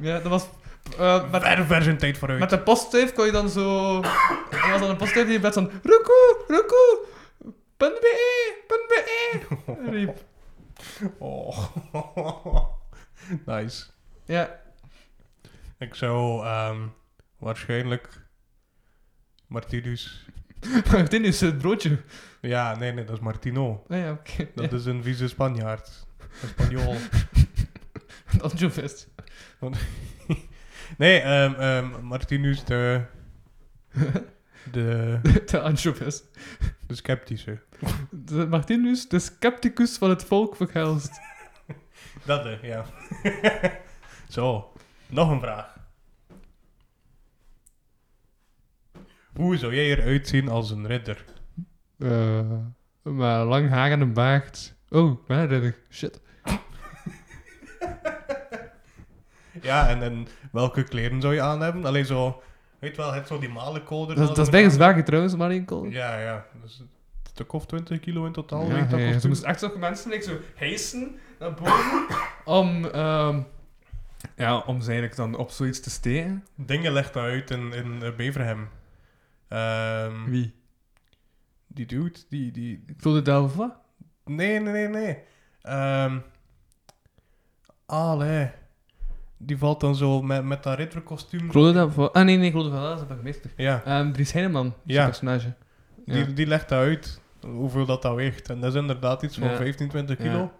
[SPEAKER 5] Ja, dat was... eh, met,
[SPEAKER 2] Ver, ver zijn tijd vooruit.
[SPEAKER 5] met de poststijf kon je dan zo... Er was dan een poststijf die werd zo'n... Roekoe, roekoe, punt .be, punt .be, riep.
[SPEAKER 2] Oh. nice.
[SPEAKER 5] Ja,
[SPEAKER 2] Ik zou ehm, waarschijnlijk Martinus.
[SPEAKER 5] Martin is het broodje.
[SPEAKER 2] Ja, nee, nee, dat is Martino.
[SPEAKER 5] Ah ja, oké.
[SPEAKER 2] Dat is een vieze Spanjaard. Een Spanjool.
[SPEAKER 5] Ja, Dat is zo vast.
[SPEAKER 2] nee, ehm ehm, Martinus de. De,
[SPEAKER 5] De anchovies.
[SPEAKER 2] de sceptische.
[SPEAKER 5] De Martinus, de scepticus van het volk verhelst.
[SPEAKER 2] Dat, eh, ja. Zo, nog een vraag. Hoe zou jij eruit zien als een ridder?
[SPEAKER 5] Eh, maar lang haar en een baard. Oh, waar ben ik? Shit.
[SPEAKER 2] Ja, en, en welke kleren zou je aan hebben? Alleen zo, weet wel, het zo die malenkoder.
[SPEAKER 5] Dat, dat is bijna zwaar trouwens, Marinkel.
[SPEAKER 2] Ja, ja. Dus een stuk of 20 kilo in totaal.
[SPEAKER 5] Ja,
[SPEAKER 2] weet dat
[SPEAKER 5] ja, ja,
[SPEAKER 2] kost
[SPEAKER 5] ze
[SPEAKER 2] u-
[SPEAKER 5] moest echt zo'n mensen like, zo hijsen naar boven om, ehm, ja, om ze eigenlijk dan op zoiets te steken.
[SPEAKER 2] Dingen legt uit in, in eh, Beverhem. Ehm,
[SPEAKER 5] Wie?
[SPEAKER 2] Die dude, die... die...
[SPEAKER 5] Ik voelde Delva.
[SPEAKER 2] Nee, nee, nee, nee. Ehm allee. Die valt dan zo met, met dat ridderkostuum.
[SPEAKER 5] Claude Delva. Ah nee, nee, Claude Delva is een burgemeester.
[SPEAKER 2] Ja,
[SPEAKER 5] Ehm Dries Heineman, is
[SPEAKER 2] Ja.
[SPEAKER 5] een personage. Ja.
[SPEAKER 2] Die, die legt dat uit, hoeveel dat dat weegt. En dat is inderdaad iets van
[SPEAKER 5] Ja.
[SPEAKER 2] 15, 20
[SPEAKER 5] Ja.
[SPEAKER 2] kilo.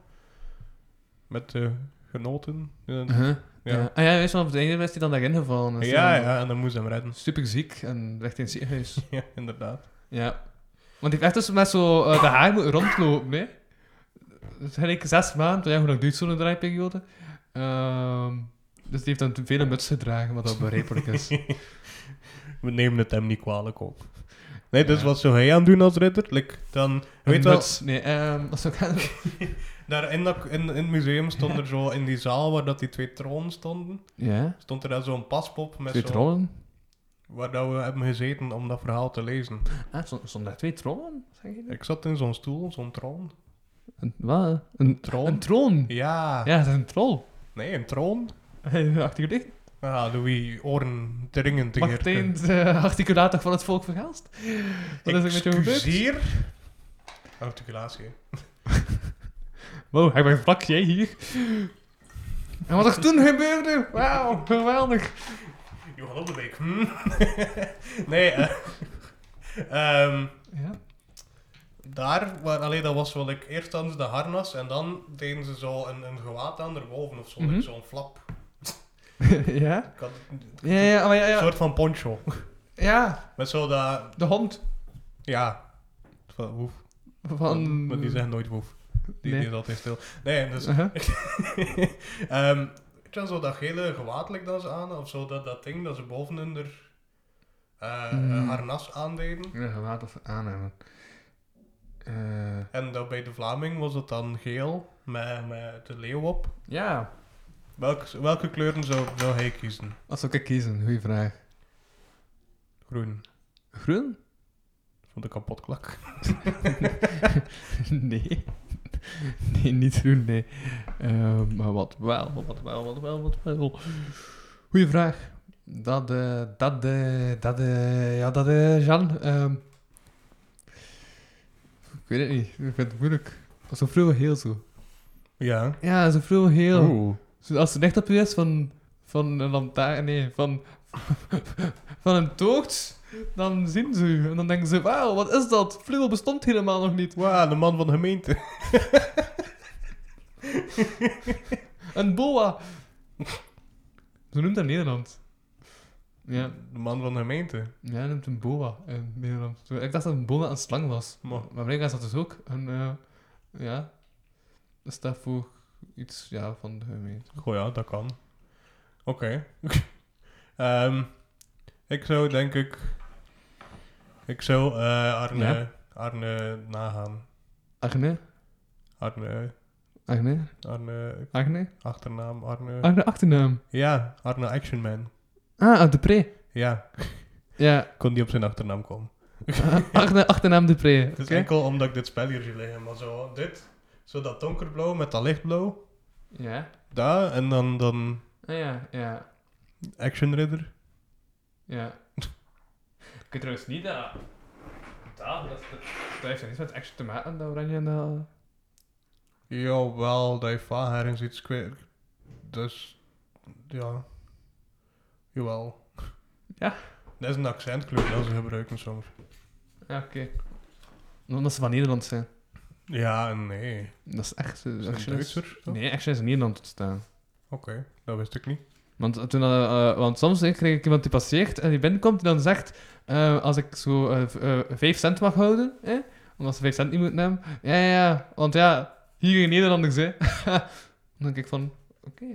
[SPEAKER 2] Met eh, genoten. Eh,
[SPEAKER 5] Uh-huh.
[SPEAKER 2] Ja.
[SPEAKER 5] ja. Ah ja, weet je wel, op het einde is hij dan daarin gevallen. Is
[SPEAKER 2] Ja,
[SPEAKER 5] hij dan
[SPEAKER 2] ja, en dan moest ze hem redden.
[SPEAKER 5] Super ziek en weg in het ziekenhuis.
[SPEAKER 2] Ja, inderdaad.
[SPEAKER 5] Ja. Want die heeft echt dus met zo eh, de haar moeten rondlopen, hè. Dat is eigenlijk zes maanden. Ja, hoe lang duurt zo'n draaiperiode? Ehm, dus die heeft dan te vele muts gedragen, wat dat begrijpelijk is.
[SPEAKER 2] We nemen het hem niet kwalijk op. Nee, dus wat zou hij aan doen als ridder? Like, dan, weet
[SPEAKER 5] Een
[SPEAKER 2] wel,
[SPEAKER 5] muts, Nee, ehm wat zou ik aan-
[SPEAKER 2] daar in, dat, in, in het museum stond er zo, in die zaal waar dat die twee tronen stonden,
[SPEAKER 5] Ja,
[SPEAKER 2] stond er daar zo'n paspop met
[SPEAKER 5] twee
[SPEAKER 2] zo,
[SPEAKER 5] trollen.
[SPEAKER 2] waar dat we hebben gezeten om dat verhaal te lezen.
[SPEAKER 5] Ah, stond- stonden daar twee trollen? Zeg je dat?
[SPEAKER 2] Ik zat in zo'n stoel, zo'n troon.
[SPEAKER 5] Een, wat? Een,
[SPEAKER 2] Troon?
[SPEAKER 5] een troon?
[SPEAKER 2] Ja.
[SPEAKER 5] Ja, dat is een troll.
[SPEAKER 2] Nee, een troon.
[SPEAKER 5] Articulate.
[SPEAKER 2] Ah, Louis, oren dringend te
[SPEAKER 5] Martijn, de articulator van het volk vergaast. Wat is er met jou gebeurd?
[SPEAKER 2] Excuseer. Oh, Articulatie.
[SPEAKER 5] Wow, hij ben vlak jij hier. En wat er toen gebeurde, wauw, geweldig.
[SPEAKER 2] Johan Onderbeek. Hm? nee, eh, ehm,
[SPEAKER 5] Ja.
[SPEAKER 2] daar, waar, allee, dat was wel ik. Eerst hadden ze de harnas en dan deden ze zo een, een gewaad aan erboven of zo.
[SPEAKER 5] Mhm.
[SPEAKER 2] Zo'n flap.
[SPEAKER 5] ja?
[SPEAKER 2] Ik had
[SPEAKER 5] Ja, ja, maar ja,
[SPEAKER 2] Een
[SPEAKER 5] ja.
[SPEAKER 2] soort van poncho.
[SPEAKER 5] Ja,
[SPEAKER 2] Met zo dat,
[SPEAKER 5] de hond
[SPEAKER 2] ja. Van woef.
[SPEAKER 5] van...
[SPEAKER 2] Maar die zeggen nooit woef. Die,
[SPEAKER 5] Nee.
[SPEAKER 2] die is altijd stil. Nee, dus
[SPEAKER 5] Uh-huh.
[SPEAKER 2] Ehm weet je wel, zo dat gele gewaadelijk dat ze aan, of zo dat, dat ding dat ze boven hun er, eh, een harnas aandeden.
[SPEAKER 5] Ja, gewaad of aannemen. Eh,
[SPEAKER 2] En dat bij de Vlaming was dat dan geel met, met de leeuw op.
[SPEAKER 5] ja,
[SPEAKER 2] Welke, welke kleuren zou, zou hij kiezen?
[SPEAKER 5] wat zou ik kiezen? Goeie vraag.
[SPEAKER 2] Groen.
[SPEAKER 5] Groen?
[SPEAKER 2] Van de kapotklak.
[SPEAKER 5] nee. nee, niet groen, nee. Eh, maar wat wel, wat wel, wat wel, wat wel. Goeie vraag. Dat, eh, dat, eh, dat, eh, ja, dat, eh, Jean. ehm, ik weet het niet, ik vind het moeilijk. Zo'n vrouw heel zo.
[SPEAKER 2] Ja.
[SPEAKER 5] Ja, zo'n vrouw heel.
[SPEAKER 2] Oeh.
[SPEAKER 5] Zo, Als ze recht op u is van, van een lantaarn, nee, van, van een tocht, dan zien ze u. En dan denken ze, wauw, wat is dat? Fluwel bestond helemaal nog niet.
[SPEAKER 2] Wauw, de man van de gemeente.
[SPEAKER 5] Een boa. Ze noemt dat in Nederland. Ja,
[SPEAKER 2] De man van de gemeente.
[SPEAKER 5] ja hij noemt een boa in Nederland. Zo, Ik dacht dat een boa een slang was.
[SPEAKER 2] Maar,
[SPEAKER 5] Maar blijkbaar is dat dus ook een, eh, ja, dat staat voor iets, ja, van de gemeente.
[SPEAKER 2] goh ja, dat kan. Oké. Ehm, ik zou denk ik... Ik zou eh, Arne,
[SPEAKER 5] Ja?
[SPEAKER 2] Arne nagaan.
[SPEAKER 5] Agne?
[SPEAKER 2] Arne,
[SPEAKER 5] Agne?
[SPEAKER 2] Arne,
[SPEAKER 5] Agne?
[SPEAKER 2] achternaam, Arne...
[SPEAKER 5] Agne achternaam.
[SPEAKER 2] Ja, Arne Actionman.
[SPEAKER 5] Ah, uit de pre.
[SPEAKER 2] Ja,
[SPEAKER 5] Ja,
[SPEAKER 2] kon die op zijn achternaam komen.
[SPEAKER 5] Achter, achternaam Dupré.
[SPEAKER 2] Het is
[SPEAKER 5] oké?
[SPEAKER 2] enkel omdat ik dit spel hier zie liggen, maar zo dit, zo dat donkerblauw met dat lichtblauw,
[SPEAKER 5] Ja.
[SPEAKER 2] daar en dan, dan
[SPEAKER 5] Ah, ja, ja,
[SPEAKER 2] Action Ridder.
[SPEAKER 5] ja. Ik weet trouwens niet dat... Dat, dat, dat heeft niets met action te maken, dat oranje en dat...
[SPEAKER 2] Jawel, dat je van haar in ziet square. Dus, ja. Jawel.
[SPEAKER 5] Ja.
[SPEAKER 2] Dat is een accentkleur dat ze gebruiken soms.
[SPEAKER 5] Ja, oké. Omdat ze van Nederland zijn.
[SPEAKER 2] Ja, en nee.
[SPEAKER 5] Dat is echt... eh,
[SPEAKER 2] Is dat een
[SPEAKER 5] action is-
[SPEAKER 2] Duitser? toch?
[SPEAKER 5] Nee, action is in Nederland ontstaan.
[SPEAKER 2] Oké, dat wist ik niet.
[SPEAKER 5] Want, eh, toen, eh, eh, want soms eh, krijg ik iemand die passeert en die binnenkomt en dan zegt... eh, als ik zo eh, v- eh, vijf cent mag houden, eh, omdat ze vijf cent niet moet nemen. Ja, ja, ja. Want ja, hier in Nederlanders, hè. dan denk ik van, oké.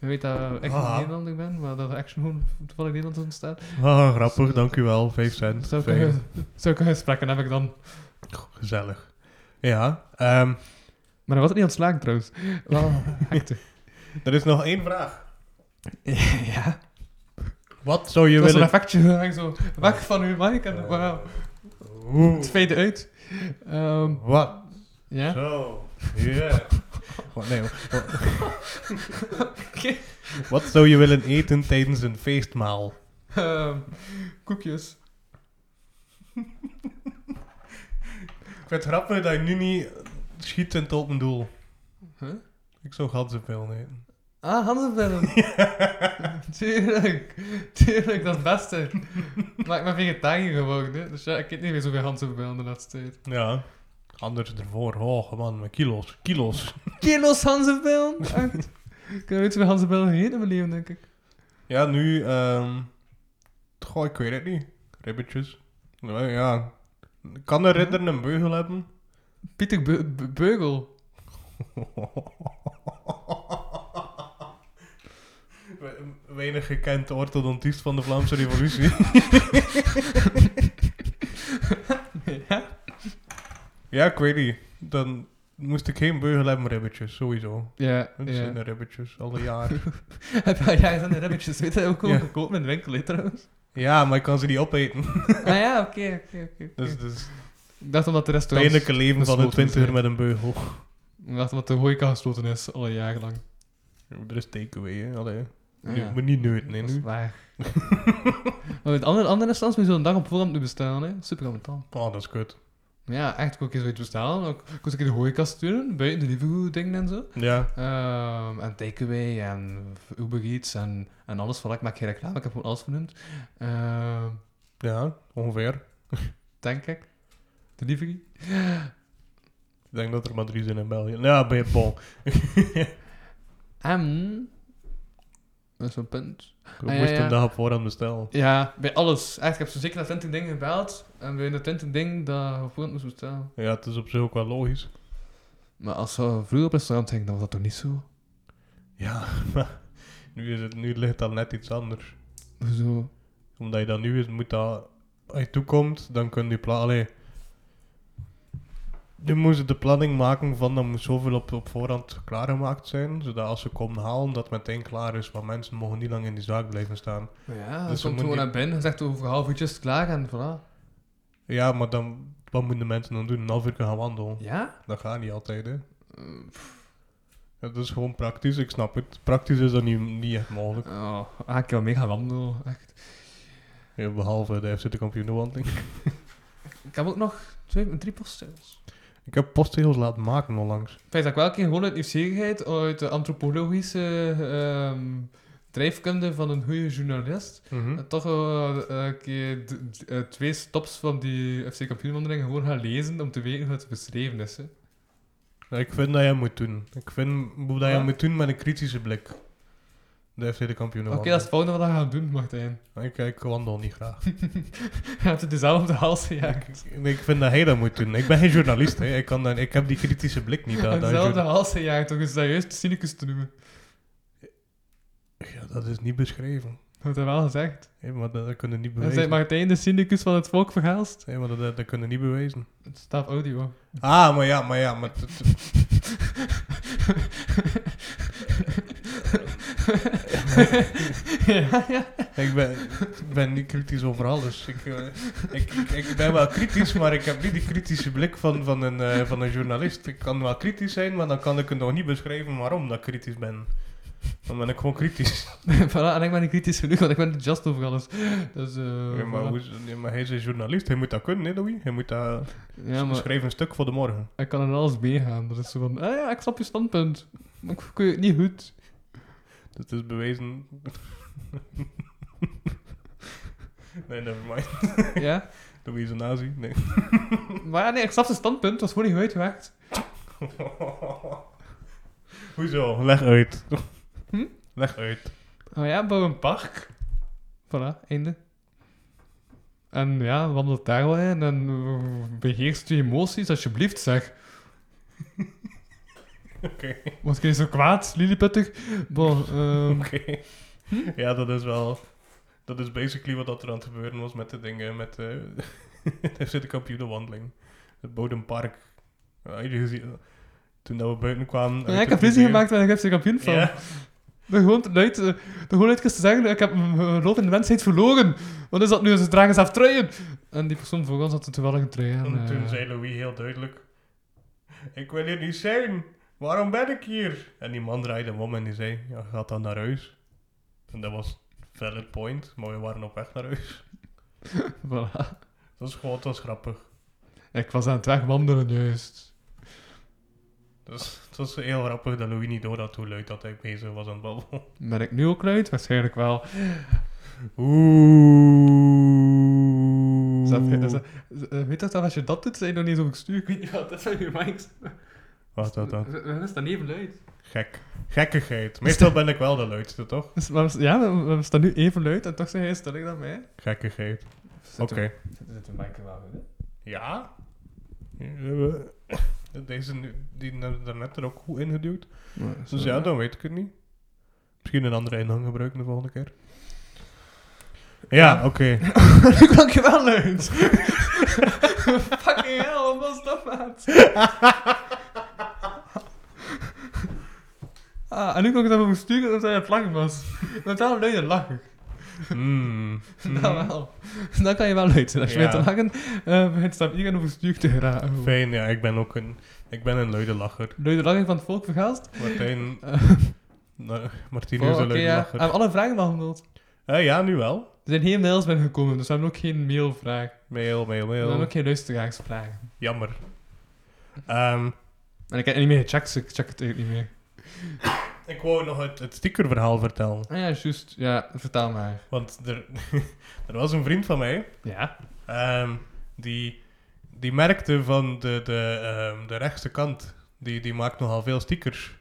[SPEAKER 5] Je weet dat ik
[SPEAKER 2] Ah.
[SPEAKER 5] een Nederlander ben, maar dat er action gewoon toevallig Nederlands ontstaat.
[SPEAKER 2] Ah, grappig, dankjewel. Vijf cent.
[SPEAKER 5] Zou ik,
[SPEAKER 2] Fijn.
[SPEAKER 5] een- zou ik een gesprek aan heb ik dan.
[SPEAKER 2] Gezellig. Ja, ehm,
[SPEAKER 5] Maar hij was het niet ontslagen trouwens. Wel, hekte.
[SPEAKER 2] er is nog één vraag.
[SPEAKER 5] ja.
[SPEAKER 2] Wat zou je
[SPEAKER 5] Dat was een
[SPEAKER 2] willen...
[SPEAKER 5] effectje. dan ging ik zo, weg van uw mic en
[SPEAKER 2] Eh.
[SPEAKER 5] wauw.
[SPEAKER 2] Oeh,
[SPEAKER 5] Het fade uit. Ehm,
[SPEAKER 2] Wat?
[SPEAKER 5] ja.
[SPEAKER 2] Zo. Ja. Wat- Oh, nee, wat- wat-
[SPEAKER 5] Oké.
[SPEAKER 2] Wat zou je willen eten tijdens een feestmaal?
[SPEAKER 5] Ehm, koekjes.
[SPEAKER 2] Ik vind het grappig dat je nu niet schiet in het open doel.
[SPEAKER 5] Huh?
[SPEAKER 2] Ik zou ganzenpil eten.
[SPEAKER 5] Ah, Hansenbellen. tuurlijk. Tuurlijk, dat is het beste. maar ik ben vegetariër geworden, hè. dus ja, ik eet niet meer zoveel Hansenbellen de laatste tijd.
[SPEAKER 2] Ja. Anders ervoor. Oh, man, met kilo's. Kilo's.
[SPEAKER 5] Kilo's Hansenbellen? Echt. Ik heb nooit zoveel Hansenbellen gegeten in mijn leven, denk ik.
[SPEAKER 2] Ja, nu... ehm goh, ik weet het niet. Ribbetjes. Ja, ja. Kan een ridder een beugel hebben?
[SPEAKER 5] Pieter Be- Be- Beugel.
[SPEAKER 2] We- Weinig gekend orthodontist van de Vlaamse Revolutie.
[SPEAKER 5] ja?
[SPEAKER 2] ja, ik weet niet. Dan moest ik geen beugel hebben, ribbetjes, sowieso.
[SPEAKER 5] Ja,
[SPEAKER 2] Het
[SPEAKER 5] ja.
[SPEAKER 2] zijn de ribbetjes, al een jaar.
[SPEAKER 5] ja, er zijn de ribbetjes, weet je, ook
[SPEAKER 2] Ja.
[SPEAKER 5] gewoon goedkoop in de winkel, hè, trouwens.
[SPEAKER 2] ja, maar ik kan ze niet opeten.
[SPEAKER 5] ah ja, oké, oké, oké. oké.
[SPEAKER 2] Dus, dus
[SPEAKER 5] Ik dacht omdat de
[SPEAKER 2] het
[SPEAKER 5] restaurants...
[SPEAKER 2] pijnlijke leven van een
[SPEAKER 5] gesloten is,
[SPEAKER 2] twintiger
[SPEAKER 5] ja.
[SPEAKER 2] met een beugel.
[SPEAKER 5] Ik dacht omdat de horeca gesloten is, al een jaar lang.
[SPEAKER 2] Er is takeaway, hè. Allee.
[SPEAKER 5] Ah,
[SPEAKER 2] Nu,
[SPEAKER 5] ja.
[SPEAKER 2] Moet niet neuten, hè,
[SPEAKER 5] Dat is
[SPEAKER 2] nu.
[SPEAKER 5] waar. maar met andere, andere stands moet je zo'n dag op voorhand nu bestellen, hè. Super aan
[SPEAKER 2] Oh, dat is kut.
[SPEAKER 5] Ja, echt, ik kon een keer zoiets bestellen. Ook, ik kon een keer de hooikast sturen, buiten de lieve dingen en zo.
[SPEAKER 2] Ja.
[SPEAKER 5] Ehm, en Takeaway en Uber Eats en, en alles. Voilà, ik maak geen reclame, ik heb gewoon alles vernoemd. Ehm,
[SPEAKER 2] Ja, ongeveer.
[SPEAKER 5] denk ik. Delivery.
[SPEAKER 2] Ik denk dat er maar drie zijn in België. Ja, bij Bon.
[SPEAKER 5] En... Dat is zo'n punt.
[SPEAKER 2] Ik
[SPEAKER 5] Ah, ja,
[SPEAKER 2] moest
[SPEAKER 5] ja.
[SPEAKER 2] een dag op voorhand bestellen.
[SPEAKER 5] Ja, bij alles. Echt, ik heb zo zeker naar 20 dingen gebeld. En bij de 20 dingen dat ik voor moest bestellen.
[SPEAKER 2] Ja, het is op zich ook wel logisch.
[SPEAKER 5] Maar als we vroeger op restaurant gingen, dan was dat toch niet zo?
[SPEAKER 2] Ja, maar nu, is het, nu ligt dat net iets anders.
[SPEAKER 5] Hoezo?
[SPEAKER 2] Omdat je dat nu is, moet dat... Als je toekomt, dan kun je plannen... Allee... Je moest de planning maken van dat moet zoveel op, op voorhand klaargemaakt zijn. Zodat als ze komen halen, dat het meteen klaar is. Want mensen mogen niet lang in die zaak blijven staan.
[SPEAKER 5] Ja,
[SPEAKER 2] Dus
[SPEAKER 5] dus
[SPEAKER 2] we
[SPEAKER 5] komt gewoon
[SPEAKER 2] moeten-
[SPEAKER 5] naar binnen en zegt over half uurtjes is het klaar en voilà.
[SPEAKER 2] Ja, maar dan... Wat moeten de mensen dan doen? Een half uur gaan wandelen.
[SPEAKER 5] Ja?
[SPEAKER 2] Dat gaat niet altijd, hè. Ja, dat is gewoon praktisch, ik snap het. Praktisch is dat niet, niet echt mogelijk.
[SPEAKER 5] Oh, ah, ik heb mega wandelen, echt.
[SPEAKER 2] Ja, behalve de FC de kampioenenwandeling.
[SPEAKER 5] Ik heb ook nog twee, drie poststels.
[SPEAKER 2] Ik heb postzegels laten maken onlangs.
[SPEAKER 5] Fijn dat ik wel een keer gewoon uit nieuwsgierigheid, uit de antropologische ehm, drijfkunde van een goede journalist, eh, toch eh, een keer d- d- eh, twee stops van die FC kampioenwandeling gewoon gaan lezen om te weten hoe het beschreven is. hè.
[SPEAKER 2] Ja, ik vind dat je moet doen. Ik vind hoe dat je
[SPEAKER 5] Ja?
[SPEAKER 2] moet doen met een kritische blik. De FC de kampioenen.
[SPEAKER 5] Oké, dat is het volgende wat we gaan doen, Martijn.
[SPEAKER 2] ik, ik wandel niet graag.
[SPEAKER 5] Je hebt het dezelfde op de hals gejaagd.
[SPEAKER 2] ik, ik vind dat hij dat moet doen. Ik ben geen journalist, hè. Ik, kan dat, ik heb die kritische blik niet.
[SPEAKER 5] Ja,
[SPEAKER 2] Dat, dat, is
[SPEAKER 5] dezelfde
[SPEAKER 2] jour-
[SPEAKER 5] hals gejaagd, toch is dat juist cynicus te noemen.
[SPEAKER 2] ja, dat is niet beschreven.
[SPEAKER 5] Dat heb wel gezegd.
[SPEAKER 2] Hé, maar dat, dat kunnen niet
[SPEAKER 5] En
[SPEAKER 2] bewijzen.
[SPEAKER 5] zei Martijn de cynicus van het volk verhaalst?
[SPEAKER 2] Hé, maar dat, dat, dat kunnen niet bewijzen.
[SPEAKER 5] Het staat op audio.
[SPEAKER 2] Ah, maar ja, maar ja, maar... t- t-
[SPEAKER 5] ja, ja.
[SPEAKER 2] Ik ben, ik ben niet kritisch over alles. Ik, eh, ik, ik, ik ben wel kritisch, maar ik heb niet die kritische blik van, van, een, eh, van een journalist. Ik kan wel kritisch zijn, maar dan kan ik het nog niet beschrijven waarom dat ik kritisch ben. Dan ben ik gewoon kritisch.
[SPEAKER 5] voilà, en ik ben niet kritisch genoeg, want ik ben just over alles. Dus, eh,
[SPEAKER 2] Ja, maar,
[SPEAKER 5] voilà.
[SPEAKER 2] hoe, is- ja, maar hij is een journalist, hij moet dat kunnen, hè, Louis? Hij moet dat...
[SPEAKER 5] ja, maar
[SPEAKER 2] Schrijf een stuk voor de morgen.
[SPEAKER 5] ik kan er alles meegaan. Dat is zo van, ah ja, ik snap je standpunt. Maar ik kun je het niet goed.
[SPEAKER 2] Dat is bewezen... nee, nevermind.
[SPEAKER 5] Ja?
[SPEAKER 2] Louis is een nazi. Nee.
[SPEAKER 5] Maar ja, nee, ik snap zijn standpunt. Het was gewoon niet uitgewerkt.
[SPEAKER 2] Hoezo? Leg uit.
[SPEAKER 5] Hm?
[SPEAKER 2] Leg uit.
[SPEAKER 5] Oh ja, bouw een park. Voilà, einde. En ja, wandel daar wel in en eh, beheerst je emoties, alsjeblieft zeg.
[SPEAKER 2] Oké,
[SPEAKER 5] Was ik zo kwaad, liliputtig? Bon, ehm,
[SPEAKER 2] oké. Ja, dat is wel... Dat is basically wat dat er aan het gebeuren was met de dingen, met eh, de... FC de computerwandeling. Het Bodempark. Ja, had je gezien... Toen dat we buiten kwamen...
[SPEAKER 5] ja,
[SPEAKER 2] uit
[SPEAKER 5] ik
[SPEAKER 2] het
[SPEAKER 5] heb ruzie
[SPEAKER 2] museum.
[SPEAKER 5] gemaakt met een FC kampioen van.
[SPEAKER 2] Ja,
[SPEAKER 5] Door gewoon te luid, eh, door gewoon luidkeels te zeggen, ik heb mijn eh, geloof in de mensheid verloren. Wat is dat nu? Ze dragen zelf truien. En die persoon voor ons had een toevallige trui aan.
[SPEAKER 2] en toen
[SPEAKER 5] eh.
[SPEAKER 2] zei Louis heel duidelijk... Ik wil hier niet zijn. Waarom ben ik hier? En die man draaide hem om en die zei... Ja, gaat dan naar huis. En dat was valid point, maar we waren op weg naar huis.
[SPEAKER 5] Voilà.
[SPEAKER 2] Dat is gewoon, dat is grappig.
[SPEAKER 5] Ik was aan het wegwandelen juist.
[SPEAKER 2] Dus het was heel grappig dat Louis niet door had hoe luid dat hij bezig was aan het babbelen.
[SPEAKER 5] Ben ik nu ook luid? Waarschijnlijk wel.
[SPEAKER 1] Mm.
[SPEAKER 2] Oeh.
[SPEAKER 5] Zet- eh, zet- eh, Weet je dat als je dat doet, zijn je nog niet eens op het stuur? Ik weet niet wat, dat zijn je mics.
[SPEAKER 2] Wacht, wacht, wacht.
[SPEAKER 5] Dat is dan even luid.
[SPEAKER 2] Gek. Gekkigheid. Meestal ben ik wel de luidste, toch?
[SPEAKER 5] Dus, maar, we- ja, we, we staan nu even luid en toch zeg jij sterker dan mij.
[SPEAKER 2] Gekkigheid. Oké.
[SPEAKER 5] Zit de mic er wel in?
[SPEAKER 2] Ja? Eh, Deze nu, die hebben we daarnet er ook goed ingeduwd. Dus ja, dan weet ik het niet. Misschien een andere inhang gebruiken de volgende keer. Ja, oké.
[SPEAKER 5] Nu klonk je wel luid. Fucking hell, wat was dat maat? ah, en nu klonk het even bestuurd omdat hij aan het lachen was. Want daarom luid en lachen.
[SPEAKER 2] Mm.
[SPEAKER 5] Dat wel. Dan kan je wel luid zijn. Als je
[SPEAKER 2] Ja.
[SPEAKER 5] weet te lachen, eh begint stap hier over bestuurd te geraken.
[SPEAKER 2] Fijn, ja, ik ben ook een, ik ben een luide lacher.
[SPEAKER 5] Luide lachen van het volk vergaast.
[SPEAKER 2] Martijn.
[SPEAKER 5] Eh,
[SPEAKER 2] Nou, Martijn
[SPEAKER 5] oh,
[SPEAKER 2] is
[SPEAKER 5] Oké,
[SPEAKER 2] een leuke
[SPEAKER 5] ja.
[SPEAKER 2] lacher.
[SPEAKER 5] Hebben we alle vragen wel genoemd?
[SPEAKER 2] Eh, ja, nu wel.
[SPEAKER 5] zijn geen mails binnengekomen, dus we hebben ook geen mailvraag.
[SPEAKER 2] Mail, mail,
[SPEAKER 5] We hebben
[SPEAKER 2] mail.
[SPEAKER 5] ook geen luisteraarsvragen.
[SPEAKER 2] Jammer. Ehm,
[SPEAKER 5] En ik heb het niet meer gecheckt, dus ik check het eigenlijk niet meer.
[SPEAKER 2] ik wou nog het, het stickerverhaal vertellen.
[SPEAKER 5] Ah ja, juist. Ja, vertel maar.
[SPEAKER 2] Want er, er was een vriend van mij
[SPEAKER 5] Ja?
[SPEAKER 2] Ehm, die, die merkte van de, de, ehm, de rechtse kant, die, die maakt nogal veel stickers.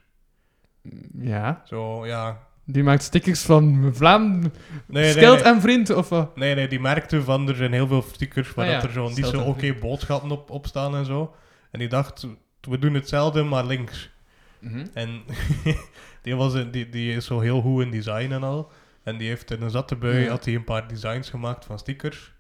[SPEAKER 5] Ja.
[SPEAKER 2] Zo, ja.
[SPEAKER 5] Die maakt stickers van Vlaam,
[SPEAKER 2] Nee, nee,
[SPEAKER 5] Schild
[SPEAKER 2] nee.
[SPEAKER 5] en Vriend, of wat?
[SPEAKER 2] nee, nee, die merkte van er zijn heel veel stickers waar
[SPEAKER 5] Ah, ja.
[SPEAKER 2] dat er zo'n niet
[SPEAKER 5] Stelt
[SPEAKER 2] zo
[SPEAKER 5] dat
[SPEAKER 2] oké boodschappen op, op staan en zo. En die dacht, we doen hetzelfde, maar links.
[SPEAKER 5] Mhm.
[SPEAKER 2] En die, was, een- die, die is zo heel goed in design en al. En die heeft in een zatte bui
[SPEAKER 5] Ja.
[SPEAKER 2] had hij een paar designs gemaakt van stickers.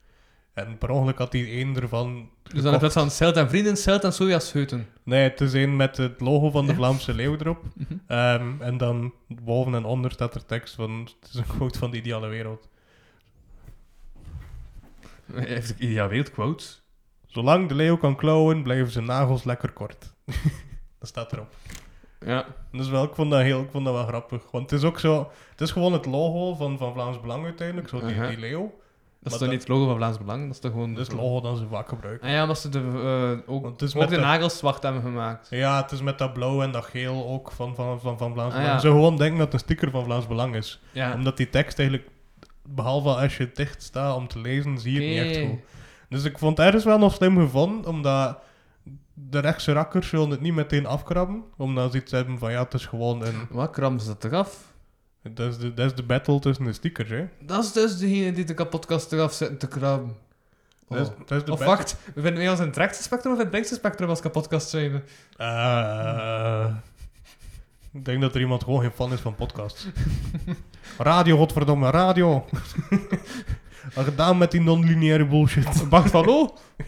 [SPEAKER 2] En per ongeluk had hij één ervan
[SPEAKER 5] Dus dan in
[SPEAKER 2] gekocht.
[SPEAKER 5] plaats van Schild en Vrienden, Schild en Sojascheuten.
[SPEAKER 2] Nee, het is een met het logo van de Vlaamse leeuw erop.
[SPEAKER 5] Mhm.
[SPEAKER 2] Ehm, en dan boven en onder staat er tekst van... Het is een quote van de ideale wereld.
[SPEAKER 5] Heeft ik ideaal wereld quotes?
[SPEAKER 2] Zolang de leeuw kan klauwen, blijven zijn nagels lekker kort. dat staat erop.
[SPEAKER 5] Ja.
[SPEAKER 2] Dus wel, ik vond, dat heel, ik vond dat wel grappig. Want het is ook zo... Het is gewoon het logo van, van Vlaams Belang uiteindelijk. Zo die,
[SPEAKER 5] Mhm.
[SPEAKER 2] die leeuw.
[SPEAKER 5] Dat
[SPEAKER 2] Maar
[SPEAKER 5] is toch
[SPEAKER 2] dat-
[SPEAKER 5] niet het logo van Vlaams Belang? Dat is toch gewoon...
[SPEAKER 2] Dat is het logo dat ze vaak gebruiken.
[SPEAKER 5] Ah ja, omdat ze de, eh, ook,
[SPEAKER 2] Want het is
[SPEAKER 5] ook
[SPEAKER 2] met
[SPEAKER 5] de
[SPEAKER 2] de-
[SPEAKER 5] nagels zwart hebben gemaakt.
[SPEAKER 2] Ja, het is met dat blauw en dat geel ook van, van, van, van Vlaams
[SPEAKER 5] Ah,
[SPEAKER 2] Belang.
[SPEAKER 5] ja.
[SPEAKER 2] Ze gewoon denken dat het een sticker van Vlaams Belang is.
[SPEAKER 5] Ja.
[SPEAKER 2] Omdat die tekst eigenlijk, behalve als je het dicht staat om te lezen, zie je het niet echt
[SPEAKER 5] Oké.
[SPEAKER 2] goed. Dus ik vond het ergens wel nog slim gevonden, omdat de rechtse rakkers zullen het niet meteen afkrabben. Omdat ze iets hebben van, ja, het is gewoon een...
[SPEAKER 5] Wat krammen ze dat eraf?
[SPEAKER 2] Dat is de, dat is de battle tussen de stickers, hè.
[SPEAKER 5] Dat is dus degene die de kapotkast eraf zitten te krabben.
[SPEAKER 2] Dat is,
[SPEAKER 5] Oh.
[SPEAKER 2] dat is de
[SPEAKER 5] Of
[SPEAKER 2] battle-
[SPEAKER 5] wacht, we vinden wij ons in het rechtse spectrum of in het linkse spectrum als kapotkast zijn?
[SPEAKER 2] Eh, ik denk dat er iemand gewoon geen fan is van podcasts. radio, godverdomme, radio. Wat gedaan met die non-lineaire bullshit.
[SPEAKER 5] Bart van O?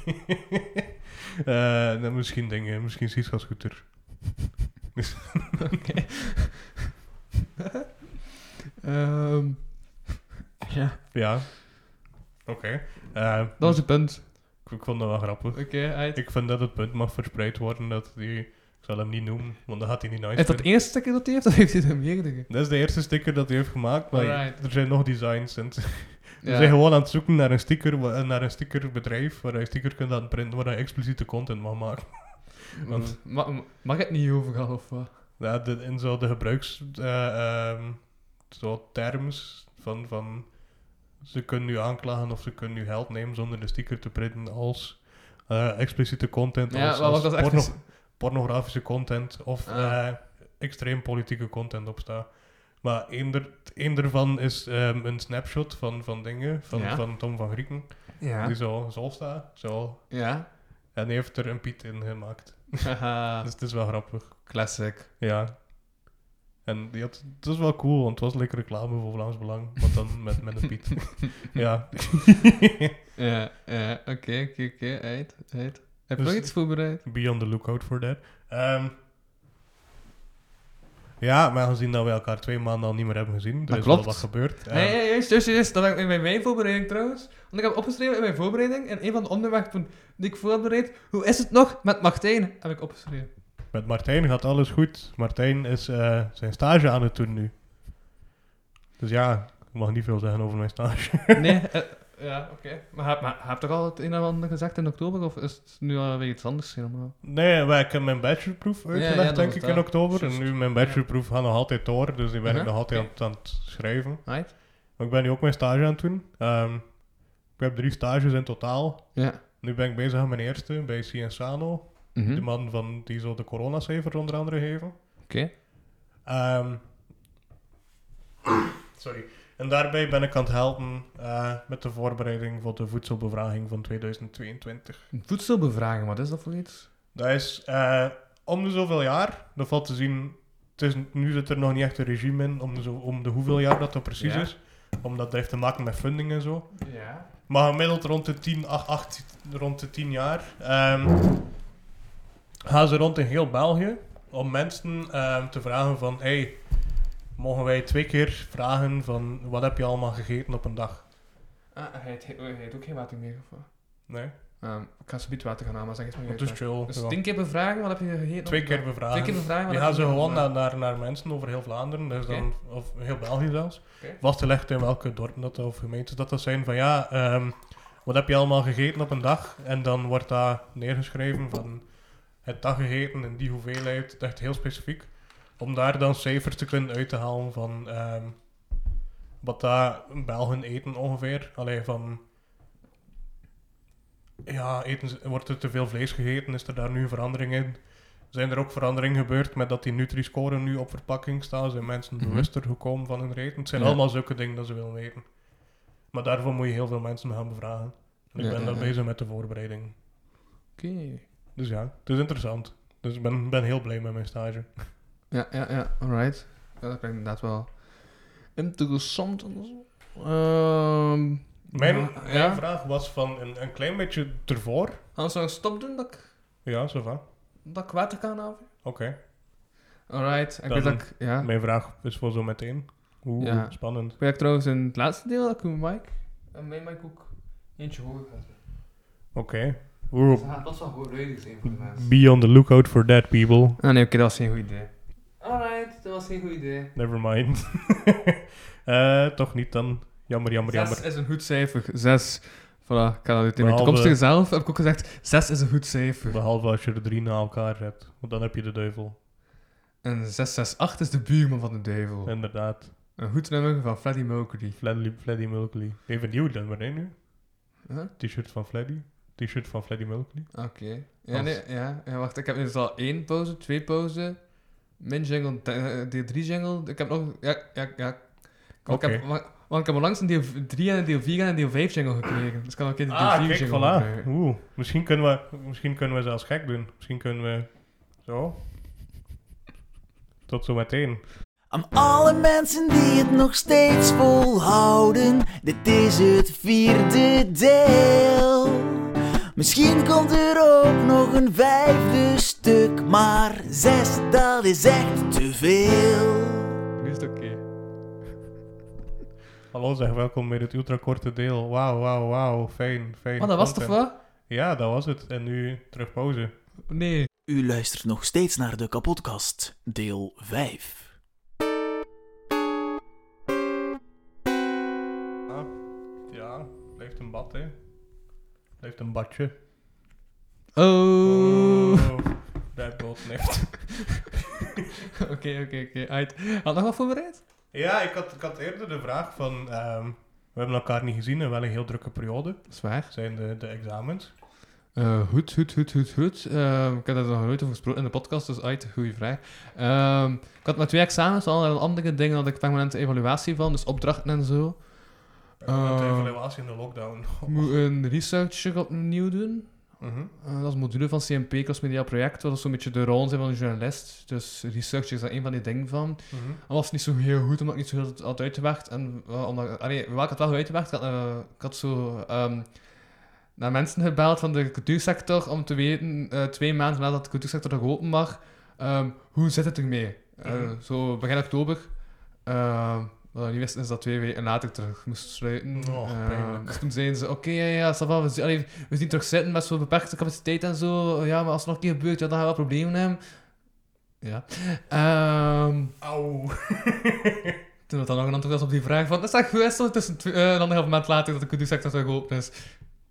[SPEAKER 2] Eh, nou, misschien dingen, misschien Siska Scooter.
[SPEAKER 5] Ehm, ja,
[SPEAKER 2] Ja. Oké. Eh,
[SPEAKER 5] dat was het punt.
[SPEAKER 2] ik, ik vond dat wel grappig.
[SPEAKER 5] Oké, uit.
[SPEAKER 2] Ik vind dat het punt mag verspreid worden dat die... Ik zal hem niet noemen, want dan gaat hij niet nice
[SPEAKER 5] Is dat het
[SPEAKER 2] vinden.
[SPEAKER 5] eerste sticker dat hij heeft of heeft hij er meerdere?
[SPEAKER 2] Dat is de eerste sticker dat hij heeft gemaakt, maar
[SPEAKER 5] Alright.
[SPEAKER 2] er zijn nog designs. En ze
[SPEAKER 5] Ja.
[SPEAKER 2] zijn gewoon aan het zoeken naar een, sticker, wa- eh, naar een stickerbedrijf waar je sticker kunt laten printen, waar je expliciete content mag maken. want-
[SPEAKER 5] Ma- ma- mag het niet overal of wat?
[SPEAKER 2] Ja, de, in zo de gebruiks... eh, ehm, zo terms van, van... Ze kunnen u aanklagen of ze kunnen u geld nemen zonder de sticker te printen als eh, expliciete content,
[SPEAKER 5] Ja,
[SPEAKER 2] als,
[SPEAKER 5] maar
[SPEAKER 2] als
[SPEAKER 5] wat dat echt
[SPEAKER 2] porno-
[SPEAKER 5] is-
[SPEAKER 2] pornografische content of
[SPEAKER 5] Ah.
[SPEAKER 2] eh, extreem politieke content opstaan. Maar één der- één daarvan is ehm, een snapshot van, van dingen, van,
[SPEAKER 5] Ja.
[SPEAKER 2] van Tom van Grieken,
[SPEAKER 5] Ja.
[SPEAKER 2] die zo, zo staat, zo.
[SPEAKER 5] Ja.
[SPEAKER 2] En die heeft er een Piet in gemaakt.
[SPEAKER 5] Haha,
[SPEAKER 2] Dus het is wel grappig.
[SPEAKER 5] classic.
[SPEAKER 2] Ja. En die had, het was wel cool, want het was lekker reclame voor Vlaams Belang. Maar dan met, met een Piet. ja.
[SPEAKER 5] Ja, ja, oké, oké, oké, uit, uit. Heb je
[SPEAKER 2] Dus-
[SPEAKER 5] nog iets voorbereid?
[SPEAKER 2] Be on the lookout for that. Ehm, ja, maar aangezien dat we elkaar twee maanden al niet meer hebben gezien, er
[SPEAKER 5] Dat
[SPEAKER 2] is wel
[SPEAKER 5] klopt.
[SPEAKER 2] wat gebeurd. Ehm,
[SPEAKER 5] Nee, nee, juist, juist, juist. Dat heb ik in mijn- mijn voorbereiding trouwens. Want ik heb opgeschreven in mijn voorbereiding, en een van de onderwerpen die ik voorbereid, hoe is het nog met Martijn, heb ik opgeschreven.
[SPEAKER 2] Met Martijn gaat alles goed. Martijn is eh, zijn stage aan het doen nu. Dus ja, ik mag niet veel zeggen over mijn stage.
[SPEAKER 5] Nee, eh, ja, oké. Maar heb- Maar heb je toch al het een en ander gezegd in oktober, of is het nu alweer iets anders helemaal?
[SPEAKER 2] nee, maar ik heb mijn bachelorproef uitgelegd,
[SPEAKER 5] ja, dat
[SPEAKER 2] denk
[SPEAKER 5] was
[SPEAKER 2] ik,
[SPEAKER 5] daar.
[SPEAKER 2] in oktober.
[SPEAKER 5] Juist. Uh-huh.
[SPEAKER 2] En nu mijn bachelorproef gaat nog altijd door, dus die ben ik
[SPEAKER 5] Aha,
[SPEAKER 2] nog altijd
[SPEAKER 5] oké.
[SPEAKER 2] aan, aan het schrijven.
[SPEAKER 5] Right?
[SPEAKER 2] Maar ik ben nu ook mijn stage aan het doen. Ehm, ik heb drie stages in totaal.
[SPEAKER 5] Ja. mhm.
[SPEAKER 2] Nu ben ik bezig aan mijn eerste bij Cienzano.
[SPEAKER 5] Hm?
[SPEAKER 2] De man van, die zo de coronacijfers onder andere geven.
[SPEAKER 5] Oké.
[SPEAKER 2] Ehm, sorry. En daarbij ben ik aan het helpen eh, met de voorbereiding voor de voedselbevraging van 2022.
[SPEAKER 5] Voedselbevragen, wat is dat voor iets?
[SPEAKER 2] Dat is eh, om de zoveel jaar, dat valt te zien, het is, nu zit er nog niet echt een regime in om de, zo, om de hoeveel jaar dat dat precies
[SPEAKER 5] Ja.
[SPEAKER 2] is. Omdat dat heeft te maken met funding en zo.
[SPEAKER 5] Ja.
[SPEAKER 2] Maar gemiddeld rond de 10, 8, 8, rond de 10 jaar ehm, gaan ze rond in heel België om mensen ehm, te vragen van hey, mogen wij twee keer vragen van wat heb je allemaal gegeten op een dag?
[SPEAKER 5] Ah, hij heet, hij heet ook geen water meer, of wat?
[SPEAKER 2] Nee?
[SPEAKER 5] Ehm, ik ga zo biet water gaan halen, maar zeg eens maar.
[SPEAKER 2] Dat is
[SPEAKER 5] je
[SPEAKER 2] chill.
[SPEAKER 5] dus
[SPEAKER 2] ja.
[SPEAKER 5] tien keer bevragen, wat heb je gegeten?
[SPEAKER 2] Twee
[SPEAKER 5] Of-
[SPEAKER 2] keer bevragen.
[SPEAKER 5] Twee keer bevragen. wat
[SPEAKER 2] Je
[SPEAKER 5] heb
[SPEAKER 2] gaat ze
[SPEAKER 5] gegeten?
[SPEAKER 2] gewoon naar, naar, naar mensen over heel Vlaanderen, dus dan, of heel België zelfs,
[SPEAKER 5] Oké.
[SPEAKER 2] vastgelegd in welke dorpen dat of gemeentes dat dat zijn. Van ja, ehm, wat heb je allemaal gegeten op een dag? En dan wordt daar neergeschreven van het daggegeten in die hoeveelheid, echt heel specifiek. Om daar dan cijfers te kunnen uit te halen van ehm, wat daar Belgen eten ongeveer. Alleen van. Ja, eten, ze- wordt er te veel vlees gegeten? Is er daar nu een verandering in? Zijn er ook veranderingen gebeurd met dat die Nutri-score nu op verpakking staat? Zijn mensen
[SPEAKER 5] Mhm.
[SPEAKER 2] bewuster gekomen van hun eten? Het zijn
[SPEAKER 5] Ja.
[SPEAKER 2] allemaal zulke dingen dat ze willen weten. Maar daarvoor moet je heel veel mensen gaan bevragen. En ik
[SPEAKER 5] Ja,
[SPEAKER 2] ben
[SPEAKER 5] ja,
[SPEAKER 2] daar
[SPEAKER 5] ja.
[SPEAKER 2] bezig met de voorbereiding.
[SPEAKER 5] Oké.
[SPEAKER 2] Dus ja, het is interessant. Dus ik ben, ben heel blij met mijn stage.
[SPEAKER 5] Ja, ja, ja, alright. Ja, dat klinkt inderdaad wel interessant. en zo. Ehm
[SPEAKER 2] Mijn,
[SPEAKER 5] ja,
[SPEAKER 2] mijn
[SPEAKER 5] ja.
[SPEAKER 2] vraag was van een, een klein beetje ervoor.
[SPEAKER 5] Anders zou ik stop doen dat ik,
[SPEAKER 2] Ja, zo va. Oké.
[SPEAKER 5] dat ik water kan halen. Alright, ik
[SPEAKER 2] Dan-
[SPEAKER 5] weet dat ik, ja.
[SPEAKER 2] Mijn vraag is voor zo meteen. Oeh,
[SPEAKER 5] Ja.
[SPEAKER 2] spannend.
[SPEAKER 5] Ik weet dat ik trouwens in het laatste deel dat ik met Mike en mijn Mike ook eentje hoger kan zijn.
[SPEAKER 2] Oké. Oeh,
[SPEAKER 5] Ja, dat zou gewoon leuk zijn voor de mensen.
[SPEAKER 2] Be on the lookout for that, people.
[SPEAKER 5] Ah nee, oké, dat was geen goed idee. Alright, dat was geen goed idee.
[SPEAKER 2] Never mind. Eh, toch niet dan. Jammer, jammer,
[SPEAKER 5] Zes
[SPEAKER 2] jammer.
[SPEAKER 5] is een goed cijfer. Zes. Voilà, ik kan dat in mijn
[SPEAKER 2] Behalve-
[SPEAKER 5] toekomstige zelf heb ik ook gezegd, zes is een goed cijfer.
[SPEAKER 2] Behalve als je er drie na elkaar hebt. Want dan heb je de duivel.
[SPEAKER 5] En 668 is de buurman van de duivel.
[SPEAKER 2] Inderdaad.
[SPEAKER 5] Een goed nummer van Freddie Mercury.
[SPEAKER 2] Fleddy, Fleddy Mulkley. Even nieuw dan, maar nu?
[SPEAKER 5] Huh? Ah,
[SPEAKER 2] T-shirt van Fleddy. T-shirt van Fleddy Mulkley.
[SPEAKER 5] Oké. Ja,
[SPEAKER 2] Als-
[SPEAKER 5] nee, ja. ja, wacht. Ik heb nu dus al één pauze, twee pauze, min jingle, de- eh, deel 3 jingle. Ik heb nog... Ja, ja, ja. Want
[SPEAKER 2] Oké.
[SPEAKER 5] Ik heb, wa- want ik heb al langs een deel 3 en een deel 4 en een deel 5 jingle gekregen. Dus ik kan ook een keer de deel
[SPEAKER 2] Ah,
[SPEAKER 5] 4
[SPEAKER 2] kijk,
[SPEAKER 5] jingle
[SPEAKER 2] voilà.
[SPEAKER 5] gebruiken.
[SPEAKER 2] Oeh, misschien kunnen, we, misschien kunnen we zelfs gek doen. Misschien kunnen we... Zo. Tot zo meteen.
[SPEAKER 4] Aan alle mensen die het nog steeds volhouden, dit is het vierde deel. Misschien komt er ook nog een vijfde stuk, maar zes, dat is echt te veel.
[SPEAKER 5] Nu is het oké.
[SPEAKER 2] Hallo zeg, welkom bij het ultrakorte deel. Wauw, wauw, wauw. Fijn, fijn.
[SPEAKER 5] Maar Oh, dat was toch
[SPEAKER 2] content.
[SPEAKER 5] wat?
[SPEAKER 2] Ja, dat was het. En nu terug pauze.
[SPEAKER 5] Nee.
[SPEAKER 4] U luistert nog steeds naar de kapotkast, deel 5.
[SPEAKER 2] Ja, blijft een bad, hè. Blijft een badje.
[SPEAKER 5] Oh.
[SPEAKER 2] Red Bull Nift.
[SPEAKER 5] Oké, oké, oké. Uit. Had nog wat voorbereid?
[SPEAKER 2] Ja, ik had, ik had eerder de vraag van... ehm, we hebben elkaar niet gezien in wel een heel drukke periode.
[SPEAKER 5] Zwaar.
[SPEAKER 2] Zijn de, de examens.
[SPEAKER 5] Eh goed, goed, goed, goed, goed. Ehm, ik heb daar nog nooit over gesproken in de podcast, dus uit, goede vraag. Ehm, ik had maar twee examens, al andere dingen had ik permanente evaluatie van, dus opdrachten en zo.
[SPEAKER 2] de
[SPEAKER 5] Ehm,
[SPEAKER 2] evaluatie in de lockdown.
[SPEAKER 5] ik moet een research opnieuw doen.
[SPEAKER 2] Mhm.
[SPEAKER 5] Eh, dat is een module van CMP, crossmedia project, wat zo'n beetje de rol zijn van een journalist. Dus research is daar een van die dingen van.
[SPEAKER 2] Mhm.
[SPEAKER 5] Dat was niet zo heel goed, omdat ik niet zo heel had uitgewerkt. En, eh, omdat, allee, wel, ik had wel uitgewerkt. Ik had, eh, ik had zo ehm, naar mensen gebeld van de cultuursector om te weten, eh, twee maanden nadat de cultuursector nog open mag, ehm, hoe zit het ermee? Eh,
[SPEAKER 2] Mhm.
[SPEAKER 5] Zo begin oktober. Ehm, wat ik niet wist, is dat twee weken later terug moest sluiten.
[SPEAKER 2] Och,
[SPEAKER 5] Ehm,
[SPEAKER 2] pijnlijk.
[SPEAKER 5] dus toen zeiden ze, oké, ja, ja, ça va, we, zien- allee, we zien terug zitten met zo'n beperkte capaciteit en zo. Ja, maar als het nog een keer gebeurt, ja, dan gaan we wel problemen hebben. Ja. Ehm,
[SPEAKER 2] Auw.
[SPEAKER 5] toen dat dan nog een antwoord was op die vraag van... Dat is dat gewisseld tussen tw- eh, een anderhalf maand later dat de cultuursector terug open is.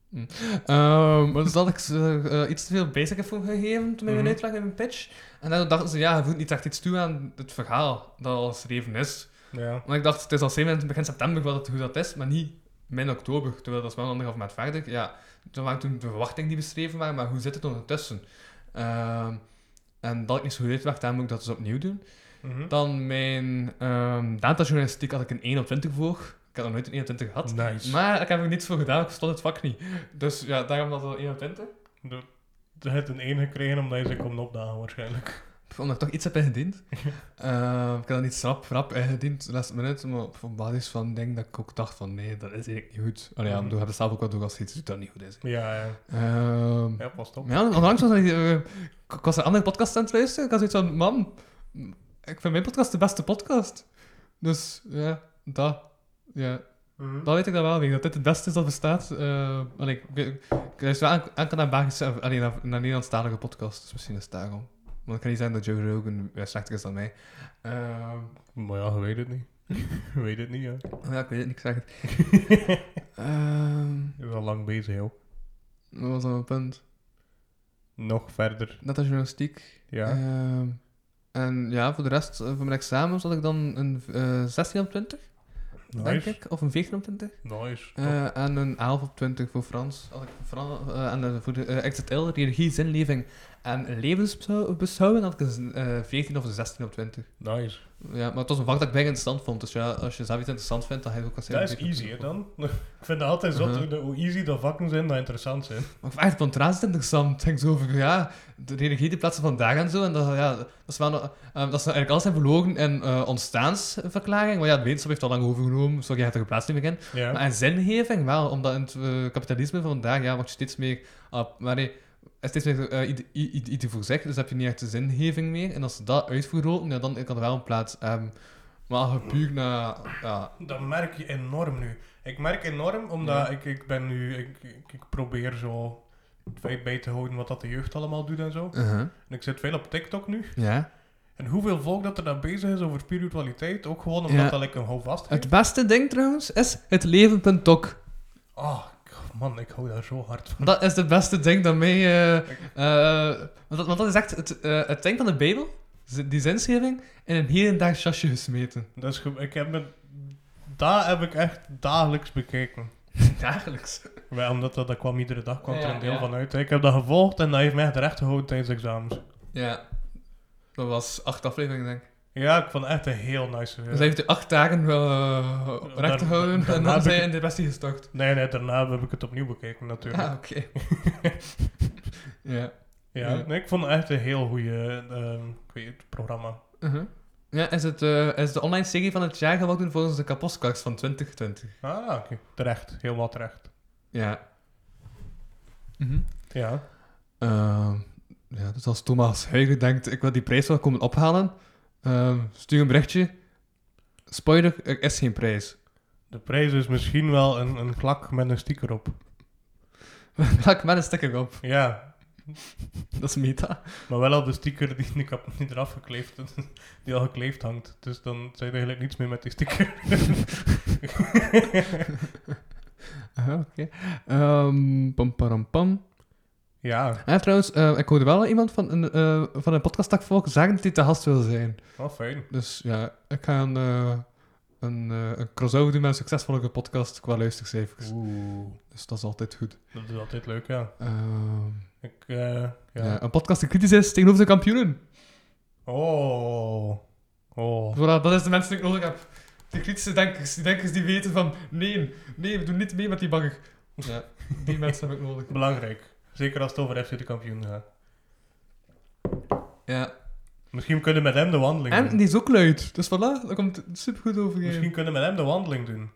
[SPEAKER 5] Hm. Ehm, maar dus dat ik ze, eh, iets te veel basic heb voor gegeven toen met mijn
[SPEAKER 2] Mhm.
[SPEAKER 5] uitleg en mijn pitch. En daardoor dachten ze, ja, je voegt niet echt iets toe aan het verhaal dat al geschreven is.
[SPEAKER 2] Ja.
[SPEAKER 5] Want ik dacht, het is al zeven in begin september wat het, hoe dat is, maar niet min oktober. Terwijl dat is wel een anderhalf maand verder. Ja, toen waren toen de verwachtingen die beschreven waren, maar hoe zit het ondertussen? Ehm, en dat ik niet zo goed uitleg, dan moet ik dat dus opnieuw doen.
[SPEAKER 2] Mhm.
[SPEAKER 5] Dan mijn ehm datajournalistiek had ik een 1 op 20 voor. Ik had nog nooit een 1 op 20 gehad.
[SPEAKER 2] Nice.
[SPEAKER 5] Maar ik heb er niets voor gedaan, ik verstond het vak niet. Dus ja, daarom dat een 1 op 20.
[SPEAKER 2] De- Je hebt een 1 gekregen omdat je ze kon opdagen waarschijnlijk.
[SPEAKER 5] Pff, Omdat ik toch iets heb ingediend. Ehm, ik had dat niet snap, rap ingediend, last minute. Maar op op basis van denk dat ik ook dacht van nee, dat is eigenlijk niet goed. Oh ja,
[SPEAKER 2] Mhm.
[SPEAKER 5] ik heb het zelf ook wel door als iets doet dat niet goed is.
[SPEAKER 2] Ja, ja.
[SPEAKER 5] Ehm,
[SPEAKER 2] Ja, pas op.
[SPEAKER 5] Maar Ja, onlangs was ik, eh, ik ik was een andere podcast aan het luisteren. Ik had zoiets van, mam, ik vind mijn podcast de beste podcast. Dus ja, dat. Ja,
[SPEAKER 2] Mhm.
[SPEAKER 5] Dat weet ik dan wel weer, dat dit het beste is dat bestaat. Eh, want ik, ik, ik luister wel enkel- enkel naar Belgische, of, allee, naar, naar Nederlandstalige podcasts, dus misschien is het daarom. Want ik kan niet zeggen dat Joe Rogan eh, slechter is dan mij. Ehm,
[SPEAKER 2] Maar ja, je weet het niet. je weet het niet, ja.
[SPEAKER 5] ja, ik weet het niet, ik zeg het. Ehm,
[SPEAKER 2] Je is al lang bezig, joh.
[SPEAKER 5] wat was dan mijn punt?
[SPEAKER 2] Nog verder.
[SPEAKER 5] Net als journalistiek.
[SPEAKER 2] Ja.
[SPEAKER 5] Ehm, en ja, voor de rest eh, van mijn examen zat ik dan een eh, 16 op 20, denk
[SPEAKER 2] Nice.
[SPEAKER 5] ik. Of een 14 op 20.
[SPEAKER 2] Nice.
[SPEAKER 5] Eh, en een 11 op 20 voor Frans. Had ik Fran- eh, en eh, voor de eh, XZL, regie, zinleving en levensbeschouwing had ik een eh, 14 of een 16 op 20.
[SPEAKER 2] Nice.
[SPEAKER 5] Ja, maar het was een vak dat ik bijna interessant vond. Dus ja, als je zelf iets interessant vindt, dan ga je het ook als
[SPEAKER 2] Dat is easy, hè, dan. ik vind het altijd zot
[SPEAKER 5] Uh-huh.
[SPEAKER 2] hoe- hoe easy dat vakken zijn, dat interessant zijn.
[SPEAKER 5] Maar echt, het contrast is interessant. Ik denk zo over, ja, de religie, de plaatsen vandaag en zo. En dat, ja, dat is wel, nog- eh, dat is nou eigenlijk alles zijn verlogen in eh, ontstaansverklaring. Maar ja, het wetenschap heeft al lang overgenomen. Sorry, je hebt er geplaatst niet meer in.
[SPEAKER 2] Ja.
[SPEAKER 5] Maar in zingeving wel, omdat in het eh, kapitalisme van vandaag ja, wordt je steeds meer. ah, maar nee, er steeds meer eh, ide- i- i- iets voor zeg, dus heb je niet echt de zingeving meer. En als ze dat uitvergroten, ja, dan kan er wel een plaats hebben. Maar als je puur naar. Ja,
[SPEAKER 2] Dat merk je enorm nu. Ik merk enorm, omdat ik, ik ben nu... Ik, ik, ik probeer zo het feit bij te houden wat dat de jeugd allemaal doet en zo. En ik zit veel op TikTok nu.
[SPEAKER 5] Uh-huh. ja.
[SPEAKER 2] En hoeveel volk dat er daar bezig is over spiritualiteit. Ook gewoon omdat
[SPEAKER 5] Ja.
[SPEAKER 2] dat like, een houvast heeft.
[SPEAKER 5] Het beste ding trouwens is het leven.tok.
[SPEAKER 2] Ah, k- man, ik hou daar zo hard van.
[SPEAKER 5] Dat is het beste ding dat mij. eh, eh, want, dat, want dat is echt het, eh, het ding van de Bijbel, z- die zinscheving, in een hedendaags jasje gesmeten.
[SPEAKER 2] Dat is Dus ge- ik heb me, daar heb ik echt dagelijks bekeken.
[SPEAKER 5] Dagelijks.
[SPEAKER 2] Wel, omdat dat, dat kwam iedere dag kwam er
[SPEAKER 5] Ja,
[SPEAKER 2] een deel
[SPEAKER 5] ja.
[SPEAKER 2] van uit. Ik heb dat gevolgd en dat heeft mij echt recht gehouden tijdens examens.
[SPEAKER 5] Ja. Dat was acht afleveringen, denk ik.
[SPEAKER 2] Ja, ik vond het echt een heel nice eh, serie.
[SPEAKER 5] Dus hij heeft die acht dagen wel eh, recht
[SPEAKER 2] Daar-
[SPEAKER 5] gehouden en
[SPEAKER 2] daarna
[SPEAKER 5] dan
[SPEAKER 2] heb
[SPEAKER 5] zijn
[SPEAKER 2] ik-
[SPEAKER 5] hij in depressie gestort.
[SPEAKER 2] Nee, nee, daarna heb ik het opnieuw bekeken natuurlijk.
[SPEAKER 5] Ah,
[SPEAKER 2] Ja,
[SPEAKER 5] oké. ja. ja.
[SPEAKER 2] Nee, ik vond het echt een heel goede ik weet het, programma.
[SPEAKER 5] Mhm. Ja, is, het, eh, is de online serie van het jaar geworden volgens de kapotkast van 2020.
[SPEAKER 2] Ah, oké. Terecht. Helemaal terecht.
[SPEAKER 5] Ja. Mhm.
[SPEAKER 2] Ja.
[SPEAKER 5] Ehm, ja, dus als Thomas Huygen denkt, ik wil die prijs wel komen ophalen, ehm, stuur een berichtje. Spoiler, er is geen prijs.
[SPEAKER 2] De prijs is misschien wel een, een klak met een sticker op.
[SPEAKER 5] Maak maar een sticker op.
[SPEAKER 2] Ja,
[SPEAKER 5] Dat is meta.
[SPEAKER 2] maar wel op de sticker die, ik heb niet eraf gekleefd, die al gekleefd hangt. Dus dan zijn er eigenlijk niets meer met die sticker.
[SPEAKER 5] Aha, Oké. Ehm, pam, param, pam.
[SPEAKER 2] ja,
[SPEAKER 5] Ja, trouwens, eh, ik hoorde wel iemand van een, eh van een podcasttakvolk zeggen dat hij te gast wil zijn.
[SPEAKER 2] wel fijn.
[SPEAKER 5] Dus ja, ik ga een, eh, een, eh, een crossover doen met een succesvolle podcast qua luistercijfers.
[SPEAKER 2] Oeh.
[SPEAKER 5] Dus dat is altijd goed.
[SPEAKER 2] Dat is altijd leuk, ja.
[SPEAKER 5] Ehm,
[SPEAKER 2] Ik, eh,
[SPEAKER 5] ja.
[SPEAKER 2] ja.
[SPEAKER 5] een podcast die kritisch is tegenover de kampioenen.
[SPEAKER 2] Oh. Oh.
[SPEAKER 5] Voilà, dat is de mensen die ik nodig heb. De kritische denkers, die denkers die weten van nee, nee, we doen niet mee met die bagger. Ja, die mensen heb ik nodig.
[SPEAKER 2] Belangrijk. Zeker als het over FC de kampioen gaat.
[SPEAKER 5] Ja.
[SPEAKER 2] Misschien kunnen we met hem de wandeling
[SPEAKER 5] En
[SPEAKER 2] doen.
[SPEAKER 5] die is ook luid, dus voilà, daar komt het supergoed overheen.
[SPEAKER 2] Misschien kunnen we met hem de wandeling doen.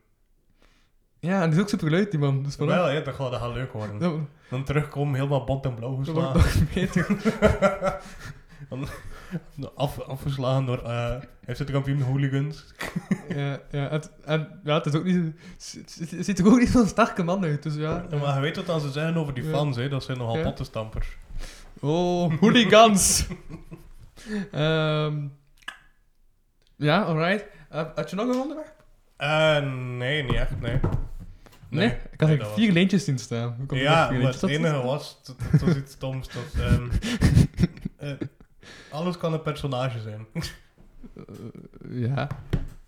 [SPEAKER 5] Ja, en die is ook superluid, die man, dus voilà.
[SPEAKER 2] Wel, ja, dat gaat, dat gaat leuk worden.
[SPEAKER 5] Dan-
[SPEAKER 2] Dan terugkomen, helemaal bont en blauw
[SPEAKER 5] dan wordt
[SPEAKER 2] geslagen.
[SPEAKER 5] het nog beter.
[SPEAKER 2] Af, afgeslagen door eh FC de kampioen hooligans.
[SPEAKER 5] Ja, ja, het, en ja, het is ook niet... Het het- het ziet er ook niet zo'n sterke man uit, dus ja.
[SPEAKER 2] Ja, maar je weet wat dan ze zeggen over die
[SPEAKER 5] Ja.
[SPEAKER 2] fans, hè? dat zijn nogal
[SPEAKER 5] Ja.
[SPEAKER 2] pottenstampers.
[SPEAKER 5] Oh, hooligans! Ehm, ja, alright. Eh, had je nog een onderwerp?
[SPEAKER 2] Eh, nee, niet echt, nee.
[SPEAKER 5] Nee, ik had
[SPEAKER 2] nee,
[SPEAKER 5] er
[SPEAKER 2] dat was-
[SPEAKER 5] vier leentjes in staan. Hoe komt er nog
[SPEAKER 2] Ja,
[SPEAKER 5] vier
[SPEAKER 2] maar
[SPEAKER 5] leentjes?
[SPEAKER 2] het
[SPEAKER 5] Dat is-
[SPEAKER 2] enige was, dat- dat was iets stoms. Dat, ehm, eh, alles kan een personage zijn.
[SPEAKER 5] Ja,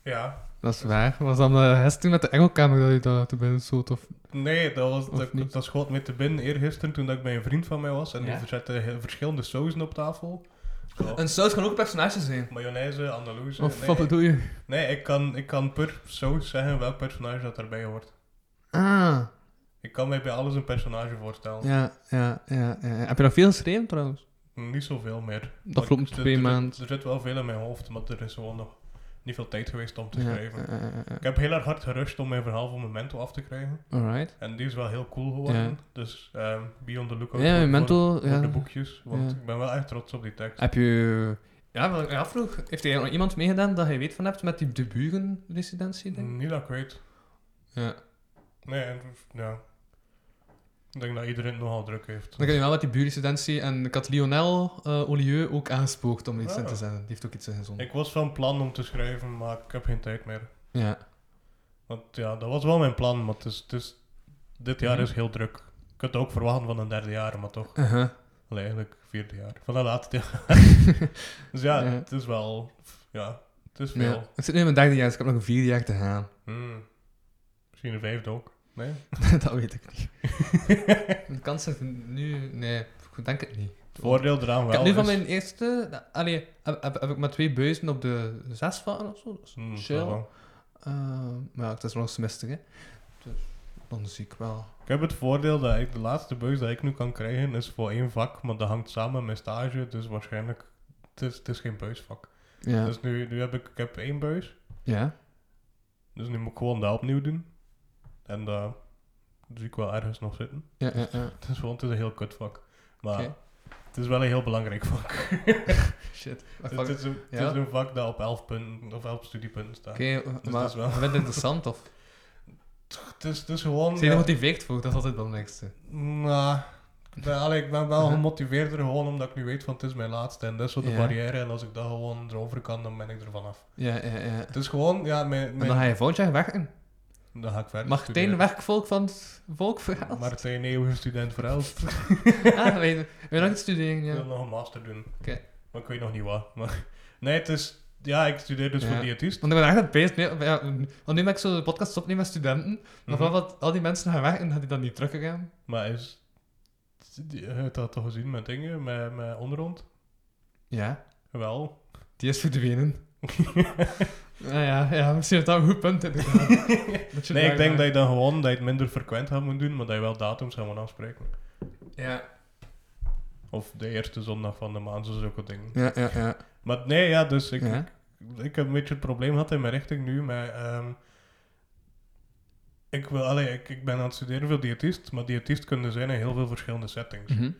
[SPEAKER 2] ja.
[SPEAKER 5] dat is waar. Was dan de rest toen met de engelkamer dat je daar te binnen stoot? Of...
[SPEAKER 2] Nee, dat, was,
[SPEAKER 5] Of niet?
[SPEAKER 2] dat, dat schoot me te binnen eergisteren toen dat ik bij een vriend van mij was. En
[SPEAKER 5] Ja?
[SPEAKER 2] die zette heel- verschillende sauzen op tafel. Zo,
[SPEAKER 5] Een saus kan ook een personage zijn.
[SPEAKER 2] mayonaise, andalouse.
[SPEAKER 5] Of
[SPEAKER 2] nee,
[SPEAKER 5] wat bedoel je?
[SPEAKER 2] nee ik, kan, ik kan per saus zeggen welk personage dat erbij hoort.
[SPEAKER 5] Ah,
[SPEAKER 2] Ik kan mij bij alles een personage voorstellen.
[SPEAKER 5] ja, ja, ja. ja. Heb je nog veel geschreven trouwens?
[SPEAKER 2] Niet zoveel meer.
[SPEAKER 5] De
[SPEAKER 2] Maar
[SPEAKER 5] afgelopen
[SPEAKER 2] er- er-
[SPEAKER 5] twee
[SPEAKER 2] er-
[SPEAKER 5] maanden.
[SPEAKER 2] Er zit wel veel in mijn hoofd, maar er is gewoon nog niet veel tijd geweest om te
[SPEAKER 5] Ja,
[SPEAKER 2] schrijven.
[SPEAKER 5] eh, eh, eh, eh.
[SPEAKER 2] Ik heb heel erg hard gerust om mijn verhaal van Memento af te krijgen.
[SPEAKER 5] Alright.
[SPEAKER 2] En die is wel heel cool geworden.
[SPEAKER 5] Ja.
[SPEAKER 2] Dus ehm be on the lookout
[SPEAKER 5] Ja,
[SPEAKER 2] voor,
[SPEAKER 5] Memento,
[SPEAKER 2] voor
[SPEAKER 5] ja.
[SPEAKER 2] de boekjes. Want
[SPEAKER 5] Ja.
[SPEAKER 2] ik ben wel echt trots op die tekst.
[SPEAKER 5] Heb je... Ja, wat ik me afvroeg,
[SPEAKER 2] Mm.
[SPEAKER 5] heeft er nog iemand meegedaan dat je weet van hebt met die de burenresidentie, denk ik?
[SPEAKER 2] Niet dat ik weet.
[SPEAKER 5] Ja.
[SPEAKER 2] Nee, en- ja. Ik denk dat iedereen het nogal druk heeft.
[SPEAKER 5] Dan kan je wel met die buurjurisprudentie. En ik had Lionel eh Olieu ook aangespoord om iets
[SPEAKER 2] Ah.
[SPEAKER 5] in te zetten. Die heeft ook iets ingezonden.
[SPEAKER 2] Ik was van plan om te schrijven, maar ik heb geen tijd meer.
[SPEAKER 5] Ja.
[SPEAKER 2] Want ja, dat was wel mijn plan, maar het is, het is, dit jaar
[SPEAKER 5] Mhm.
[SPEAKER 2] is heel druk. Ik had het ook verwachten van een derde jaar, maar toch.
[SPEAKER 5] Uh-huh.
[SPEAKER 2] Allee, eigenlijk vierde jaar. Van de laatste jaar. dus ja,
[SPEAKER 5] Ja.
[SPEAKER 2] het is wel... Ja, het is veel.
[SPEAKER 5] Ja. Ik zit nu in mijn derde jaar, dus ik heb nog een vier jaar te gaan.
[SPEAKER 2] Hmm. Misschien een vijfde ook. Nee?
[SPEAKER 5] dat weet ik niet. De kans is nu... Nee, ik denk het niet.
[SPEAKER 2] Het voordeel eraan wel dus.
[SPEAKER 5] Ik heb nu van
[SPEAKER 2] is-
[SPEAKER 5] mijn eerste... da- Allee, heb, heb, heb ik maar twee buizen op de zes van of zo. Dus
[SPEAKER 2] Hmm,
[SPEAKER 5] chill.
[SPEAKER 2] dat wel.
[SPEAKER 5] Eh, maar ja, het is nog een semester, hè. Dus dan zie ik wel...
[SPEAKER 2] Ik heb het voordeel dat ik de laatste buis dat ik nu kan krijgen is voor één vak, maar dat hangt samen met mijn stage, dus waarschijnlijk het is het is geen buisvak.
[SPEAKER 5] Ja.
[SPEAKER 2] Dus nu, nu heb ik, ik heb één buis,
[SPEAKER 5] ja.
[SPEAKER 2] dus nu moet ik gewoon dat opnieuw doen. En eh, dat zie ik wel ergens nog zitten.
[SPEAKER 5] Ja, ja, ja.
[SPEAKER 2] Het is gewoon het is een heel kut vak. Maar
[SPEAKER 5] Oké.
[SPEAKER 2] het is wel een heel belangrijk vak.
[SPEAKER 5] Shit.
[SPEAKER 2] Het is, een, het
[SPEAKER 5] Ja.
[SPEAKER 2] is een vak dat op 11 punten of 11 studiepunten staat.
[SPEAKER 5] Oké, maar
[SPEAKER 2] dat is wel-
[SPEAKER 5] vind je het interessant, of?
[SPEAKER 2] Het, is, het is gewoon.
[SPEAKER 5] Zijn je er
[SPEAKER 2] ja,
[SPEAKER 5] gemotiveerd voor? Dat is altijd het belangrijkste.
[SPEAKER 2] Nou, ik ben, allee, ik ben wel
[SPEAKER 5] Mhm.
[SPEAKER 2] gemotiveerder gewoon omdat ik nu weet van het is mijn laatste en dat is zo de
[SPEAKER 5] Ja.
[SPEAKER 2] barrière en als ik dat gewoon erover kan, dan ben ik er vanaf.
[SPEAKER 5] Ja, ja, ja.
[SPEAKER 2] Het is gewoon, ja, mijn...
[SPEAKER 5] En
[SPEAKER 2] mijn
[SPEAKER 5] dan ga je volgend jaar werken.
[SPEAKER 2] dan ga ik verder
[SPEAKER 5] Martijn
[SPEAKER 2] studeren.
[SPEAKER 5] Werkvolk van het Volk verhaal.
[SPEAKER 2] Martijn, eeuwige student voor elf.
[SPEAKER 5] Ah, weet je, wil je nog iets studeren?
[SPEAKER 2] Ik wil
[SPEAKER 5] Ja.
[SPEAKER 2] nog een master doen.
[SPEAKER 5] Oké.
[SPEAKER 2] Maar ik weet nog niet wat. Maar, nee, het is... Ja, ik studeer dus
[SPEAKER 5] Ja.
[SPEAKER 2] voor diëtist.
[SPEAKER 5] Want ik ben echt bezig mee. ja, Want nu ben ik zo de podcast opnemen met studenten. Maar
[SPEAKER 2] Mhm.
[SPEAKER 5] van wat al die mensen gaan werken, gaat die dan niet teruggegaan?
[SPEAKER 2] Maar is... Je hebt dat toch gezien met dingen, met, met onderhand?
[SPEAKER 5] Ja,
[SPEAKER 2] Wel.
[SPEAKER 5] die is verdwenen. nou ja, ja, misschien is dat een goed punt. inderdaad. Dat je
[SPEAKER 2] Nee, ik
[SPEAKER 5] daar-
[SPEAKER 2] denk dat je dan gewoon dat je het minder frequent gaat moeten doen, maar dat je wel datums gaat moeten afspreken.
[SPEAKER 5] Ja,
[SPEAKER 2] Of de eerste zondag van de maand, zo zulke dingen.
[SPEAKER 5] ja, ja. ja.
[SPEAKER 2] Maar nee, ja, dus ik,
[SPEAKER 5] Ja.
[SPEAKER 2] ik, ik heb een beetje het probleem gehad in mijn richting nu, maar ehm, ik, wil, allee, ik, ik ben aan het studeren voor diëtist, maar diëtist kunnen zijn in heel veel verschillende settings.
[SPEAKER 5] Mhm.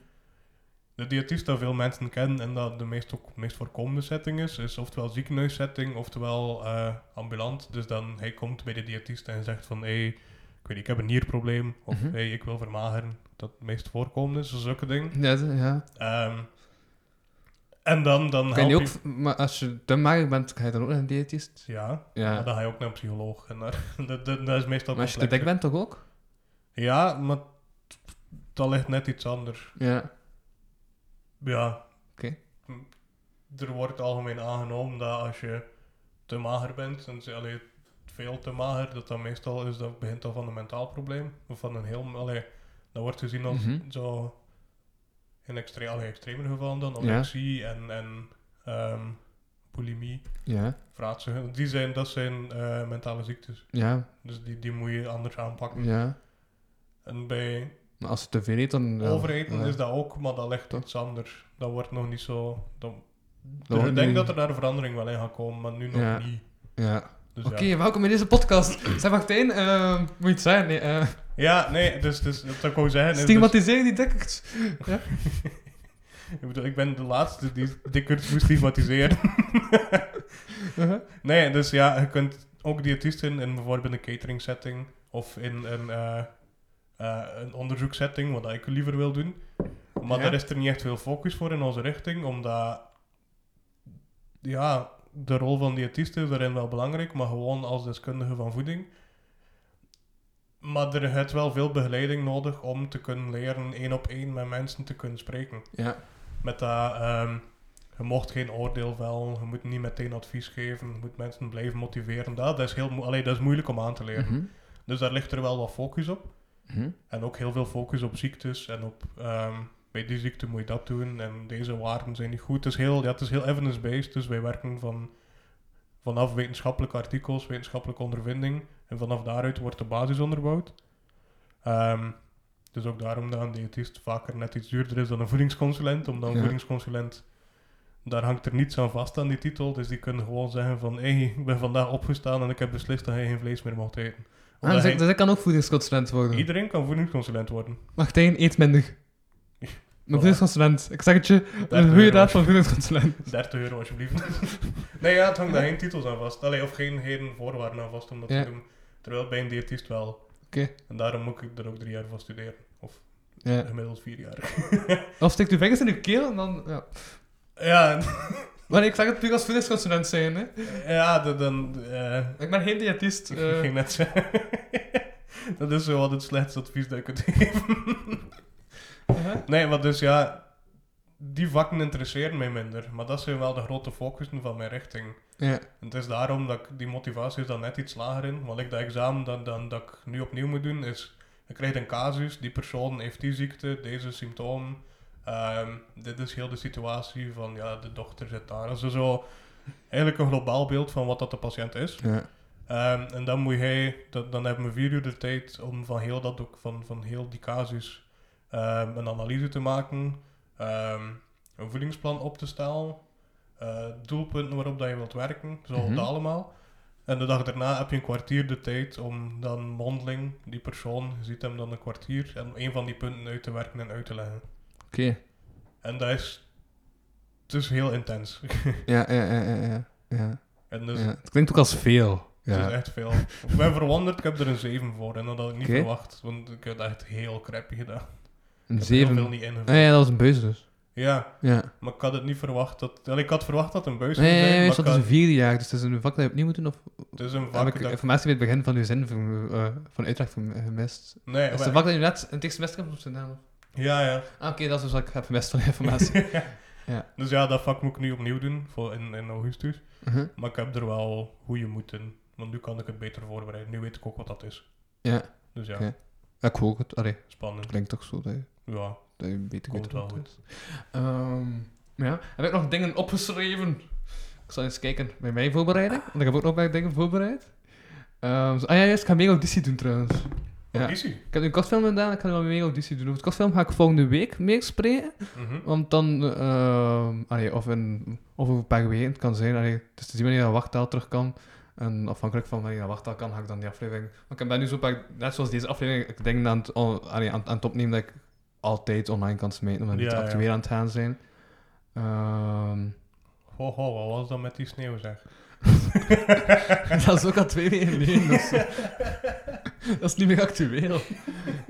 [SPEAKER 2] De diëtist dat veel mensen kennen en dat de meest, ook, meest voorkomende setting is, is oftewel ziekenhuissetting, oftewel eh, ambulant. Dus dan, hij komt bij de diëtist en zegt van, hé, hey, ik weet niet, ik heb een nierprobleem, of
[SPEAKER 5] Mhm.
[SPEAKER 2] hey, ik wil vermageren. Dat het meest voorkomende is, zulke dingen.
[SPEAKER 5] Ja, dat- ja.
[SPEAKER 2] Ehm, en dan, dan
[SPEAKER 5] Kan
[SPEAKER 2] help
[SPEAKER 5] je
[SPEAKER 2] je...
[SPEAKER 5] ook, maar als je te mager bent, ga je dan ook naar een diëtist?
[SPEAKER 2] Ja,
[SPEAKER 5] Ja.
[SPEAKER 2] maar dan ga je ook naar een psycholoog. En daar, dat, dat, dat is meestal
[SPEAKER 5] Maar als je te
[SPEAKER 2] complexer.
[SPEAKER 5] dik bent, toch ook?
[SPEAKER 2] Ja, maar dat ligt net iets anders.
[SPEAKER 5] Ja.
[SPEAKER 2] Ja. Hm.
[SPEAKER 5] Oké.
[SPEAKER 2] Er wordt algemeen aangenomen dat als je te mager bent, en ze- allee, veel te mager, dat dat meestal is, dat begint al van een mentaal probleem. Of van een heel... Allee, dat wordt gezien als
[SPEAKER 5] Mhm.
[SPEAKER 2] zo... In extre, allee, extremere gevallen dan,
[SPEAKER 5] Ja.
[SPEAKER 2] anorexie en, en ehm, bulimie.
[SPEAKER 5] Ja.
[SPEAKER 2] Vraatsen. Die zijn, dat zijn eh, mentale ziektes.
[SPEAKER 5] Ja.
[SPEAKER 2] Dus die, die moet je anders aanpakken.
[SPEAKER 5] Ja.
[SPEAKER 2] En bij
[SPEAKER 5] Maar als je te veel eet, dan... ja.
[SPEAKER 2] overeten
[SPEAKER 5] Ja.
[SPEAKER 2] is dat ook, maar dat ligt
[SPEAKER 5] Toch?
[SPEAKER 2] iets anders. Dat wordt nog niet zo... Dat, ik
[SPEAKER 5] Dat wordt
[SPEAKER 2] denk
[SPEAKER 5] nu-
[SPEAKER 2] dat er daar een verandering wel in gaat komen, maar nu nog
[SPEAKER 5] Ja.
[SPEAKER 2] niet.
[SPEAKER 5] Ja.
[SPEAKER 2] Dus
[SPEAKER 5] Oké,
[SPEAKER 2] ja.
[SPEAKER 5] welkom in deze podcast. Zeg Martijn, eh, moet je iets zeggen? Nee, eh,
[SPEAKER 2] ja, nee, dus, dus dat ik wou zeggen... is dus-
[SPEAKER 5] stigmatiseer die dikkers.
[SPEAKER 2] ik, bedoel, ik ben de laatste die dikkers moest stigmatiseren.
[SPEAKER 5] Uh-huh.
[SPEAKER 2] Nee, dus ja, je kunt ook diëtisten in bijvoorbeeld een catering setting of in een, eh eh, een onderzoeksetting, wat ik liever wil doen. Maar
[SPEAKER 5] Ja.
[SPEAKER 2] daar is er niet echt veel focus voor in onze richting, omdat ja, de rol van diëtisten is daarin wel belangrijk, maar gewoon als deskundige van voeding. Maar er is wel veel begeleiding nodig om te kunnen leren één op één met mensen te kunnen spreken.
[SPEAKER 5] Ja.
[SPEAKER 2] Met dat, ehm, je mocht geen oordeel vellen, je moet niet meteen advies geven, je moet mensen blijven motiveren. Dat, dat, is, heel, mo- allee, dat is moeilijk om aan te leren.
[SPEAKER 5] Mhm.
[SPEAKER 2] Dus daar ligt er wel wat focus op.
[SPEAKER 5] Mhm.
[SPEAKER 2] En ook heel veel focus op ziektes en op ehm, bij die ziekte moet je dat doen en deze waarden zijn niet goed. Het is heel, ja, het is heel evidence-based, dus wij werken van, vanaf wetenschappelijke artikels, wetenschappelijke ondervinding en vanaf daaruit wordt de basis onderbouwd. Ehm, dus ook daarom dat een diëtist vaker net iets duurder is dan een voedingsconsulent, omdat een
[SPEAKER 5] Ja.
[SPEAKER 2] voedingsconsulent, daar hangt er niets aan vast aan die titel, dus die kunnen gewoon zeggen van hé, hey, ik ben vandaag opgestaan en ik heb beslist dat hij geen vlees meer mocht eten.
[SPEAKER 5] Ah,
[SPEAKER 2] Omdat
[SPEAKER 5] dus, ik,
[SPEAKER 2] hij-
[SPEAKER 5] dus ik kan ook voedingsconsulent worden.
[SPEAKER 2] Iedereen kan voedingsconsulent worden.
[SPEAKER 5] Martijn, eet minder. Maar voedingsconsulent, ik zeg het je, een goede
[SPEAKER 2] euro.
[SPEAKER 5] raad van voedingsconsulent.
[SPEAKER 2] 30 euro alsjeblieft. nee, ja, het hangt daar geen titels aan vast. Allee, of geen, geen voorwaarden aan vast om dat
[SPEAKER 5] Ja.
[SPEAKER 2] te doen. Terwijl bij een diëtist wel.
[SPEAKER 5] Oké.
[SPEAKER 2] En daarom moet ik er ook drie jaar voor studeren. Of
[SPEAKER 5] Ja.
[SPEAKER 2] gemiddeld vier jaar.
[SPEAKER 5] Of steekt uw vingers in uw keel en dan... Ja.
[SPEAKER 2] ja,
[SPEAKER 5] Maar nee, ik zeg het puur als fitnessconsulent zijn, hè.
[SPEAKER 2] ja dan... dan eh,
[SPEAKER 5] Ik ben geen diëtist.
[SPEAKER 2] ik
[SPEAKER 5] eh.
[SPEAKER 2] ging net zeggen. dat is zo wat het slechtste advies dat ik kunt geven.
[SPEAKER 5] Uh-huh.
[SPEAKER 2] Nee, maar dus ja, die vakken interesseren mij minder. Maar dat zijn wel de grote focussen van mijn richting.
[SPEAKER 5] Ja.
[SPEAKER 2] En het is daarom dat ik die motivatie is dan net iets lager in. Want ik dat examen dan, dan, dat ik nu opnieuw moet doen is... Je krijgt een casus, die persoon heeft die ziekte, deze symptomen. ehm, dit is heel de situatie van, ja, de dochter zit daar. Dus zo eigenlijk een globaal beeld van wat dat de patiënt is.
[SPEAKER 5] Ja.
[SPEAKER 2] Ehm, en dan moet hij, dat, dan hebben we vier uur de tijd om van heel, dat, doc- van, van heel die casus ehm, een analyse te maken, ehm, een voedingsplan op te stellen, eh, doelpunten waarop dat je wilt werken, zo
[SPEAKER 5] Mhm.
[SPEAKER 2] dat allemaal. En de dag daarna heb je een kwartier de tijd om dan mondeling, die persoon, je ziet hem dan een kwartier, en een van die punten uit te werken en uit te leggen.
[SPEAKER 5] Oké.
[SPEAKER 2] En dat is, het is heel intens.
[SPEAKER 5] Ja, ja, ja, ja, ja, ja.
[SPEAKER 2] en dus,
[SPEAKER 5] ja. Het klinkt ook als veel.
[SPEAKER 2] Het is
[SPEAKER 5] Ja.
[SPEAKER 2] echt veel. ik ben verwonderd, ik heb er een 7 voor en dat had ik niet
[SPEAKER 5] Oké.
[SPEAKER 2] verwacht, want ik heb dat echt heel crappy gedaan.
[SPEAKER 5] Een
[SPEAKER 2] Ik heb heel
[SPEAKER 5] zeven.
[SPEAKER 2] veel niet ingevuld.
[SPEAKER 5] Ah, ja, dat was een beus dus.
[SPEAKER 2] Ja,
[SPEAKER 5] Ja.
[SPEAKER 2] maar ik had het niet verwacht dat. wel, ik had verwacht dat het een buis zou
[SPEAKER 5] Nee,
[SPEAKER 2] zijn,
[SPEAKER 5] nee, nee,
[SPEAKER 2] maar
[SPEAKER 5] dat
[SPEAKER 2] ik
[SPEAKER 5] is een
[SPEAKER 2] had-
[SPEAKER 5] vierde jaar, dus het is een vak dat je opnieuw moet doen? Of
[SPEAKER 2] het is een
[SPEAKER 5] heb
[SPEAKER 2] vak
[SPEAKER 5] ik
[SPEAKER 2] dat.
[SPEAKER 5] informatie bij het begin van uw zin van, eh van uitleg van, gemist?
[SPEAKER 2] Nee,
[SPEAKER 5] Is het
[SPEAKER 2] wel-
[SPEAKER 5] een vak dat je net in het eerste semester hebt of zo? Ah,
[SPEAKER 2] ja, ja.
[SPEAKER 5] oké, dat is dus wat ik heb gemist van de informatie.
[SPEAKER 2] Dus ja, dat vak moet ik nu opnieuw doen voor in, in augustus.
[SPEAKER 5] Mhm.
[SPEAKER 2] Maar ik heb er wel goede moed in, want nu kan ik het beter voorbereiden. Nu weet ik ook wat dat is.
[SPEAKER 5] Ja.
[SPEAKER 2] Dus ja,
[SPEAKER 5] Oké. Ja, ik hoor het. Allee,
[SPEAKER 2] spannend.
[SPEAKER 5] klinkt toch zo dat je,
[SPEAKER 2] Ja,
[SPEAKER 5] dat je beter
[SPEAKER 2] Komt
[SPEAKER 5] weet wat
[SPEAKER 2] wel
[SPEAKER 5] het is. Ehm, ja, heb ik nog dingen opgeschreven? Ik zal eens kijken bij mijn voorbereiding, want ik heb ook nog bij dingen voorbereid. Ehm, zo- ah ja, juist, ik ga mega auditie doen trouwens. Ja.
[SPEAKER 2] visie.
[SPEAKER 5] Ik heb nu een kortfilm gedaan, ik ga nu wel een mega auditie doen. Over het kortfilm ga ik volgende week meespreken.
[SPEAKER 2] Mhm.
[SPEAKER 5] Want dan, ehm, allee, of, in, of over een paar weken het kan zijn. Allee, het is te zien wanneer dat wachttaal terug kan. En afhankelijk van wanneer dat wachttaal kan, ga ik dan die aflevering. Want ik heb daar nu zo'n paar, net zoals deze aflevering, ik denk aan het, on- allee, aan, aan het opnemen dat ik altijd online kan smeten. Omdat die
[SPEAKER 2] Ja,
[SPEAKER 5] te
[SPEAKER 2] ja.
[SPEAKER 5] actueel aan het gaan zijn. Ehm,
[SPEAKER 2] Ho, ho, wat was dat met die sneeuw zeg?
[SPEAKER 5] dat is ook al twee weken geleden. of zo. dat is niet meer actueel.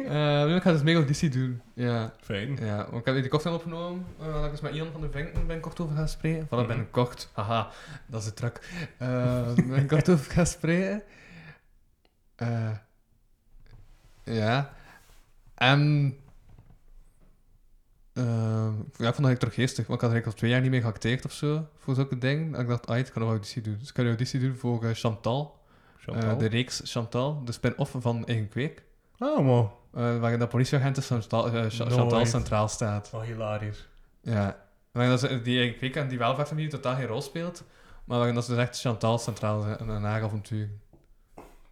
[SPEAKER 5] Eh ik ga dus mega auditie doen. Ja.
[SPEAKER 2] Fijn.
[SPEAKER 5] Ja, want ik heb die cocktail opgenomen, eh, dat ik eens met Ian van de Vinken ben kort over gaan spreken. Voilà,
[SPEAKER 2] Mhm.
[SPEAKER 5] ben ik kort. Haha, dat is de truc. Eh ben ik kort over gaan spreken. Eh, ja. En... ehm, ja, ik vond dat ik terug geestig, want ik had er eigenlijk al twee jaar niet meer geacteerd of zo, voor zulke dingen. Dat ik dacht, ah, ik kan nog auditie doen. Dus ik heb een auditie doen voor eh, Chantal, eh,
[SPEAKER 2] Chantal.
[SPEAKER 5] de reeks Chantal, de spin-off van Eigen Kweek.
[SPEAKER 2] Oh, man.
[SPEAKER 5] eh, waarin de politieagent is van Chantal, eh, Cha- Chantal
[SPEAKER 2] Nooit.
[SPEAKER 5] centraal staat.
[SPEAKER 2] Oh, hilarisch.
[SPEAKER 5] Ja. Maar dat is, die ik weet aan die welvaartfamilie totaal geen rol speelt. Maar waarin dat ze dus echt Chantal centraal en een haar avontuur.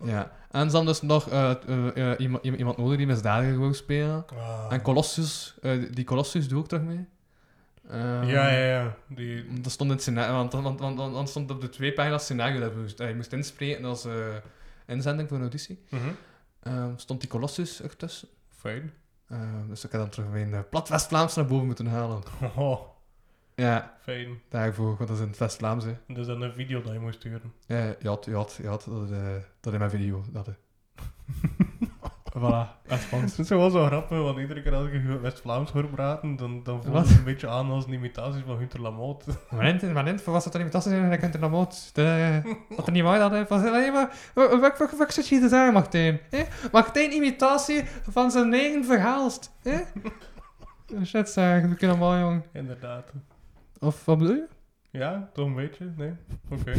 [SPEAKER 5] Ja. En ze hadden dus nog eh, eh, eh, iemand, iemand nodig die misdadiger wou spelen.
[SPEAKER 2] Ah.
[SPEAKER 5] En Colossus, eh, die Colossus doe ik terug mee. Ehm,
[SPEAKER 2] ja, ja, ja. Die,
[SPEAKER 5] want Dat stond in het scenario, want, want, want, want, want stond op de twee pagina's scenario dat je moest, dat je moest inspreken als eh, inzending voor een auditie.
[SPEAKER 2] Mhm.
[SPEAKER 5] Ehm, stond die Colossus ertussen.
[SPEAKER 2] Fijn.
[SPEAKER 5] Ehm dus ik had dan terug mijn eh, plat West-Vlaams naar boven moeten halen.
[SPEAKER 2] Oh,
[SPEAKER 5] Ja,
[SPEAKER 2] fijn.
[SPEAKER 5] daarvoor, want dat is in het West-Vlaams, hè.
[SPEAKER 2] Dus dan een video dat je moet sturen.
[SPEAKER 5] Eh, ja, had, ja, had, ja, had, dat, eh, dat in mijn video. Dat, eh. voilà, dat is
[SPEAKER 2] Dat is wel zo grappig, want iedere keer als ik je West-Vlaams hoor praten, dan, dan voelt
[SPEAKER 5] Wat?
[SPEAKER 2] het een beetje aan als een imitatie van Hunter Lamotte.
[SPEAKER 5] Maar net, maar net, voor was dat er iemand anders in en dan kunt er naar moed. Dat er niet mooi dat hij van zei, hey, maar wa- wat, wat, wat zit je te zeggen, Martijn? Eh? Martijn imitatie van zijn eigen verhaalst. Eh? Shit, zeg, we kunnen mooi, jong.
[SPEAKER 2] Inderdaad.
[SPEAKER 5] Of wat bedoel je?
[SPEAKER 2] Ja, toch een beetje? Nee? Oké.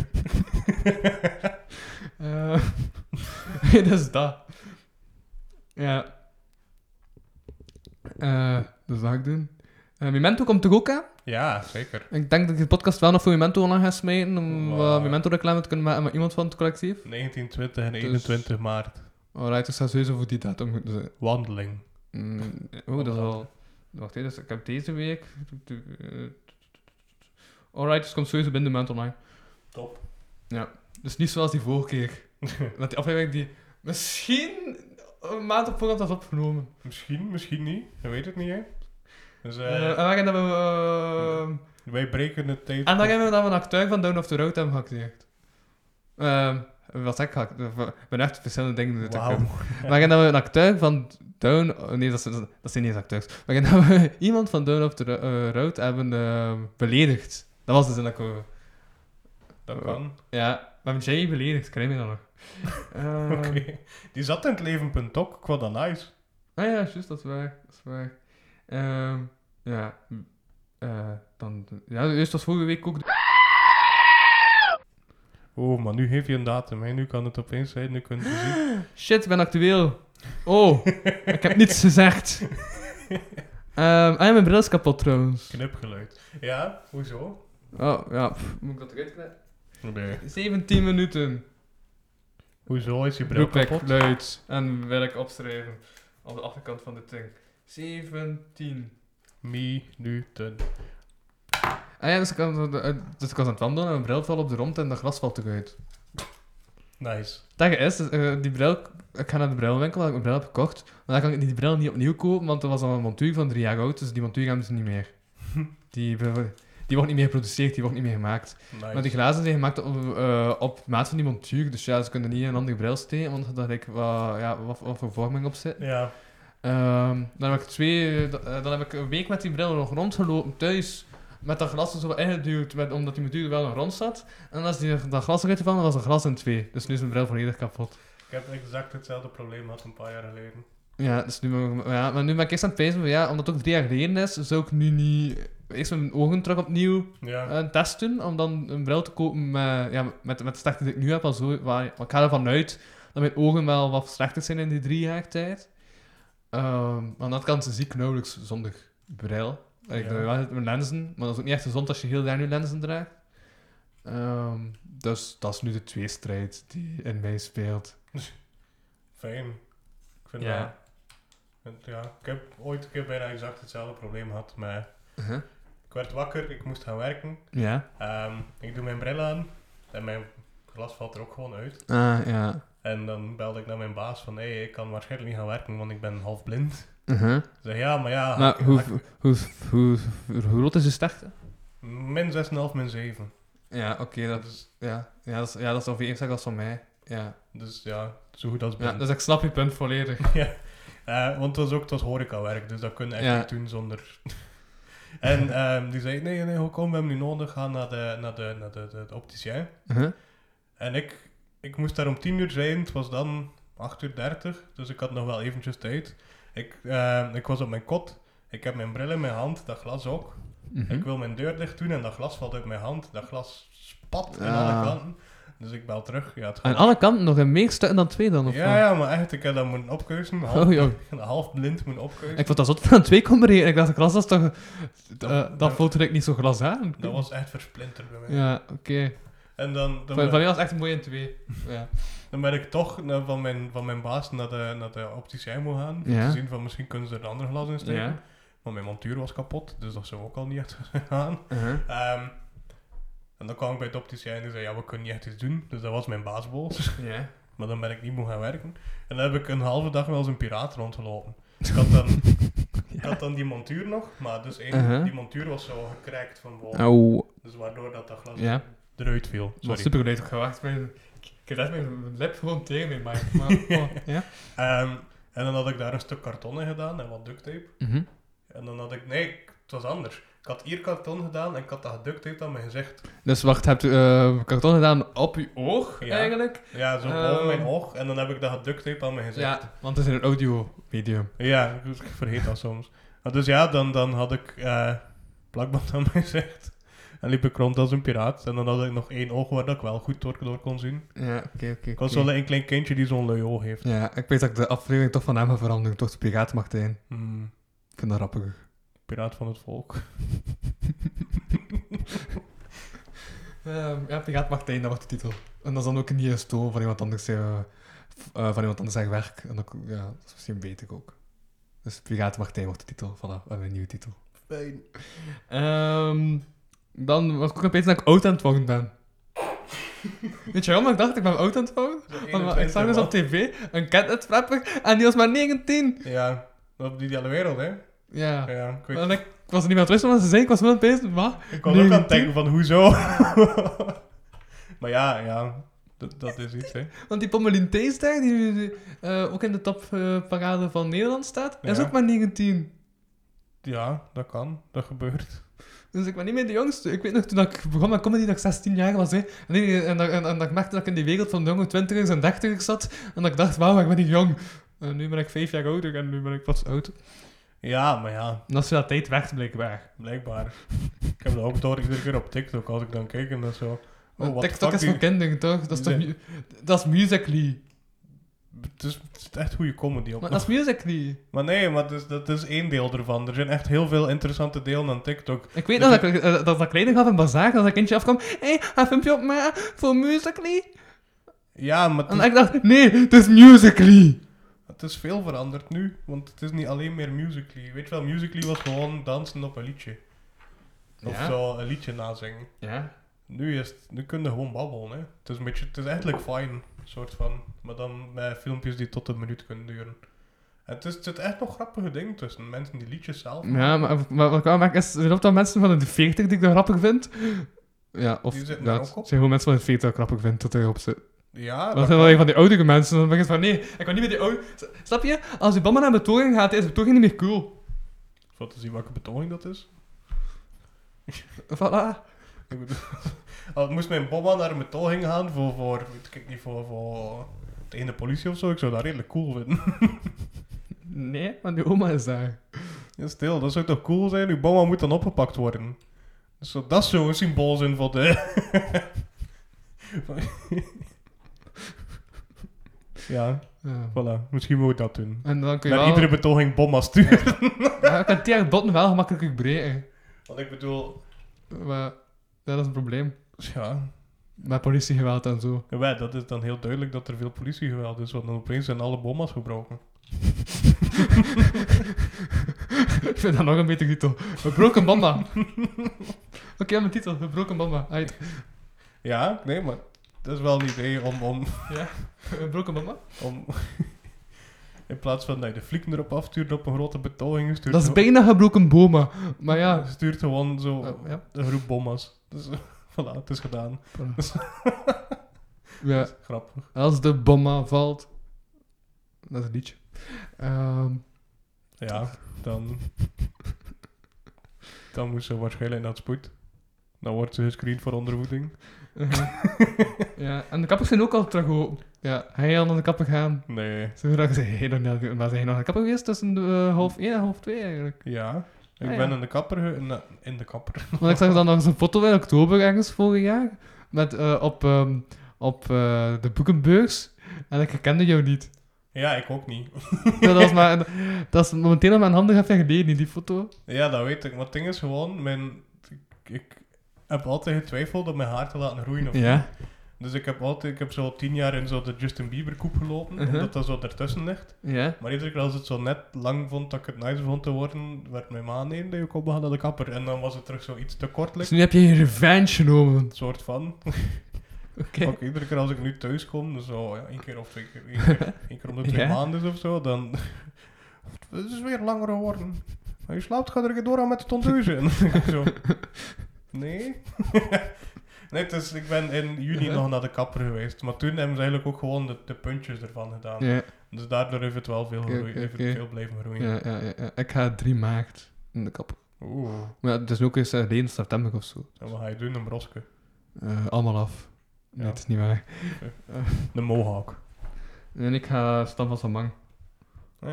[SPEAKER 5] Eh, nee, dat is dat. Ja. Eh, dat zou ik doen. Eh, Memento komt toch ook aan?
[SPEAKER 2] Ja, zeker.
[SPEAKER 5] Ik denk dat ik de podcast wel nog voor Memento online ga smijten, om eh,
[SPEAKER 2] Wow.
[SPEAKER 5] wat Memento-reclame te kunnen maken met iemand van het collectief.
[SPEAKER 2] 19, 20 en
[SPEAKER 5] Dus-
[SPEAKER 2] 21 maart.
[SPEAKER 5] Alright, ik zou sowieso voor Dus, die datum moeten zijn.
[SPEAKER 2] Wandeling.
[SPEAKER 5] Mm, Oeh, eh, dat is al... Wacht even, dus ik heb deze week... eh, Alright, dus komt sowieso binnen de maand online.
[SPEAKER 2] Top.
[SPEAKER 5] Dus niet zoals die vorige keer. Met die aflevering die misschien een maand op voorhand was opgenomen.
[SPEAKER 2] Misschien, misschien niet. Je weet het niet, hè? Dus eh,
[SPEAKER 5] Eh, en dan hebben we... ehm,
[SPEAKER 2] wij breken het tijd.
[SPEAKER 5] en dan hebben we dan een acteur van Down of the Road hebben geacteerd. Ehm, Wat zeg ik? ga- Ik ben echt verschillende dingen doen.
[SPEAKER 2] Wauw.
[SPEAKER 5] Maar gaan we een acteur van Down... oh, Nee, dat, is- dat zijn niet eens acteurs. Maar gaan we iemand van Down of the Ro- eh, Road hebben eh, beledigd. Dat was de zin dat ik... wou-
[SPEAKER 2] Dat kan.
[SPEAKER 5] Ja, we hebben Jay beledigd. Krijg je dat nog? Ehm,
[SPEAKER 2] Oké. Die zat in het leven.tok. Ik vond dat nice.
[SPEAKER 5] Ah ja, juist, dat is waar. Dat is waar. Ehm, ja. hm, eh, dan... Ja, juist was vorige week ook... de-
[SPEAKER 2] Oh, maar nu geef je een datum. Hè. Nu kan het opeens zijn. Nu kunt je zien.
[SPEAKER 5] Shit, ik ben actueel. Oh, ik heb niets gezegd. Ehm ah ja, mijn bril is kapot trouwens.
[SPEAKER 2] Knipgeluid. Ja, hoezo?
[SPEAKER 5] Oh, ja. pff, Moet ik dat eruit knippen?
[SPEAKER 2] Nee.
[SPEAKER 5] 17 minuten.
[SPEAKER 2] Hoezo is je bril
[SPEAKER 5] Roepweg,
[SPEAKER 2] kapot?
[SPEAKER 5] luid. En werk opschrijven. Aan de achterkant van dit ding. 17.
[SPEAKER 2] Minuten.
[SPEAKER 5] Ah ja, dus ik was, eh, dus ik was aan het wandelen en mijn bril valt op de rond en dat glas valt eruit.
[SPEAKER 2] Nice.
[SPEAKER 5] Dat is, eh, die bril, ik ga naar de brilwinkel waar ik mijn bril heb gekocht. Maar dan kan ik die bril niet opnieuw kopen, want dat was al een montuur van drie jaar oud, dus die montuur hebben ze niet meer. Die, bril- die wordt niet meer geproduceerd, die wordt niet meer gemaakt.
[SPEAKER 2] nice.
[SPEAKER 5] Maar die glazen zijn gemaakt op, eh, op maat van die montuur, dus ja, ze kunnen niet in een andere bril steken, want daar ik wat, ja, wat, wat voor vorming op zit.
[SPEAKER 2] Ja.
[SPEAKER 5] Ehm, dan, heb ik twee, eh, da- eh, dan heb ik een week met die bril nog rondgelopen thuis, met dat glas er zo ingeduwd, met, omdat die montuur er wel nog rond zat. En als die, dat glas eruit gevallen, was dat glas in twee. Dus nu is mijn bril volledig kapot.
[SPEAKER 2] Ik heb exact hetzelfde probleem als een paar jaar geleden.
[SPEAKER 5] Ja, dus nu, ben ik- ja, maar nu ben ik eerst aan het pijzen, van, ja, omdat het ook drie jaar geleden is, zou ik nu niet... Eerst mijn ogen terug opnieuw
[SPEAKER 2] Ja.
[SPEAKER 5] een test doen om dan een bril te kopen met, ja, met, met de slechte die ik nu heb. Al zo, waar, maar ik ga ervan uit dat mijn ogen wel wat slechter zijn in die drie jaar tijd. Ehm, want dat kan ze ziek nauwelijks zonder bril. Ik
[SPEAKER 2] Ja.
[SPEAKER 5] doe wel mijn lenzen, maar dat is ook niet echt gezond als je heel daar nu lenzen draagt. Ehm, dus dat is nu de tweestrijd die in mij speelt.
[SPEAKER 2] Fijn. Ik vind
[SPEAKER 5] Ja.
[SPEAKER 2] dat... het- Ja, ik heb ooit een keer bijna exact hetzelfde probleem gehad, maar...
[SPEAKER 5] Uh-huh.
[SPEAKER 2] Ik werd wakker, ik moest gaan werken.
[SPEAKER 5] Ja?
[SPEAKER 2] Ehm, ik doe mijn bril aan en mijn glas valt er ook gewoon uit.
[SPEAKER 5] Ah, ja.
[SPEAKER 2] En dan belde ik naar mijn baas van, hé, hey, ik kan waarschijnlijk niet gaan werken, want ik ben half blind.
[SPEAKER 5] Uh-huh.
[SPEAKER 2] Ik zeg, ja, maar ja,
[SPEAKER 5] Maar
[SPEAKER 2] ik-
[SPEAKER 5] hoe,
[SPEAKER 2] ik-
[SPEAKER 5] hoe, hoe, hoe, groot is je sterkte?
[SPEAKER 2] min 6,5, min Dus, 7.
[SPEAKER 5] Ja, oké, dat is... Ja, ja, dat is, ja, dat is ongeveer exact als van mij. Ja.
[SPEAKER 2] Dus ja, zo goed als
[SPEAKER 5] Ja,
[SPEAKER 2] blind.
[SPEAKER 5] dus ik snap je punt volledig.
[SPEAKER 2] Eh, want het was ook het was horecawerk, dus dat kun je echt
[SPEAKER 5] Ja.
[SPEAKER 2] niet doen zonder... en ehm, die zei, nee, nee, hoe kom, we hebben nu nodig, ga naar de, naar de, naar de, de, de opticien. En ik, ik moest daar om 10 uur zijn, het was dan 8 uur 30, dus ik had nog wel eventjes tijd. Ik, eh, ik was op mijn kot, ik heb mijn bril in mijn hand, dat glas ook.
[SPEAKER 5] Mhm. Hm?
[SPEAKER 2] Ik wil mijn deur dicht doen en dat glas valt uit mijn hand, dat glas spat aan
[SPEAKER 5] Ah.
[SPEAKER 2] alle kanten. Dus ik bel terug, ja, het
[SPEAKER 5] Aan
[SPEAKER 2] gaat...
[SPEAKER 5] alle kanten nog een meer stukken dan twee dan, of
[SPEAKER 2] Ja,
[SPEAKER 5] wat?
[SPEAKER 2] ja, maar echt, ik heb dat moeten opkeuzen, half,
[SPEAKER 5] Oh, joh.
[SPEAKER 2] half blind moeten opkeuzen.
[SPEAKER 5] Ik vond dat zot van twee kon berekenen. Ik dacht, de glas dat is toch... eh, dat
[SPEAKER 2] dat-
[SPEAKER 5] voelt er niet zo glas aan.
[SPEAKER 2] Dat was echt versplinterd bij mij.
[SPEAKER 5] Ja, oké.
[SPEAKER 2] En dan, dan,
[SPEAKER 5] Van, van
[SPEAKER 2] ben,
[SPEAKER 5] mij was het echt een mooie in twee. Ja.
[SPEAKER 2] dan ben ik toch naar- van, mijn, van mijn baas naar de, naar de opticien moet gaan. Om
[SPEAKER 5] Ja.
[SPEAKER 2] te zien van misschien kunnen ze er een ander glas in steken.
[SPEAKER 5] Ja.
[SPEAKER 2] Maar mijn montuur was kapot, dus dat zou ook al niet echt gaan. Ehm, en dan kwam ik bij het opticien en die zei, ja, we kunnen niet echt iets doen. Dus dat was mijn baasbos.
[SPEAKER 5] Ja.
[SPEAKER 2] maar dan ben ik niet moe gaan werken. En dan heb ik een halve dag wel eens een piraat rondgelopen. Ik had dan, ik had dan die montuur nog, maar dus één,
[SPEAKER 5] Uh-huh.
[SPEAKER 2] die montuur was zo gekraakt van boven.
[SPEAKER 5] Oh.
[SPEAKER 2] Dus waardoor dat, dat glas
[SPEAKER 5] Ja.
[SPEAKER 2] eruit viel.
[SPEAKER 5] Dat was
[SPEAKER 2] Sorry.
[SPEAKER 5] super geluid gewacht. Mijn, ik heb echt mijn lip gewoon tegen mijn mic. Maar, oh, ja.
[SPEAKER 2] Ehm, en dan had ik daar een stuk karton in gedaan en wat duct tape.
[SPEAKER 5] Mhm.
[SPEAKER 2] En dan had ik, nee, ik- het was anders. Ik had hier karton gedaan en ik had dat geduct tape aan mijn gezicht.
[SPEAKER 5] Dus wacht, hebt u eh, karton gedaan op uw oog,
[SPEAKER 2] Ja.
[SPEAKER 5] eigenlijk?
[SPEAKER 2] Ja, zo
[SPEAKER 5] Ehm.
[SPEAKER 2] boven mijn oog. En dan heb ik dat geduct tape aan mijn gezicht.
[SPEAKER 5] Ja, want het is een audio-medium.
[SPEAKER 2] Ja, ik ik vergeet dat soms. Maar dus ja, dan, dan had ik eh, plakband aan mijn gezicht. En liep ik rond als een piraat. En dan had ik nog één oog waar dat ik wel goed door, door kon zien.
[SPEAKER 5] Ja, oké, oké.
[SPEAKER 2] Ik was
[SPEAKER 5] oké.
[SPEAKER 2] wel een klein kindje die zo'n lui oog heeft.
[SPEAKER 5] Ja, ik weet dat ik de aflevering toch van hem ga veranderen, toch de piraat mag zijn.
[SPEAKER 2] Hmm,
[SPEAKER 5] Ik vind dat rappiger.
[SPEAKER 2] piraat van het volk.
[SPEAKER 5] Ehm, ja, piraat mag zijn, dat wordt de titel. En dat is dan ook niet een stoel van iemand anders, eh, f- eh, van iemand anders zijn werk. En ook, ja, dat is misschien beter ook. Dus piraat mag zijn wordt de titel, voilà, we hebben een nieuwe titel.
[SPEAKER 2] Fijn.
[SPEAKER 5] Ehm, dan was ik ook opeens dat ik oud aan het worden ben. Weet je waarom ik dacht ik ben oud aan het worden? Want ik zag dus op tv een catnet-rapper en die was maar 19.
[SPEAKER 2] Ja, op die hele wereld, hè.
[SPEAKER 5] Ja.
[SPEAKER 2] Ja, ik weet
[SPEAKER 5] En ik, ik was er niet meer aan het rusten, want ze zei, ik was wel aan het bezig, maar...
[SPEAKER 2] Ik kon ook aan het
[SPEAKER 5] 19?
[SPEAKER 2] denken van hoezo. maar ja, ja. Dat, dat is iets, hè.
[SPEAKER 5] Want die Pommelien Theesdag, die nu die, eh, ook in de topparade van Nederland staat, is
[SPEAKER 2] Ja.
[SPEAKER 5] ook maar 19.
[SPEAKER 2] Ja, dat kan. Dat gebeurt.
[SPEAKER 5] Dus ik ben niet meer de jongste. Ik weet nog, toen ik begon met comedy, dat ik 16 jaar was. Hè. En, ik- en, dat- en, en dat ik merkte dat ik in die wereld van de jonge 20ers en 30ers zat. En dat ik dacht, wauw, ik ben niet jong. En nu ben ik 5 jaar ouder en nu ben ik pas oud.
[SPEAKER 2] Ja, maar ja,
[SPEAKER 5] En als je dat tijd weg, blijkbaar.
[SPEAKER 2] blijkbaar. ik heb dat ook door iedere keer op TikTok, als ik dan kijk en dat zo...
[SPEAKER 5] Want
[SPEAKER 2] Oh, wat
[SPEAKER 5] TikTok is voor kinderen, toch? Dat is, toch
[SPEAKER 2] Nee.
[SPEAKER 5] mu- dat is Musical.ly.
[SPEAKER 2] Het is, het is echt goede comedy op.
[SPEAKER 5] Maar dat is Musical.ly.
[SPEAKER 2] Maar nee, maar dat is, dat is één deel ervan. Er zijn echt heel veel interessante delen aan TikTok.
[SPEAKER 5] Ik weet
[SPEAKER 2] Dus
[SPEAKER 5] nog dat ik, eh, dat ik kleiner gaf in Bazaar, dat een kindje afkwam. Hé, hey, een filmpje op me voor Musical.ly.
[SPEAKER 2] Ja, maar het
[SPEAKER 5] En
[SPEAKER 2] is,
[SPEAKER 5] ik dacht, nee, het is Musical.ly.
[SPEAKER 2] het is veel veranderd nu. Want het is niet alleen meer Musical.ly. Weet je wel, Musical.ly was gewoon dansen op een liedje. Of
[SPEAKER 5] Ja.
[SPEAKER 2] zo een liedje nazingen.
[SPEAKER 5] Ja.
[SPEAKER 2] Nu, is het, nu kun je gewoon babbelen, hè. Het is, een beetje, het is eigenlijk fijn, soort van. Maar dan met filmpjes die tot een minuut kunnen duren. En het, is, het zit echt nog grappige dingen tussen. Mensen die liedjes zelf...
[SPEAKER 5] Ja, maar, maar wat ik wel merk is, er loopt dan mensen van de 40 die ik dat grappig vind. Ja, of
[SPEAKER 2] Die zitten
[SPEAKER 5] ja,
[SPEAKER 2] daar
[SPEAKER 5] het
[SPEAKER 2] ook op. Ah,
[SPEAKER 5] zijn gewoon mensen van de 40 die ik grappig vind dat erop zit.
[SPEAKER 2] Ja,
[SPEAKER 5] Dat
[SPEAKER 2] dat
[SPEAKER 5] zijn
[SPEAKER 2] kan.
[SPEAKER 5] alleen van die oudere mensen, dan ben je van, nee, ik kan niet meer die oude... S- Snap je? Als je mama naar betoning gaat, is betoning niet meer cool.
[SPEAKER 2] Zo te zien welke betoning dat is.
[SPEAKER 5] Voilà.
[SPEAKER 2] Ik bedoel, al moest mijn bomma naar een betoging gaan voor, voor, weet ik niet, voor, voor tegen de politie of zo, ik zou dat redelijk cool vinden.
[SPEAKER 5] Nee, want die oma is daar.
[SPEAKER 2] Ja, stil, dat zou toch cool zijn? Uw bomma moet dan opgepakt worden. Dus zo- dat zou een symbool zijn voor de... van- ja,
[SPEAKER 5] Ja.
[SPEAKER 2] voilà. Misschien moet ik dat doen.
[SPEAKER 5] En dan kun je
[SPEAKER 2] Naar
[SPEAKER 5] wel...
[SPEAKER 2] iedere betoging bomma sturen.
[SPEAKER 5] Ja, je kan die haar botten wel gemakkelijk breken.
[SPEAKER 2] Want ik bedoel,
[SPEAKER 5] Maar dat is een probleem.
[SPEAKER 2] ja,
[SPEAKER 5] Met politiegeweld en zo.
[SPEAKER 2] ja, dat is dan heel duidelijk dat er veel politiegeweld is, want dan opeens zijn alle bomma's gebroken.
[SPEAKER 5] ik vind dat nog een beter titel. Gebroken Bamba. Oké, mijn titel. Gebroken Bamba. Uit.
[SPEAKER 2] Ja, nee, maar dat is wel een idee om, om,
[SPEAKER 5] Gebroken Bamba?
[SPEAKER 2] om in plaats van dat je de flieken erop afstuurt op een grote betoging, stuurt,
[SPEAKER 5] Dat is
[SPEAKER 2] gewo-
[SPEAKER 5] bijna gebroken Boma. Maar ja.
[SPEAKER 2] stuurt gewoon zo
[SPEAKER 5] Oh, ja.
[SPEAKER 2] een groep bomma's. Dus eh, voilà, het is gedaan.
[SPEAKER 5] ja.
[SPEAKER 2] Grappig.
[SPEAKER 5] Als de Boma valt. Dat is een liedje. Ehm,
[SPEAKER 2] Ja, dan, dan moet ze waarschijnlijk naar het spoed. Dan wordt ze gescreend voor ondervoeding.
[SPEAKER 5] ja. En de kappers zijn ook al terug open. Ja, hij al naar de kapper gaan.
[SPEAKER 2] Nee,
[SPEAKER 5] Ze vragen zich heel nog niet- maar zijn je nog naar de kapper geweest tussen de, eh, half 1 en half 2 eigenlijk?
[SPEAKER 2] ja. Ik
[SPEAKER 5] Ah, ja.
[SPEAKER 2] ben in de kapper... ge- In de, in de kapper.
[SPEAKER 5] Want ik zag dan nog eens een foto in oktober ergens vorig jaar. Met, eh, op ehm, op eh, de Boekenbeurs. En ik herkende jou niet.
[SPEAKER 2] Ja, ik ook niet.
[SPEAKER 5] Ja, dat, is maar, dat is momenteel aan mijn handen even geleden in die foto.
[SPEAKER 2] Ja, dat weet ik. Maar het ding is gewoon, mijn, ik, ik heb altijd getwijfeld om mijn haar te laten groeien. Of niet. Dus ik heb, altijd, ik heb zo tien jaar in zo de Justin Bieber koep gelopen,
[SPEAKER 5] Mhm.
[SPEAKER 2] omdat dat zo ertussen ligt.
[SPEAKER 5] Ja.
[SPEAKER 2] Maar iedere keer als het zo net lang vond dat ik het nice vond te worden, werd mijn ma nee, nee, ik opbegaan naar de kapper. En dan was het terug zo iets te
[SPEAKER 5] Dus
[SPEAKER 2] kortelijk.
[SPEAKER 5] nu heb je je revenge genomen.
[SPEAKER 2] soort van.
[SPEAKER 5] Oké.
[SPEAKER 2] Ook iedere keer als ik nu thuis kom, dus zo ja, één keer of twee keer, één keer, één keer om de twee
[SPEAKER 5] Ja.
[SPEAKER 2] maanden of zo, dan... Het is weer langer geworden. Maar je slaapt, ga er een keer door aan met de tondeuzen. En dan denk ik zo... Nee? nee, dus ik ben in juni
[SPEAKER 5] Ja.
[SPEAKER 2] nog naar de kapper geweest. Maar toen hebben ze eigenlijk ook gewoon de, de puntjes ervan gedaan.
[SPEAKER 5] Ja,
[SPEAKER 2] Dus daardoor heeft het wel veel,
[SPEAKER 5] Oké,
[SPEAKER 2] gegroeid,
[SPEAKER 5] oké,
[SPEAKER 2] heeft het
[SPEAKER 5] oké.
[SPEAKER 2] veel blijven groeien.
[SPEAKER 5] ja, ja, ja, ja. Ik ga 3 maart in de kapper.
[SPEAKER 2] Oeh.
[SPEAKER 5] Maar ja, het is ook eens eh, 1 september of zo.
[SPEAKER 2] En wat ga je doen? Een broske?
[SPEAKER 5] Eh, allemaal af. Nee,
[SPEAKER 2] Ja.
[SPEAKER 5] het is niet waar.
[SPEAKER 2] Een mohawk?
[SPEAKER 5] En ik ga Stam van Samang.
[SPEAKER 2] Eh,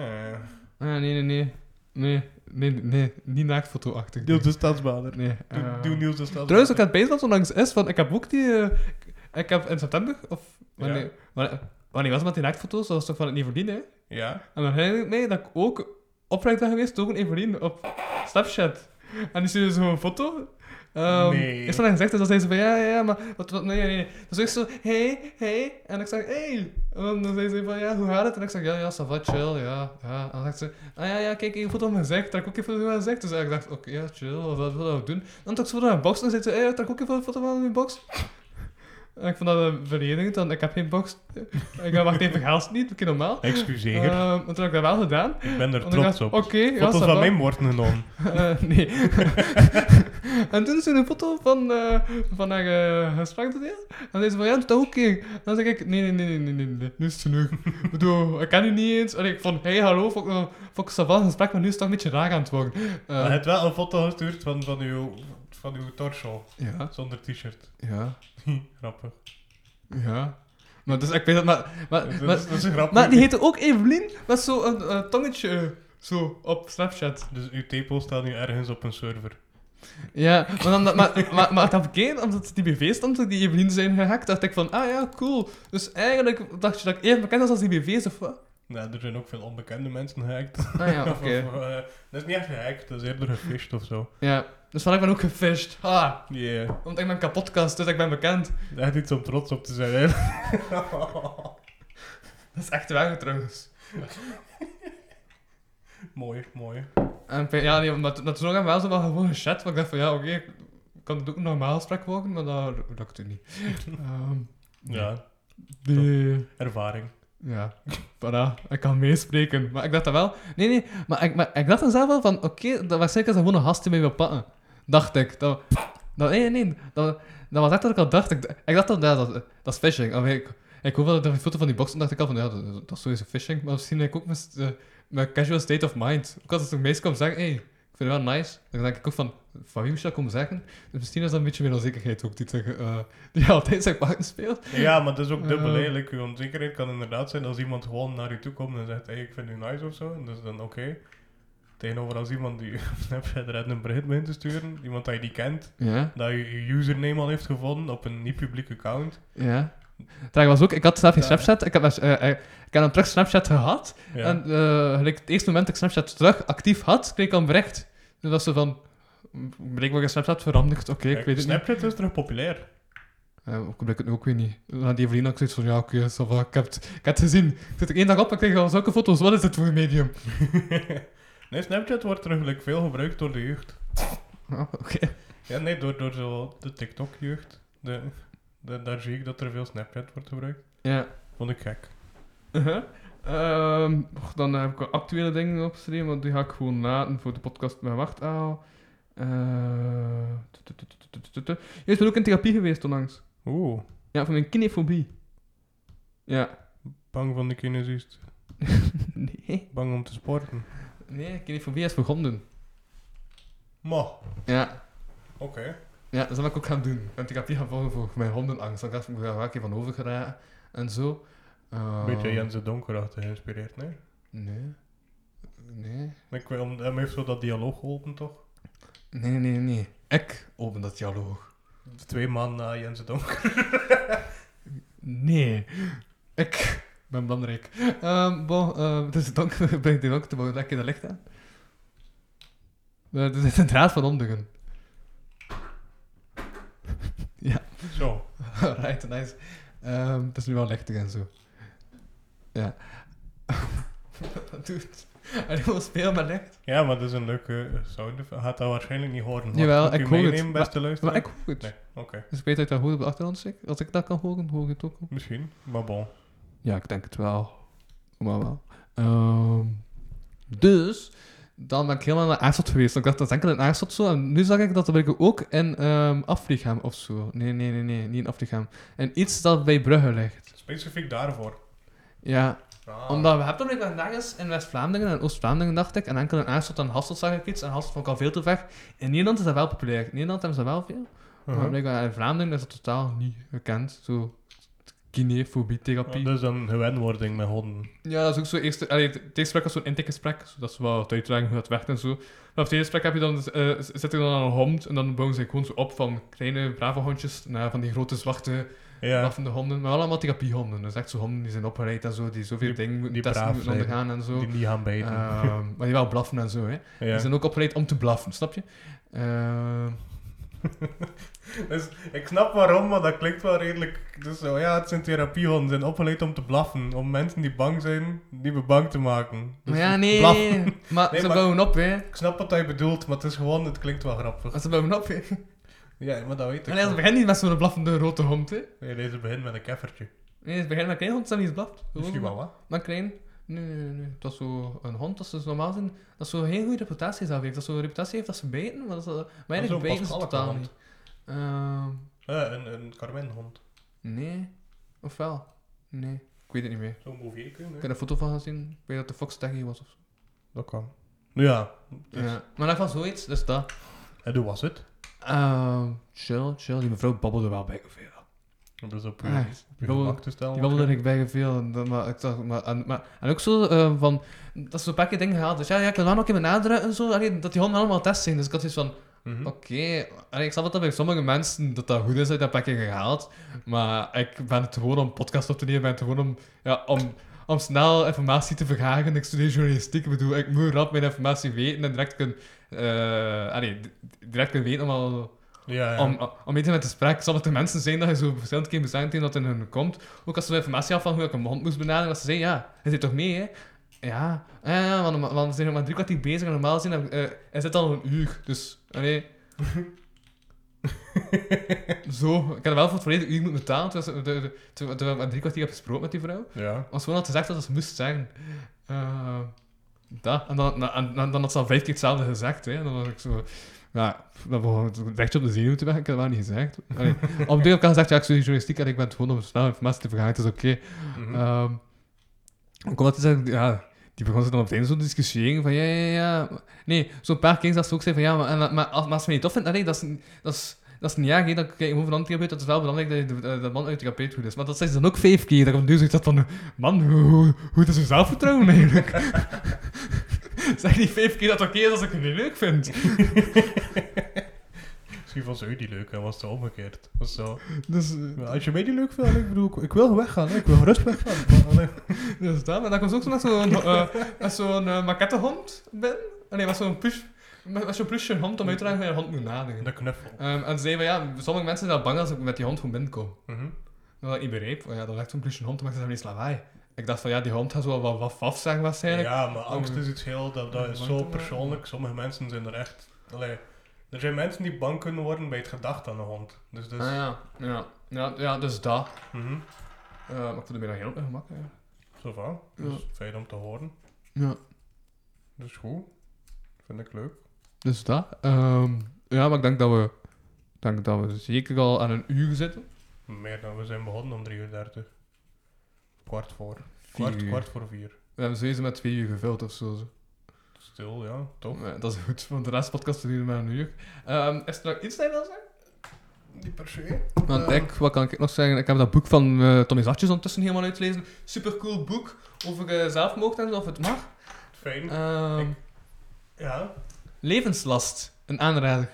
[SPEAKER 5] Ah, nee, nee, nee. Nee, nee, nee. Niet naaktfoto-achtig.
[SPEAKER 2] Niels de Stadsbader.
[SPEAKER 5] Nee.
[SPEAKER 2] Doe,
[SPEAKER 5] eh.
[SPEAKER 2] doe Niels de Stadsbader.
[SPEAKER 5] Trouwens, ik had bezig dat onlangs is, want ik heb ook die... eh, ik heb in september, of... Wanneer,
[SPEAKER 2] Ja.
[SPEAKER 5] wanneer, wanneer was het met die naaktfoto's? Dat was toch van het Nivolien, hè?
[SPEAKER 2] Ja?
[SPEAKER 5] En dan herinner ik mij dat ik ook oprecht ben geweest door een Evelien op Snapchat. En die stuurde zo'n foto. Ehm
[SPEAKER 2] Nee.
[SPEAKER 5] Ik zat dan gezegd, dus dan zei ze van ja, ja, ja, maar wat, wat, nee, nee, nee. Dus ik zo, hey, hey. En ik zeg, hey. En dan zei ze van ja, hoe gaat het? En ik zeg, ja, ja, ça va, chill, ja, ja. En dan zegt ze, ah ja, ja, kijk, ik heb een foto van mijn gezicht. Trek ook een foto van mijn gezicht. Dus ik dacht, oké, ja, chill, wat wat willen we doen? Dan trok ze foto van mijn box. En dan zei ze, hey, trek ook een foto van mijn box. Eh, En ik vond dat eh, verdedigend, want ik heb geen box. Ik dacht, wacht even, haast niet, oké, normaal.
[SPEAKER 2] Excuseer,
[SPEAKER 5] Ehm, maar toen heb ik dat wel gedaan.
[SPEAKER 2] ik ben er
[SPEAKER 5] Want ik
[SPEAKER 2] trots
[SPEAKER 5] dacht,
[SPEAKER 2] op.
[SPEAKER 5] Oké, ja,
[SPEAKER 2] Foto's
[SPEAKER 5] ça
[SPEAKER 2] van
[SPEAKER 5] va.
[SPEAKER 2] mij worden genomen.
[SPEAKER 5] Eh, nee. en toen is er een foto van, eh van haar eh, gesprek te delen. En zei ze van, ja, doe dat ook een keer. En dan zeg ik, nee, nee, nee, nee, nee, nee, nee, nu is het genoeg. ik bedoel, ik ken u niet eens. En ik vond, hey, hallo, vond ik, nog- vond ik ça va, een gesprek, maar nu is het toch een beetje raar aan het worden. Eh,
[SPEAKER 2] Maar je hebt wel een foto gestuurd van, van, uw, van uw torso,
[SPEAKER 5] ja,
[SPEAKER 2] zonder t-shirt.
[SPEAKER 5] ja,
[SPEAKER 2] Grappig.
[SPEAKER 5] ja. Maar dus, ik weet dat, maar... maar,
[SPEAKER 2] Dat is,
[SPEAKER 5] maar,
[SPEAKER 2] dat is grappig.
[SPEAKER 5] maar die heette ook Evelien, met zo'n eh, tongetje, eh, zo, op Snapchat.
[SPEAKER 2] Dus uw tepel staat nu ergens op een server.
[SPEAKER 5] Ja, maar, dan, maar, maar, maar, maar dat verkeerd, omdat die BV stond, die Evelien zijn gehackt, dacht ik van, ah ja, cool. Dus eigenlijk dacht je dat ik even bekend was als die BV's of wat?
[SPEAKER 2] Nou, er zijn ook veel onbekende mensen gehackt.
[SPEAKER 5] Ah ja, oké.
[SPEAKER 2] Of, eh, dat is niet echt gehackt, dat is eerder gefished of zo.
[SPEAKER 5] Ja, dus van ik ben ook gefished. Ha,
[SPEAKER 2] Yeah.
[SPEAKER 5] want ik ben kapotkast, dus ik ben bekend.
[SPEAKER 2] Echt iets om trots op te zijn, hè?
[SPEAKER 5] Dat is echt waar trouwens.
[SPEAKER 2] mooi, mooi.
[SPEAKER 5] En ik vind- ja, nee, maar, t- maar toen ook aan wel zo wel gewoon gechat, want ik dacht van, ja, oké, ik kan het ook een normaal gesprek worden, maar dat lukte niet. Ehm
[SPEAKER 2] Ja,
[SPEAKER 5] die...
[SPEAKER 2] ervaring.
[SPEAKER 5] Ja, voilà, ik kan meespreken. Maar ik dacht dat wel. Nee, nee, maar ik, maar ik dacht dan zelf wel van: oké, dat waarschijnlijk is dat gewoon een gast die mij wil pakken. Dacht ik. Dat, dat, nee, nee, dat, dat was echt wat ik al dacht. Ik, ik dacht dan, ja, dat, dat is phishing. Of ik, ik hoorde dat die foto van die box en dacht ik al van: ja, dat, dat is sowieso phishing. Maar misschien denk ik ook met, eh, met casual state of mind. Ook als een meisje komt zeggen: hé, hey, ik vind het wel nice. Dan denk ik ook van: van wie moest je dat komen zeggen? Dus misschien is dat een beetje meer onzekerheid ook die, tegen, eh, die altijd zijn pakken speelt.
[SPEAKER 2] Ja, maar dat is ook dubbel
[SPEAKER 5] Eh.
[SPEAKER 2] eigenlijk. Uw onzekerheid kan inderdaad zijn als iemand gewoon naar u toe komt en zegt: hey, ik vind u nice of zo. En dat is dan oké. Tegenover als iemand die op Snapchat eruit een bericht begint te sturen, iemand dat je niet kent,
[SPEAKER 5] Ja.
[SPEAKER 2] dat je je username al heeft gevonden op een niet-publiek account.
[SPEAKER 5] Ja. Trouwens was ook, ik had zelf geen
[SPEAKER 2] Ja.
[SPEAKER 5] Snapchat. Ik heb, dus, eh, eh, ik heb dan terug Snapchat gehad.
[SPEAKER 2] Ja.
[SPEAKER 5] En eh, gelijk het eerste moment dat ik Snapchat terug actief had, kreeg ik al een bericht. Dus dat ze van, "M, blijkbaar is Snapchat veranderd. Oké, ik
[SPEAKER 2] Kijk,
[SPEAKER 5] weet het niet.
[SPEAKER 2] Snapchat is terug populair.
[SPEAKER 5] Eh, ik weet het ook weer niet. Na die vriendin had ik zoiets van, ja oké, ça va, ik, heb het, ik heb het gezien. Ik zit er één dag op en ik kreeg al zulke foto's. Wat is dit voor een medium?
[SPEAKER 2] nee, Snapchat wordt terug like, veel gebruikt door de jeugd.
[SPEAKER 5] Ah, oké.
[SPEAKER 2] Ja, nee, door, door zo de TikTok-jeugd. De, de- daar zie ik dat er veel Snapchat wordt gebruikt.
[SPEAKER 5] Ja.
[SPEAKER 2] Vond ik gek.
[SPEAKER 5] Uh-huh. Ehm, och, dan heb ik wel actuele dingen opgeschreven, want die ga ik gewoon laten voor de podcast met Wachtaal. Eh, tu- tu- tu- tu- tu- tu- tu- tu. Jij bent ook in therapie geweest onlangs.
[SPEAKER 2] Oeh,
[SPEAKER 5] Ja, voor mijn kinefobie. Ja.
[SPEAKER 2] bang van de kinesist.
[SPEAKER 5] Nee.
[SPEAKER 2] Bang om te sporten.
[SPEAKER 5] Nee, kinefobie is voor honden.
[SPEAKER 2] Maar,
[SPEAKER 5] Ja.
[SPEAKER 2] oké.
[SPEAKER 5] Ja, dat zal ik ook gaan doen. Ik ben therapie gaan volgen voor mijn hondenangst. Dan dacht ik, ik ga wel een keer van overgeraken en zo. Ehm,
[SPEAKER 2] Een beetje Jens de Donkerachtig geïnspireerd, nee?
[SPEAKER 5] Nee. Nee.
[SPEAKER 2] Ik wil, hem heeft zo dat dialoog geholpen, toch?
[SPEAKER 5] Nee, nee, nee. Ik open dat dialoog.
[SPEAKER 2] Twee maanden na Jens de Donker.
[SPEAKER 5] Nee. Ik ben belangrijk. Ehm bon, ehm, het is donker. Ben ik die donker te mogen lekker de licht aan? Het is een draad van omduggen. ja,
[SPEAKER 2] Zo.
[SPEAKER 5] right, nice. Ehm, het is nu wel lichtig en zo. Ja. Wat doet? En ik wil spelen met licht.
[SPEAKER 2] Ja, maar dat is een leuke eh, sound. Je gaat dat waarschijnlijk niet horen. maar
[SPEAKER 5] Jawel,
[SPEAKER 2] moet u
[SPEAKER 5] ik hoor het,
[SPEAKER 2] meenemen,
[SPEAKER 5] maar-
[SPEAKER 2] beste luisteraar?
[SPEAKER 5] Maar ik hoor het.
[SPEAKER 2] Nee, oké.
[SPEAKER 5] Dus ik weet dat ik dat goed op de achtergrond zit. Als ik dat kan horen, hoor ik het ook.
[SPEAKER 2] Misschien, maar bon.
[SPEAKER 5] Ja, ik denk het wel. Maar wel. Ehm, dus, dan ben ik helemaal naar Aarschot geweest. Ik dacht, dat is enkel in Aarschot zo. En nu zag ik dat ik ook in ehm Afrikaam of zo. Nee, nee, nee, nee, niet in Afrikaam. En iets dat bij Brugge ligt.
[SPEAKER 2] Specifiek daarvoor.
[SPEAKER 5] Ja,
[SPEAKER 2] Ah.
[SPEAKER 5] omdat we hebben nog nergens in West-Vlaanderen en Oost-Vlaanderen, dacht ik. En enkel in Aarschot en Hasselt zag ik iets. En Hasselt vond ik al veel te ver. In Nederland is dat wel populair. In Nederland hebben ze dat wel veel. Maar
[SPEAKER 2] Uh-huh.
[SPEAKER 5] blijkbaar in Vlaanderen is dat totaal niet bekend. Zo, kinefobie-therapie.
[SPEAKER 2] Ah, dat is dan gewenwording met honden.
[SPEAKER 5] Ja, dat is ook zo. Eerste, allee, het eerste gesprek was zo'n intakegesprek. zo Dat is wel het uitleggen hoe dat werkt en zo. Maar op het tweede gesprek heb je dan, eh, z- zit er dan een hond. En dan bouwen ze gewoon zo op van kleine, brave hondjes naar van die grote, zwarte,
[SPEAKER 2] Ja,
[SPEAKER 5] blaffende honden. Maar allemaal therapiehonden. Dus echt zo honden die zijn opgeleid en zo. Die zoveel
[SPEAKER 2] Die-
[SPEAKER 5] dingen moeten
[SPEAKER 2] die
[SPEAKER 5] testen,
[SPEAKER 2] braaf
[SPEAKER 5] moeten
[SPEAKER 2] zijn.
[SPEAKER 5] ondergaan en zo.
[SPEAKER 2] die niet gaan bijten.
[SPEAKER 5] Ehm, maar die wel blaffen en zo, hè.
[SPEAKER 2] ja.
[SPEAKER 5] Die zijn ook opgeleid om te blaffen, snap je? Ehm,
[SPEAKER 2] Dus ik snap waarom, maar dat klinkt wel redelijk. Dus zo, ja, het zijn therapiehonden, zijn opgeleid om te blaffen. Om mensen die bang zijn, die we bang te maken. Dus
[SPEAKER 5] maar ja, nee.
[SPEAKER 2] blaffen.
[SPEAKER 5] Maar
[SPEAKER 2] Nee,
[SPEAKER 5] ze
[SPEAKER 2] maar-
[SPEAKER 5] bouwen op, hè.
[SPEAKER 2] Ik snap wat hij bedoelt, maar het is gewoon, het klinkt wel grappig.
[SPEAKER 5] Ze bouwen op, hè.
[SPEAKER 2] Ja, maar dat weet ik.
[SPEAKER 5] En het
[SPEAKER 2] wel.
[SPEAKER 5] begint niet met zo'n blaffende rode hond, hè.
[SPEAKER 2] Nee, deze begint met een keffertje.
[SPEAKER 5] Nee, het begint met een klein hond, dat niet eens blaft.
[SPEAKER 2] Misschien wel, wat?
[SPEAKER 5] Maar klein... Nee, nee, nee, nee. Het was zo een hond, dat ze normaal zijn, dat zo geen goede reputatie zelf heeft. Dat ze een reputatie heeft dat ze bijten, maar dat ze... Maar
[SPEAKER 2] is
[SPEAKER 5] eigenlijk
[SPEAKER 2] zo'n
[SPEAKER 5] bijten ze
[SPEAKER 2] paskalke
[SPEAKER 5] totaal
[SPEAKER 2] hond.
[SPEAKER 5] niet. Ehm,
[SPEAKER 2] Eh, een, een Carmen-hond.
[SPEAKER 5] nee. Of wel? Nee. Ik weet het niet meer.
[SPEAKER 2] Zo'n moveerke,
[SPEAKER 5] Ik
[SPEAKER 2] nee.
[SPEAKER 5] heb een foto van gezien. Ik weet dat de Fox Taggy was of zo.
[SPEAKER 2] Dat kan. Nou ja, dus,
[SPEAKER 5] Ja. Maar dat was zoiets, dus dat.
[SPEAKER 2] en hoe was het?
[SPEAKER 5] Ehm, chill, chill. Die mevrouw babbelde wel bij veel.
[SPEAKER 2] Dat is op je,
[SPEAKER 5] Ah,
[SPEAKER 2] op je
[SPEAKER 5] babbel-
[SPEAKER 2] gemak te stellen.
[SPEAKER 5] Die babbelde ik bij veel. En, dan- maar, ik dacht, maar, en, maar, en ook zo eh, van, dat ze zo'n pakje dingen gehaald. Dus ja, ja, ik wil wel nog even nadrukken en zo. Allee, dat die honden allemaal test zijn. Dus ik had zoiets van,
[SPEAKER 2] Mhm.
[SPEAKER 5] oké. Allee, Ik snap dat dat bij sommige mensen dat dat goed is dat je dat pakje gehaald. Maar ik ben het gewoon om podcast op te nemen. Ik ben het gewoon om, ja, om, om snel informatie te vergaren. Ik studeer journalistiek. Ik bedoel, ik moet rap mijn informatie weten en direct kunnen... eh, allee, di- direct kunnen weten om al
[SPEAKER 2] Ja, ja.
[SPEAKER 5] om, om iets met te spreken, zal het de mensen zijn dat je zo verschillend keer moet zeggen tegen dat het in hun komt. Ook als ze informatie af van hoe ik een hond moest benaderen, dat ze zeiden, ja, hij zit toch mee, hè? Ja, ja, ja want, norma- want we zijn nog maar drie kwartier bezig en normaal gezien, eh hij zit al een uur, dus, allee. zo, ik had wel voor het volledige uur moeten betalen, terwijl ze- terwijl- terwijl- terwijl we maar drie kwartier hebben gesproken met die vrouw.
[SPEAKER 2] ja.
[SPEAKER 5] Als gewoon had gezegd dat ze moest zeggen. Eh, dat. En dan, en, en dan had ze al vijf keer hetzelfde gezegd. Hè. En dan was ik zo... Ja, dan begon ik recht op de zenuw te werken. Ik had dat wel niet gezegd. Allee, op de deur heb ik al gezegd, ja, ik studeer journalistiek en ik ben het gewoon om snel informatie te vergaren. Het is oké.
[SPEAKER 2] Hm. Mhm. Ah.
[SPEAKER 5] Ehm, ook omdat ze zeggen, ja... Die begon ze dan meteen zo te discussiëren van ja, ja, ja. Nee, zo'n paar keer dat ze ook zei van ja, maar, en- maar, als, maar als ze mij niet tof vindt, allee, dat is, dat is, dat is niet erg, hè, dat ik hoef een therapeut, dat is wel belangrijk dat je de, de, de man uit de therapeut goed is. Maar dat zei ze dan ook vijf keer, daarom duurde ik dat van, man, hoe, hoe, hoe is uw zelfvertrouwen eigenlijk? zeg niet vijf keer dat het oké is als ik het niet leuk vind.
[SPEAKER 2] Misschien vond ze u die leuk en was het omgekeerd. Dat is zo.
[SPEAKER 5] Dus, eh,
[SPEAKER 2] Maar Als je mij die leuk vindt, ik bedoel, ik- ik wil weggaan. hè. Ik wil gerust weggaan. Maar, nee.
[SPEAKER 5] dus dat, maar dan komt ze ook zo met zo'n eh, met zo'n eh, maquettehond binnen. Ah, Nee, met zo'n push, met, met zo'n plusje hond om uit te leggen hoe je hond moet nadenken.
[SPEAKER 2] De knuffel.
[SPEAKER 5] Ehm, en ze zei van ja, sommige mensen zijn al bang als ik met die hond gewoon binnenkom.
[SPEAKER 2] Mhm.
[SPEAKER 5] Dat ik niet begreep, want ja, dat lijkt zo'n plusje hond, dan maakt ze helemaal niet lawaai. Ik dacht van ja, die hond gaat zo wel wat waf zeggen waarschijnlijk.
[SPEAKER 2] Ja, maar angst is iets heel, dat, dat is
[SPEAKER 5] Bang
[SPEAKER 2] zo
[SPEAKER 5] te worden.
[SPEAKER 2] persoonlijk. Sommige mensen zijn er echt... Allee, er zijn mensen die bang kunnen worden bij het gedacht aan een hond. Dus, dus
[SPEAKER 5] Ah, ja. Ja. Ja, ja, dus dat.
[SPEAKER 2] mhm.
[SPEAKER 5] Eh, maar ik vond het bijna heel ongemakkelijk. eigenlijk.
[SPEAKER 2] zo van. Dus fijn om te horen.
[SPEAKER 5] Ja.
[SPEAKER 2] Dus goed. Vind ik leuk.
[SPEAKER 5] Dus dat. Ehm, ja, maar ik denk dat we, ik denk dat we zeker al aan een uur zitten.
[SPEAKER 2] Meer dan we zijn begonnen om 3 uur 30. Kwart voor.
[SPEAKER 5] Vier
[SPEAKER 2] Kwart,
[SPEAKER 5] uur.
[SPEAKER 2] kwart voor vier.
[SPEAKER 5] We hebben sowieso met twee uur gevuld of zo.
[SPEAKER 2] Stil, ja. Toch?
[SPEAKER 5] Ja, eh, dat is goed, want de rest podcast duurt maar een uur. Ehm, is er nog iets dat je wil zeggen? Eh,
[SPEAKER 2] Niet per se.
[SPEAKER 5] Want
[SPEAKER 2] Ehm.
[SPEAKER 5] ik, wat kan ik nog zeggen? Ik heb dat boek van eh, Tommy Zatjes ondertussen helemaal uitgelezen. Supercool boek over eh, zelfmoord en zo, of het mag.
[SPEAKER 2] Fijn.
[SPEAKER 5] Ehm,
[SPEAKER 2] Ja.
[SPEAKER 5] levenslast, een aanrader.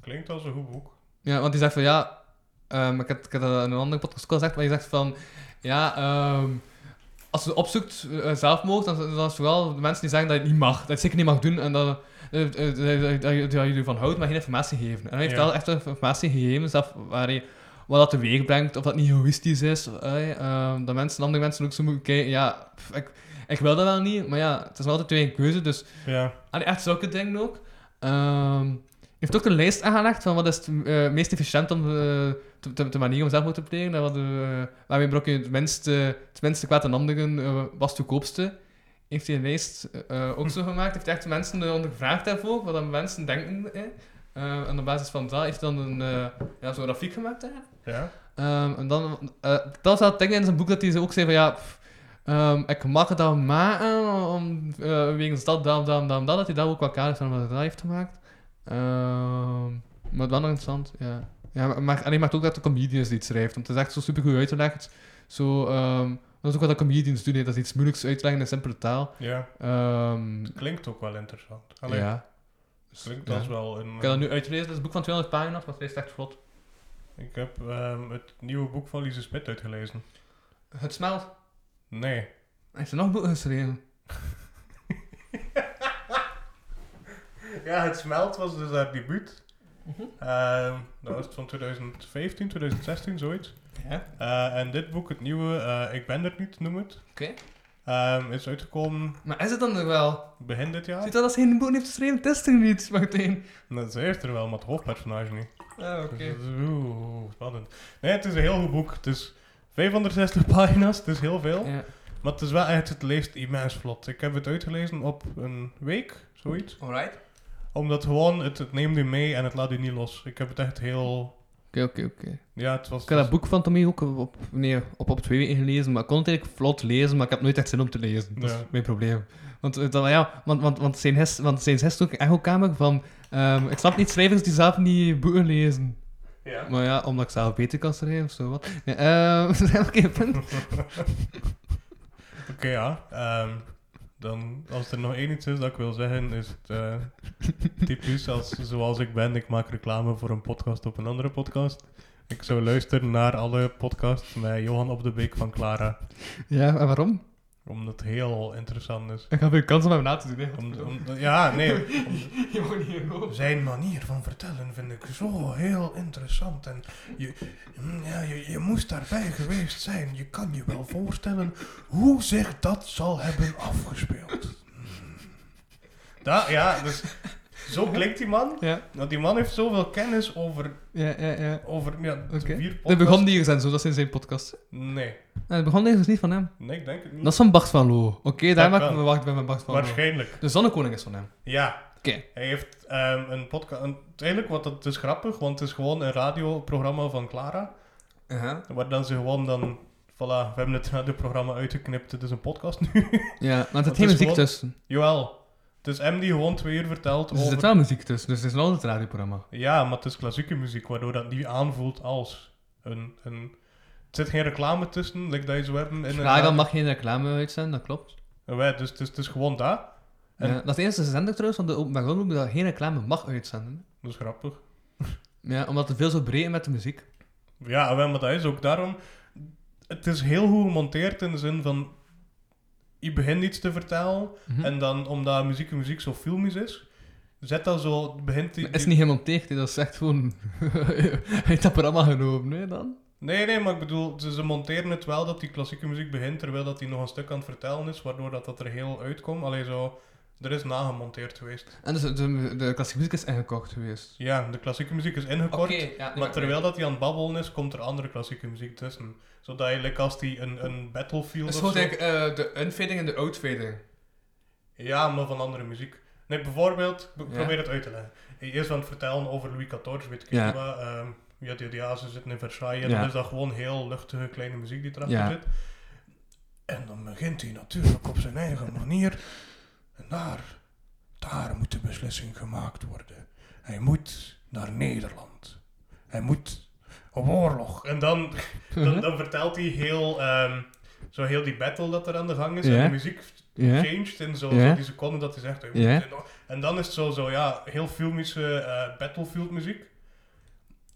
[SPEAKER 2] Klinkt als een goed boek.
[SPEAKER 5] Ja, want die zegt van ja, ehm, ik, had, ik had dat in een andere podcast ook al gezegd, maar die zegt van ja, ehm, als je opzoekt eh, zelfmoord, dan, dan is het vooral de mensen die zeggen dat je het niet mag, dat je het zeker niet mag doen en dat, eh, eh, dat, je- dat je- dat je ervan houdt, maar geen informatie geven. En hij heeft
[SPEAKER 2] Ja.
[SPEAKER 5] wel echt informatie gegeven, zelf waar hij wat dat teweeg brengt, of dat niet egoïstisch is, eh, ehm, dat mensen, andere mensen ook zo moeten kijken, ja, pff, ik, ik wil dat wel niet, maar ja, het is wel altijd twee een keuze, dus
[SPEAKER 2] Ja.
[SPEAKER 5] Allee, echt zulke dingen ook. Ehm, je heeft ook een lijst aangelegd van wat is het eh, meest efficiënt om eh, te, te, te manier om zelfmoord te plegen. En wat, eh, waarmee brok je het minste, het minste kwaad aan anderen, eh, was het goedkoopste. Heeft hij een lijst eh, eh, ook zo gemaakt. Heeft hij echt mensen eh, ondervraagd daarvoor, wat dan mensen denken. hè. Eh, en op basis van dat heeft hij dan een, eh, ja, zo'n grafiek gemaakt eigenlijk.
[SPEAKER 2] Ja.
[SPEAKER 5] Ehm, en dan, eh dat zat dingen in zijn boek dat hij ze ook zei van ja, pff, ehm, ik mag het dan maken om, eh, wegens dat, dat, dat, dat, dat, dat hij daar ook wel kaders van wat hij heeft gemaakt. Ehm, maar wel nog interessant, ja. ja maar, maar, en hij maakt ook dat de comedians dit schrijft, want het is echt zo super goed uitgelegd. Zo, ehm, dat is ook wat de comedians doen, hè, dat is iets moeilijks uitleggen in simpele taal.
[SPEAKER 2] Ja.
[SPEAKER 5] Ehm,
[SPEAKER 2] Klinkt ook wel interessant. Allee,
[SPEAKER 5] ja. Dus,
[SPEAKER 2] klinkt
[SPEAKER 5] Ja.
[SPEAKER 2] als wel eh. een...
[SPEAKER 5] Ik heb dat nu uitgelezen, dat is een boek van 200 pagina's, maar het is echt vlot.
[SPEAKER 2] Ik heb ehm, het nieuwe boek van Lise Smit uitgelezen.
[SPEAKER 5] Het smelt.
[SPEAKER 2] Nee.
[SPEAKER 5] Hij heeft er nog boeken geschreven.
[SPEAKER 2] Ja, Het Smelt was dus haar debuut.
[SPEAKER 5] Mhm.
[SPEAKER 2] Ehm, dat was het van 2015, 2016, zoiets.
[SPEAKER 5] Ja.
[SPEAKER 2] Eh, en dit boek, het nieuwe, eh, Ik ben er niet, noem het.
[SPEAKER 5] Oké.
[SPEAKER 2] Ehm, is uitgekomen
[SPEAKER 5] Maar is het dan er wel?
[SPEAKER 2] begin dit jaar.
[SPEAKER 5] Ziet dat als hij een boek heeft geschreven? Het is er niet, meteen.
[SPEAKER 2] Nou, Zij heeft er wel, maar het hoofdpersonage niet.
[SPEAKER 5] Ah, oké.
[SPEAKER 2] Dus dat is- Oeh, spannend. Nee, het is een heel goed boek. Het is 560 pagina's, het is heel veel.
[SPEAKER 5] Ja.
[SPEAKER 2] Maar het is wel echt, het leest immens vlot. Ik heb het uitgelezen op een week, zoiets.
[SPEAKER 5] Alright.
[SPEAKER 2] Omdat gewoon, het, het neemt u mee en het laat u niet los. Ik heb het echt heel...
[SPEAKER 5] Oké, oké, oké.
[SPEAKER 2] Ja, het was... dus-
[SPEAKER 5] Ik heb dat boek van Tommy ook op, nee, op, op twee weken gelezen, maar ik kon het eigenlijk vlot lezen, maar ik heb nooit echt zin om te lezen. Dat
[SPEAKER 2] Ja.
[SPEAKER 5] is mijn probleem. Want, eh, dan, ja, want, want, want zijn hes, want zijn hes ook een echo-kamer van, ehm, ik snap niet schrijvers die zelf niet boeken lezen.
[SPEAKER 2] Ja.
[SPEAKER 5] Maar ja, omdat ik zelf beter kan schrijven of zo. Wat. Nee, ehm, dat is helemaal geen punt.
[SPEAKER 2] Oké, ja. ehm, dan, als er nog één iets is dat ik wil zeggen, is het eh, typisch als, zoals ik ben. Ik maak reclame voor een podcast op een andere podcast. Ik zou luisteren naar alle podcasts met Johan op de Beek van Clara.
[SPEAKER 5] Ja, en waarom?
[SPEAKER 2] Omdat het heel interessant is.
[SPEAKER 5] Ik had veel kans om hem na te doen. Hè.
[SPEAKER 2] Om, om- ja, nee. om-
[SPEAKER 5] Je moet niet geloven.
[SPEAKER 2] zijn manier van vertellen vind ik zo heel interessant. En je, mm, ja, je, je moest daarbij geweest zijn. Je kan je wel voorstellen hoe zich dat zal hebben afgespeeld. Mm. Da, ja, dus zo klinkt die man.
[SPEAKER 5] Ja,
[SPEAKER 2] Want die man heeft zoveel kennis over,
[SPEAKER 5] ja, ja. ja.
[SPEAKER 2] over ja,
[SPEAKER 5] Oké.
[SPEAKER 2] vier
[SPEAKER 5] Dat
[SPEAKER 2] podcasts.
[SPEAKER 5] begon niet en zo, dat zijn zijn podcast.
[SPEAKER 2] Nee,
[SPEAKER 5] Nee, dat begon dus niet van hem.
[SPEAKER 2] nee, ik denk het niet.
[SPEAKER 5] Dat is van Bart van Loo. Oké,
[SPEAKER 2] Dat
[SPEAKER 5] daar maak ik
[SPEAKER 2] kan.
[SPEAKER 5] me wacht bij mijn Bart van Loo.
[SPEAKER 2] Waarschijnlijk.
[SPEAKER 5] De Zonnekoning is van hem.
[SPEAKER 2] Ja,
[SPEAKER 5] Oké.
[SPEAKER 2] hij heeft ehm, een podcast. Eigenlijk, wat dat is grappig, want het is gewoon een radioprogramma van Clara. Waar dan ze gewoon dan... Voilà, we hebben het radioprogramma uitgeknipt. Het is een podcast nu.
[SPEAKER 5] Ja, maar
[SPEAKER 2] het
[SPEAKER 5] er zit geen
[SPEAKER 2] is
[SPEAKER 5] muziek
[SPEAKER 2] gewoon-
[SPEAKER 5] tussen.
[SPEAKER 2] Jawel. Het is M die gewoon twee uur vertelt
[SPEAKER 5] Dus er
[SPEAKER 2] over...
[SPEAKER 5] zit wel muziek tussen, dus het is een ander radioprogramma.
[SPEAKER 2] Ja, maar het is klassieke muziek, waardoor dat niet aanvoelt als een... een... Er zit geen reclame tussen, like dat je zo hebben in
[SPEAKER 5] Vraag dan
[SPEAKER 2] radio-
[SPEAKER 5] mag geen reclame uitzenden, dat klopt.
[SPEAKER 2] Ja, dus het is, het is gewoon dat. En-
[SPEAKER 5] Ja, dat is de eerste zender trouwens van de openbaar omroep dat geen reclame mag uitzenden.
[SPEAKER 2] Dat is grappig.
[SPEAKER 5] Ja, omdat het veel zo breed is met de muziek.
[SPEAKER 2] Ja, wel, maar dat is ook daarom... Het is heel goed gemonteerd in de zin van... Je begint iets te vertellen,
[SPEAKER 5] Mhm.
[SPEAKER 2] en dan, omdat muziek en muziek zo filmisch is, zet dan zo... Begint die,
[SPEAKER 5] Maar het is niet helemaal tegen, dat is echt gewoon uit dat programma genomen, hè, dan.
[SPEAKER 2] Nee, nee, maar ik bedoel, ze, ze monteren het wel dat die klassieke muziek begint, terwijl dat die nog een stuk aan het vertellen is, waardoor dat, dat er heel uitkomt. Alleen zo, er is nagemonteerd geweest.
[SPEAKER 5] En dus de, de klassieke muziek is ingekocht geweest.
[SPEAKER 2] Ja, de klassieke muziek is ingekort,
[SPEAKER 5] ja.
[SPEAKER 2] maar terwijl dat die aan het babbelen is, komt er andere klassieke muziek tussen. Zodat je, like, als die een, een battlefield of zo-
[SPEAKER 5] eh, de unfading en de outfading.
[SPEAKER 2] Ja, maar van andere muziek. Nee, bijvoorbeeld, ik
[SPEAKER 5] Ja.
[SPEAKER 2] probeer het uit te leggen. Eerst aan het vertellen over Louis XIV, weet ik
[SPEAKER 5] Ja.
[SPEAKER 2] niet wat. ehm, ja, die, die azen zitten in Versailles. En
[SPEAKER 5] Ja.
[SPEAKER 2] dan is dat gewoon heel luchtige, kleine muziek die erachter
[SPEAKER 5] Ja.
[SPEAKER 2] zit. En dan begint hij natuurlijk op zijn eigen manier. En daar, daar moet de beslissing gemaakt worden. Hij moet naar Nederland. Hij moet op oorlog. En dan,
[SPEAKER 5] Mhm.
[SPEAKER 2] dan, dan vertelt hij heel, ehm, zo heel die battle dat er aan de gang is.
[SPEAKER 5] Ja.
[SPEAKER 2] En de muziek
[SPEAKER 5] Ja.
[SPEAKER 2] changed in zo,
[SPEAKER 5] Ja.
[SPEAKER 2] zo die seconde dat hij zegt. "Hey, we
[SPEAKER 5] Ja.
[SPEAKER 2] moeten nog-" En dan is het zo, zo ja, heel filmische eh, battlefield muziek.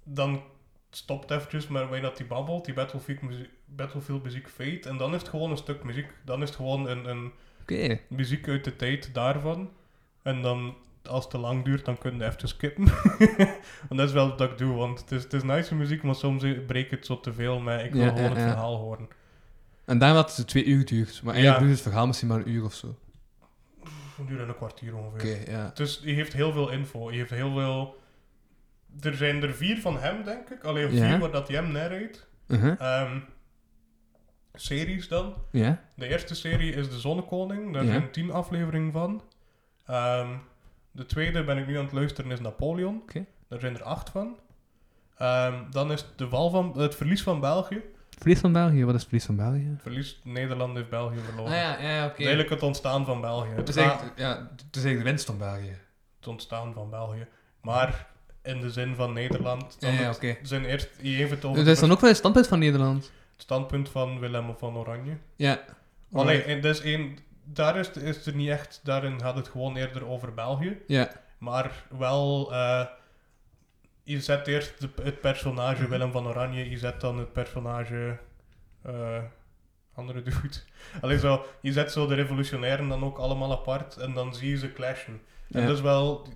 [SPEAKER 2] Dan stopt eventjes maar wanneer dat die babbelt, die battlefield muziek, battlefield muziek fade. En dan is het gewoon een stuk muziek. Dan is het gewoon een, een
[SPEAKER 5] Oké.
[SPEAKER 2] muziek uit de tijd daarvan. En dan, als het te lang duurt, dan kun je even skippen. want dat is wel wat ik doe, want het is, het is nice muziek, maar soms breekt het zo te veel. Maar ik wil
[SPEAKER 5] Ja,
[SPEAKER 2] gewoon
[SPEAKER 5] ja,
[SPEAKER 2] het
[SPEAKER 5] ja.
[SPEAKER 2] verhaal horen.
[SPEAKER 5] En daarom dat het dus twee uur duurt. Maar eigenlijk
[SPEAKER 2] Ja.
[SPEAKER 5] duurt het verhaal misschien maar een uur of zo. Oké,
[SPEAKER 2] Het duurt een kwartier ongeveer.
[SPEAKER 5] ja.
[SPEAKER 2] Dus die heeft heel veel info. Die heeft heel veel... Er zijn er vier van hem, denk ik. Alleen
[SPEAKER 5] Ja.
[SPEAKER 2] vier waar dat hij hem narrate.
[SPEAKER 5] Uh-huh.
[SPEAKER 2] Ehm, series dan.
[SPEAKER 5] Ja?
[SPEAKER 2] De eerste serie is De Zonnekoning. Daar
[SPEAKER 5] Ja.
[SPEAKER 2] zijn tien afleveringen van. Ehm, de tweede ben ik nu aan het luisteren is Napoleon.
[SPEAKER 5] Oké.
[SPEAKER 2] Daar zijn er acht van. Ehm, dan is de val van, het verlies van België.
[SPEAKER 5] Verlies van België, wat is verlies van België?
[SPEAKER 2] Verlies Nederland heeft België verloren.
[SPEAKER 5] Ah Nou ja, ja, oké.
[SPEAKER 2] Eigenlijk het ontstaan van België. Het
[SPEAKER 5] Het is
[SPEAKER 2] ra-
[SPEAKER 5] eigenlijk, ja, het is eigenlijk de winst van België.
[SPEAKER 2] het ontstaan van België. Maar in de zin van Nederland. Dan
[SPEAKER 5] Ja, ja,
[SPEAKER 2] het-
[SPEAKER 5] oké.
[SPEAKER 2] Zijn eerst, je heeft het over
[SPEAKER 5] Dus dat is
[SPEAKER 2] het
[SPEAKER 5] dan ook wel het standpunt van Nederland.
[SPEAKER 2] standpunt van Willem van Oranje.
[SPEAKER 5] Ja.
[SPEAKER 2] Alleen, en dat is één, daar is, is er niet echt, daarin gaat het gewoon eerder over België.
[SPEAKER 5] Ja.
[SPEAKER 2] Maar wel, eh, je zet eerst de- het
[SPEAKER 5] Mhm.
[SPEAKER 2] personage Willem van Oranje, je zet dan het personage. eh, andere dude. Alleen zo, je zet zo de revolutionairen dan ook allemaal apart en dan zie je ze clashen. En
[SPEAKER 5] Ja.
[SPEAKER 2] dat is wel,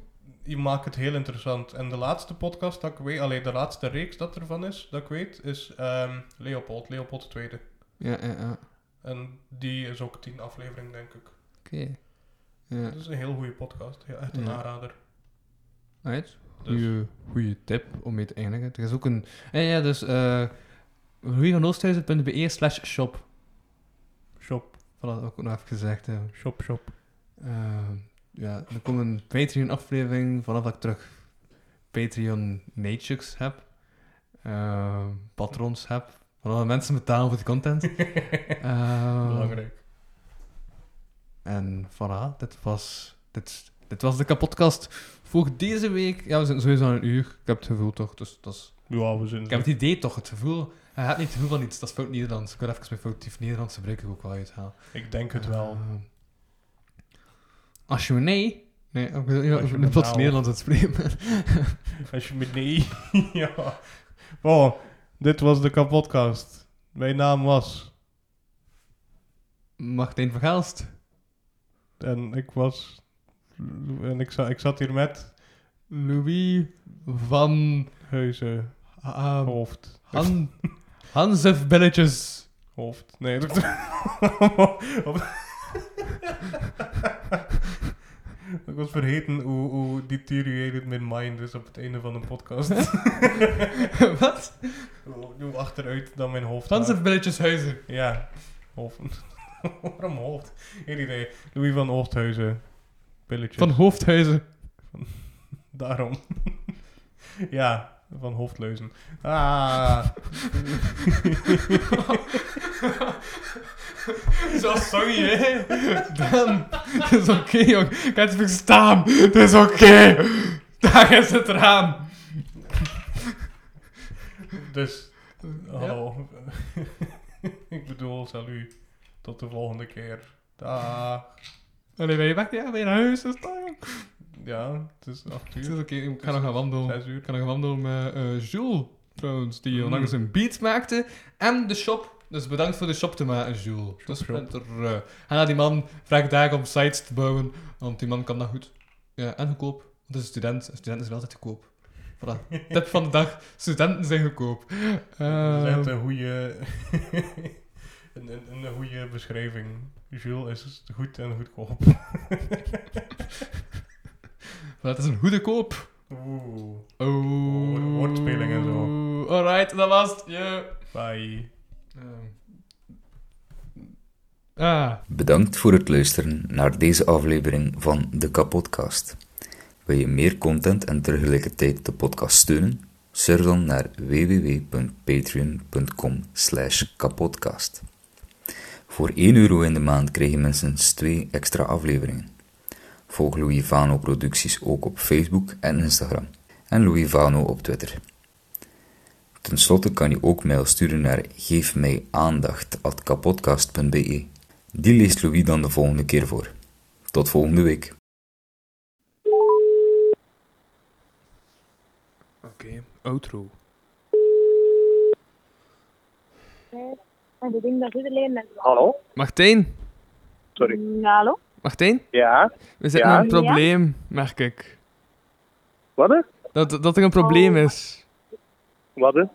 [SPEAKER 2] je maakt het heel interessant. En de laatste podcast dat ik weet, alleen de laatste reeks dat ervan is, dat ik weet, is ehm, Leopold, Leopold II.
[SPEAKER 5] Ja, ja, ja.
[SPEAKER 2] En die is ook tien aflevering, denk ik.
[SPEAKER 5] Ja.
[SPEAKER 2] Het is een heel goede podcast. Ja, echt een
[SPEAKER 5] Ja.
[SPEAKER 2] aanrader.
[SPEAKER 5] Right.
[SPEAKER 2] Dus-
[SPEAKER 5] Goeie, goeie tip om mee te eindigen. Er is ook een... En ja, dus... eh ruigonoosthuizen.be slash shop.
[SPEAKER 2] Shop,
[SPEAKER 5] Voilà, dat ook nog even gezegd. hè.
[SPEAKER 2] shop, shop.
[SPEAKER 5] Ehm, ja, er komt een Patreon-aflevering vanaf dat ik terug Patreon Natures heb. Ehm, patrons heb. Vanaf dat mensen betalen voor de content. Ehm,
[SPEAKER 2] Belangrijk.
[SPEAKER 5] En voilà, dit was, dit, dit was de kapotkast voor deze week. Ja, we zijn sowieso aan een uur. Ik heb het gevoel toch, dus dat is...
[SPEAKER 2] Eh, Ja, we zijn...
[SPEAKER 5] Ik heb het idee toch, het gevoel... Je hebt niet het gevoel van iets, dat is fout Nederlands. Ik wil even mijn foutief Nederlands gebruik ik ook wel uithalen.
[SPEAKER 2] Ik denk het wel.
[SPEAKER 5] Ehm, als je me nee... Nee, ik bedoel, ja,
[SPEAKER 2] Als je
[SPEAKER 5] ik
[SPEAKER 2] me
[SPEAKER 5] ben plots
[SPEAKER 2] nou-
[SPEAKER 5] Nederlands aan het spreken. bent.
[SPEAKER 2] Als je me nee... ja. Oh, dit was de kapotkast. Mijn naam was...
[SPEAKER 5] Martijn van Gaalst.
[SPEAKER 2] En ik was... En ik, za ik zat hier met...
[SPEAKER 5] Louis van...
[SPEAKER 2] Huizen.
[SPEAKER 5] ah,
[SPEAKER 2] Oh. Hoofd.
[SPEAKER 5] Han, Hansef Belletjes.
[SPEAKER 2] Hoofd. Nee. dat- ik was vergeten hoe, hoe deteriorated mijn mind is op het einde van een podcast.
[SPEAKER 5] Wat?
[SPEAKER 2] Hoe- Hoe achteruit dan mijn hoofd. gaat.
[SPEAKER 5] Hansef Belletjes Huizen.
[SPEAKER 2] Ja, hoofd. Waarom hoofd? Geen idee. Louis van Oosthuizen. Pilletjes.
[SPEAKER 5] Van Hoofdhuizen.
[SPEAKER 2] Daarom. ja, van hoofdleuzen. Ah.
[SPEAKER 5] Zo, sorry, hè. Dan. Dat is oké, jong. Ik kan het verstaan. Het is oké. Daar is het raam.
[SPEAKER 2] dus, hallo. Ik bedoel, salut. Tot de volgende keer. Dag.
[SPEAKER 5] Allee, ben je weg? Ja, ben je naar huis? Is het daar, jong?
[SPEAKER 2] Ja, het is acht
[SPEAKER 5] Het is oké,
[SPEAKER 2] uur.
[SPEAKER 5] ik ga nog gaan wandelen.
[SPEAKER 2] Zes
[SPEAKER 5] Ik
[SPEAKER 2] uur.
[SPEAKER 5] ga nog gaan wandelen met eh Jules, trouwens, die onlangs
[SPEAKER 2] Mm.
[SPEAKER 5] een beat maakte. En de shop. Dus bedankt voor de shop te maken, Jules. Dus
[SPEAKER 2] shop.
[SPEAKER 5] met er, eh, ga naar die man, vraag daar om sites te bouwen, want die man kan dat goed. Ja, en goedkoop. Want het is een student, en studenten zijn altijd goedkoop. Voilà. Tip van de dag, studenten zijn goedkoop.
[SPEAKER 2] Dat is
[SPEAKER 5] Ehm,
[SPEAKER 2] echt een goede... een, een, een goede beschrijving. Jules is goed en goedkoop.
[SPEAKER 5] Ehm. voilà, het is een goede koop.
[SPEAKER 2] Oeh.
[SPEAKER 5] Oh,
[SPEAKER 2] woordspeling en zo.
[SPEAKER 5] Alright, dat was het. Yeah.
[SPEAKER 2] Bye.
[SPEAKER 5] Um, Ah.
[SPEAKER 9] Bedankt voor het luisteren naar deze aflevering van de Kapodcast. Wil je meer content en tegelijkertijd de podcast steunen? Surf dan naar www.patreon.com kapodcast. Voor 1 euro in de maand krijg je minstens 2 extra afleveringen. Volg Louis Vano producties ook op Facebook en Instagram. En Louis Vano op Twitter. Ten slotte kan je ook mail sturen naar geefmijaandacht.kapodcast.be. Die leest Louis dan de volgende keer voor. Tot volgende week.
[SPEAKER 5] Oké, outro.
[SPEAKER 10] Eh, En ik denk dat iedereen met...
[SPEAKER 1] Hallo?
[SPEAKER 5] Martijn,
[SPEAKER 1] Sorry.
[SPEAKER 10] Hallo?
[SPEAKER 5] Martijn,
[SPEAKER 1] Ja?
[SPEAKER 5] we zitten
[SPEAKER 1] Ja?
[SPEAKER 5] met een probleem, merk ik.
[SPEAKER 1] Wat is?
[SPEAKER 5] Dat, dat er een probleem
[SPEAKER 1] Oh.
[SPEAKER 5] is.
[SPEAKER 1] Wat is?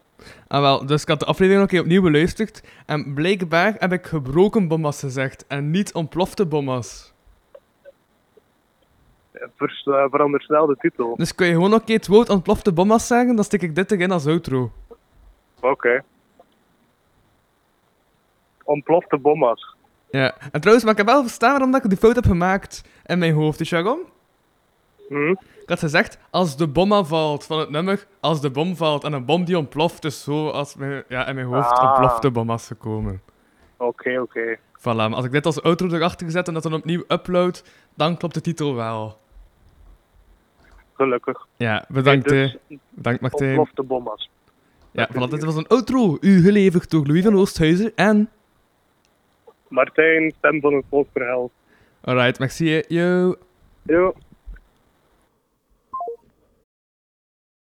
[SPEAKER 5] Ah wel, dus ik had de aflevering nog een keer opnieuw beluisterd. En blijkbaar heb ik gebroken bommas gezegd en niet ontplofte bommas.
[SPEAKER 1] Vers, eh, verander snel de titel.
[SPEAKER 5] Dus kun je gewoon nog een keer het woord ontplofte bommas zeggen, dan stik ik dit erin als outro.
[SPEAKER 1] Oké. Ontplofte bommas.
[SPEAKER 5] Ja, en trouwens, maar ik heb wel verstaan waarom dat ik die fout heb gemaakt in mijn hoofd. Dus waarom?
[SPEAKER 1] Hm?
[SPEAKER 5] Ik had gezegd, als de bomma valt van het nummer, als de bom valt en een bom die ontploft, dus zo als mijn, ja, in mijn hoofd
[SPEAKER 1] Ah.
[SPEAKER 5] ontplofte bommas gekomen.
[SPEAKER 1] Oké, oké.
[SPEAKER 5] Voilà, maar als ik dit als outro erachter zet en dat dan opnieuw upload, dan klopt de titel wel.
[SPEAKER 1] Gelukkig.
[SPEAKER 5] Ja, bedankt.
[SPEAKER 1] Dus
[SPEAKER 5] hè. bedankt Martijn.
[SPEAKER 1] Ontplofte bommas.
[SPEAKER 5] Ja, voilà, dit was een outro, u geleverd door Louis van Oosthuizen en...
[SPEAKER 1] Martijn, stem van het volksverhaal.
[SPEAKER 5] Alright, merci. hè. eh. Yo.
[SPEAKER 1] Jo.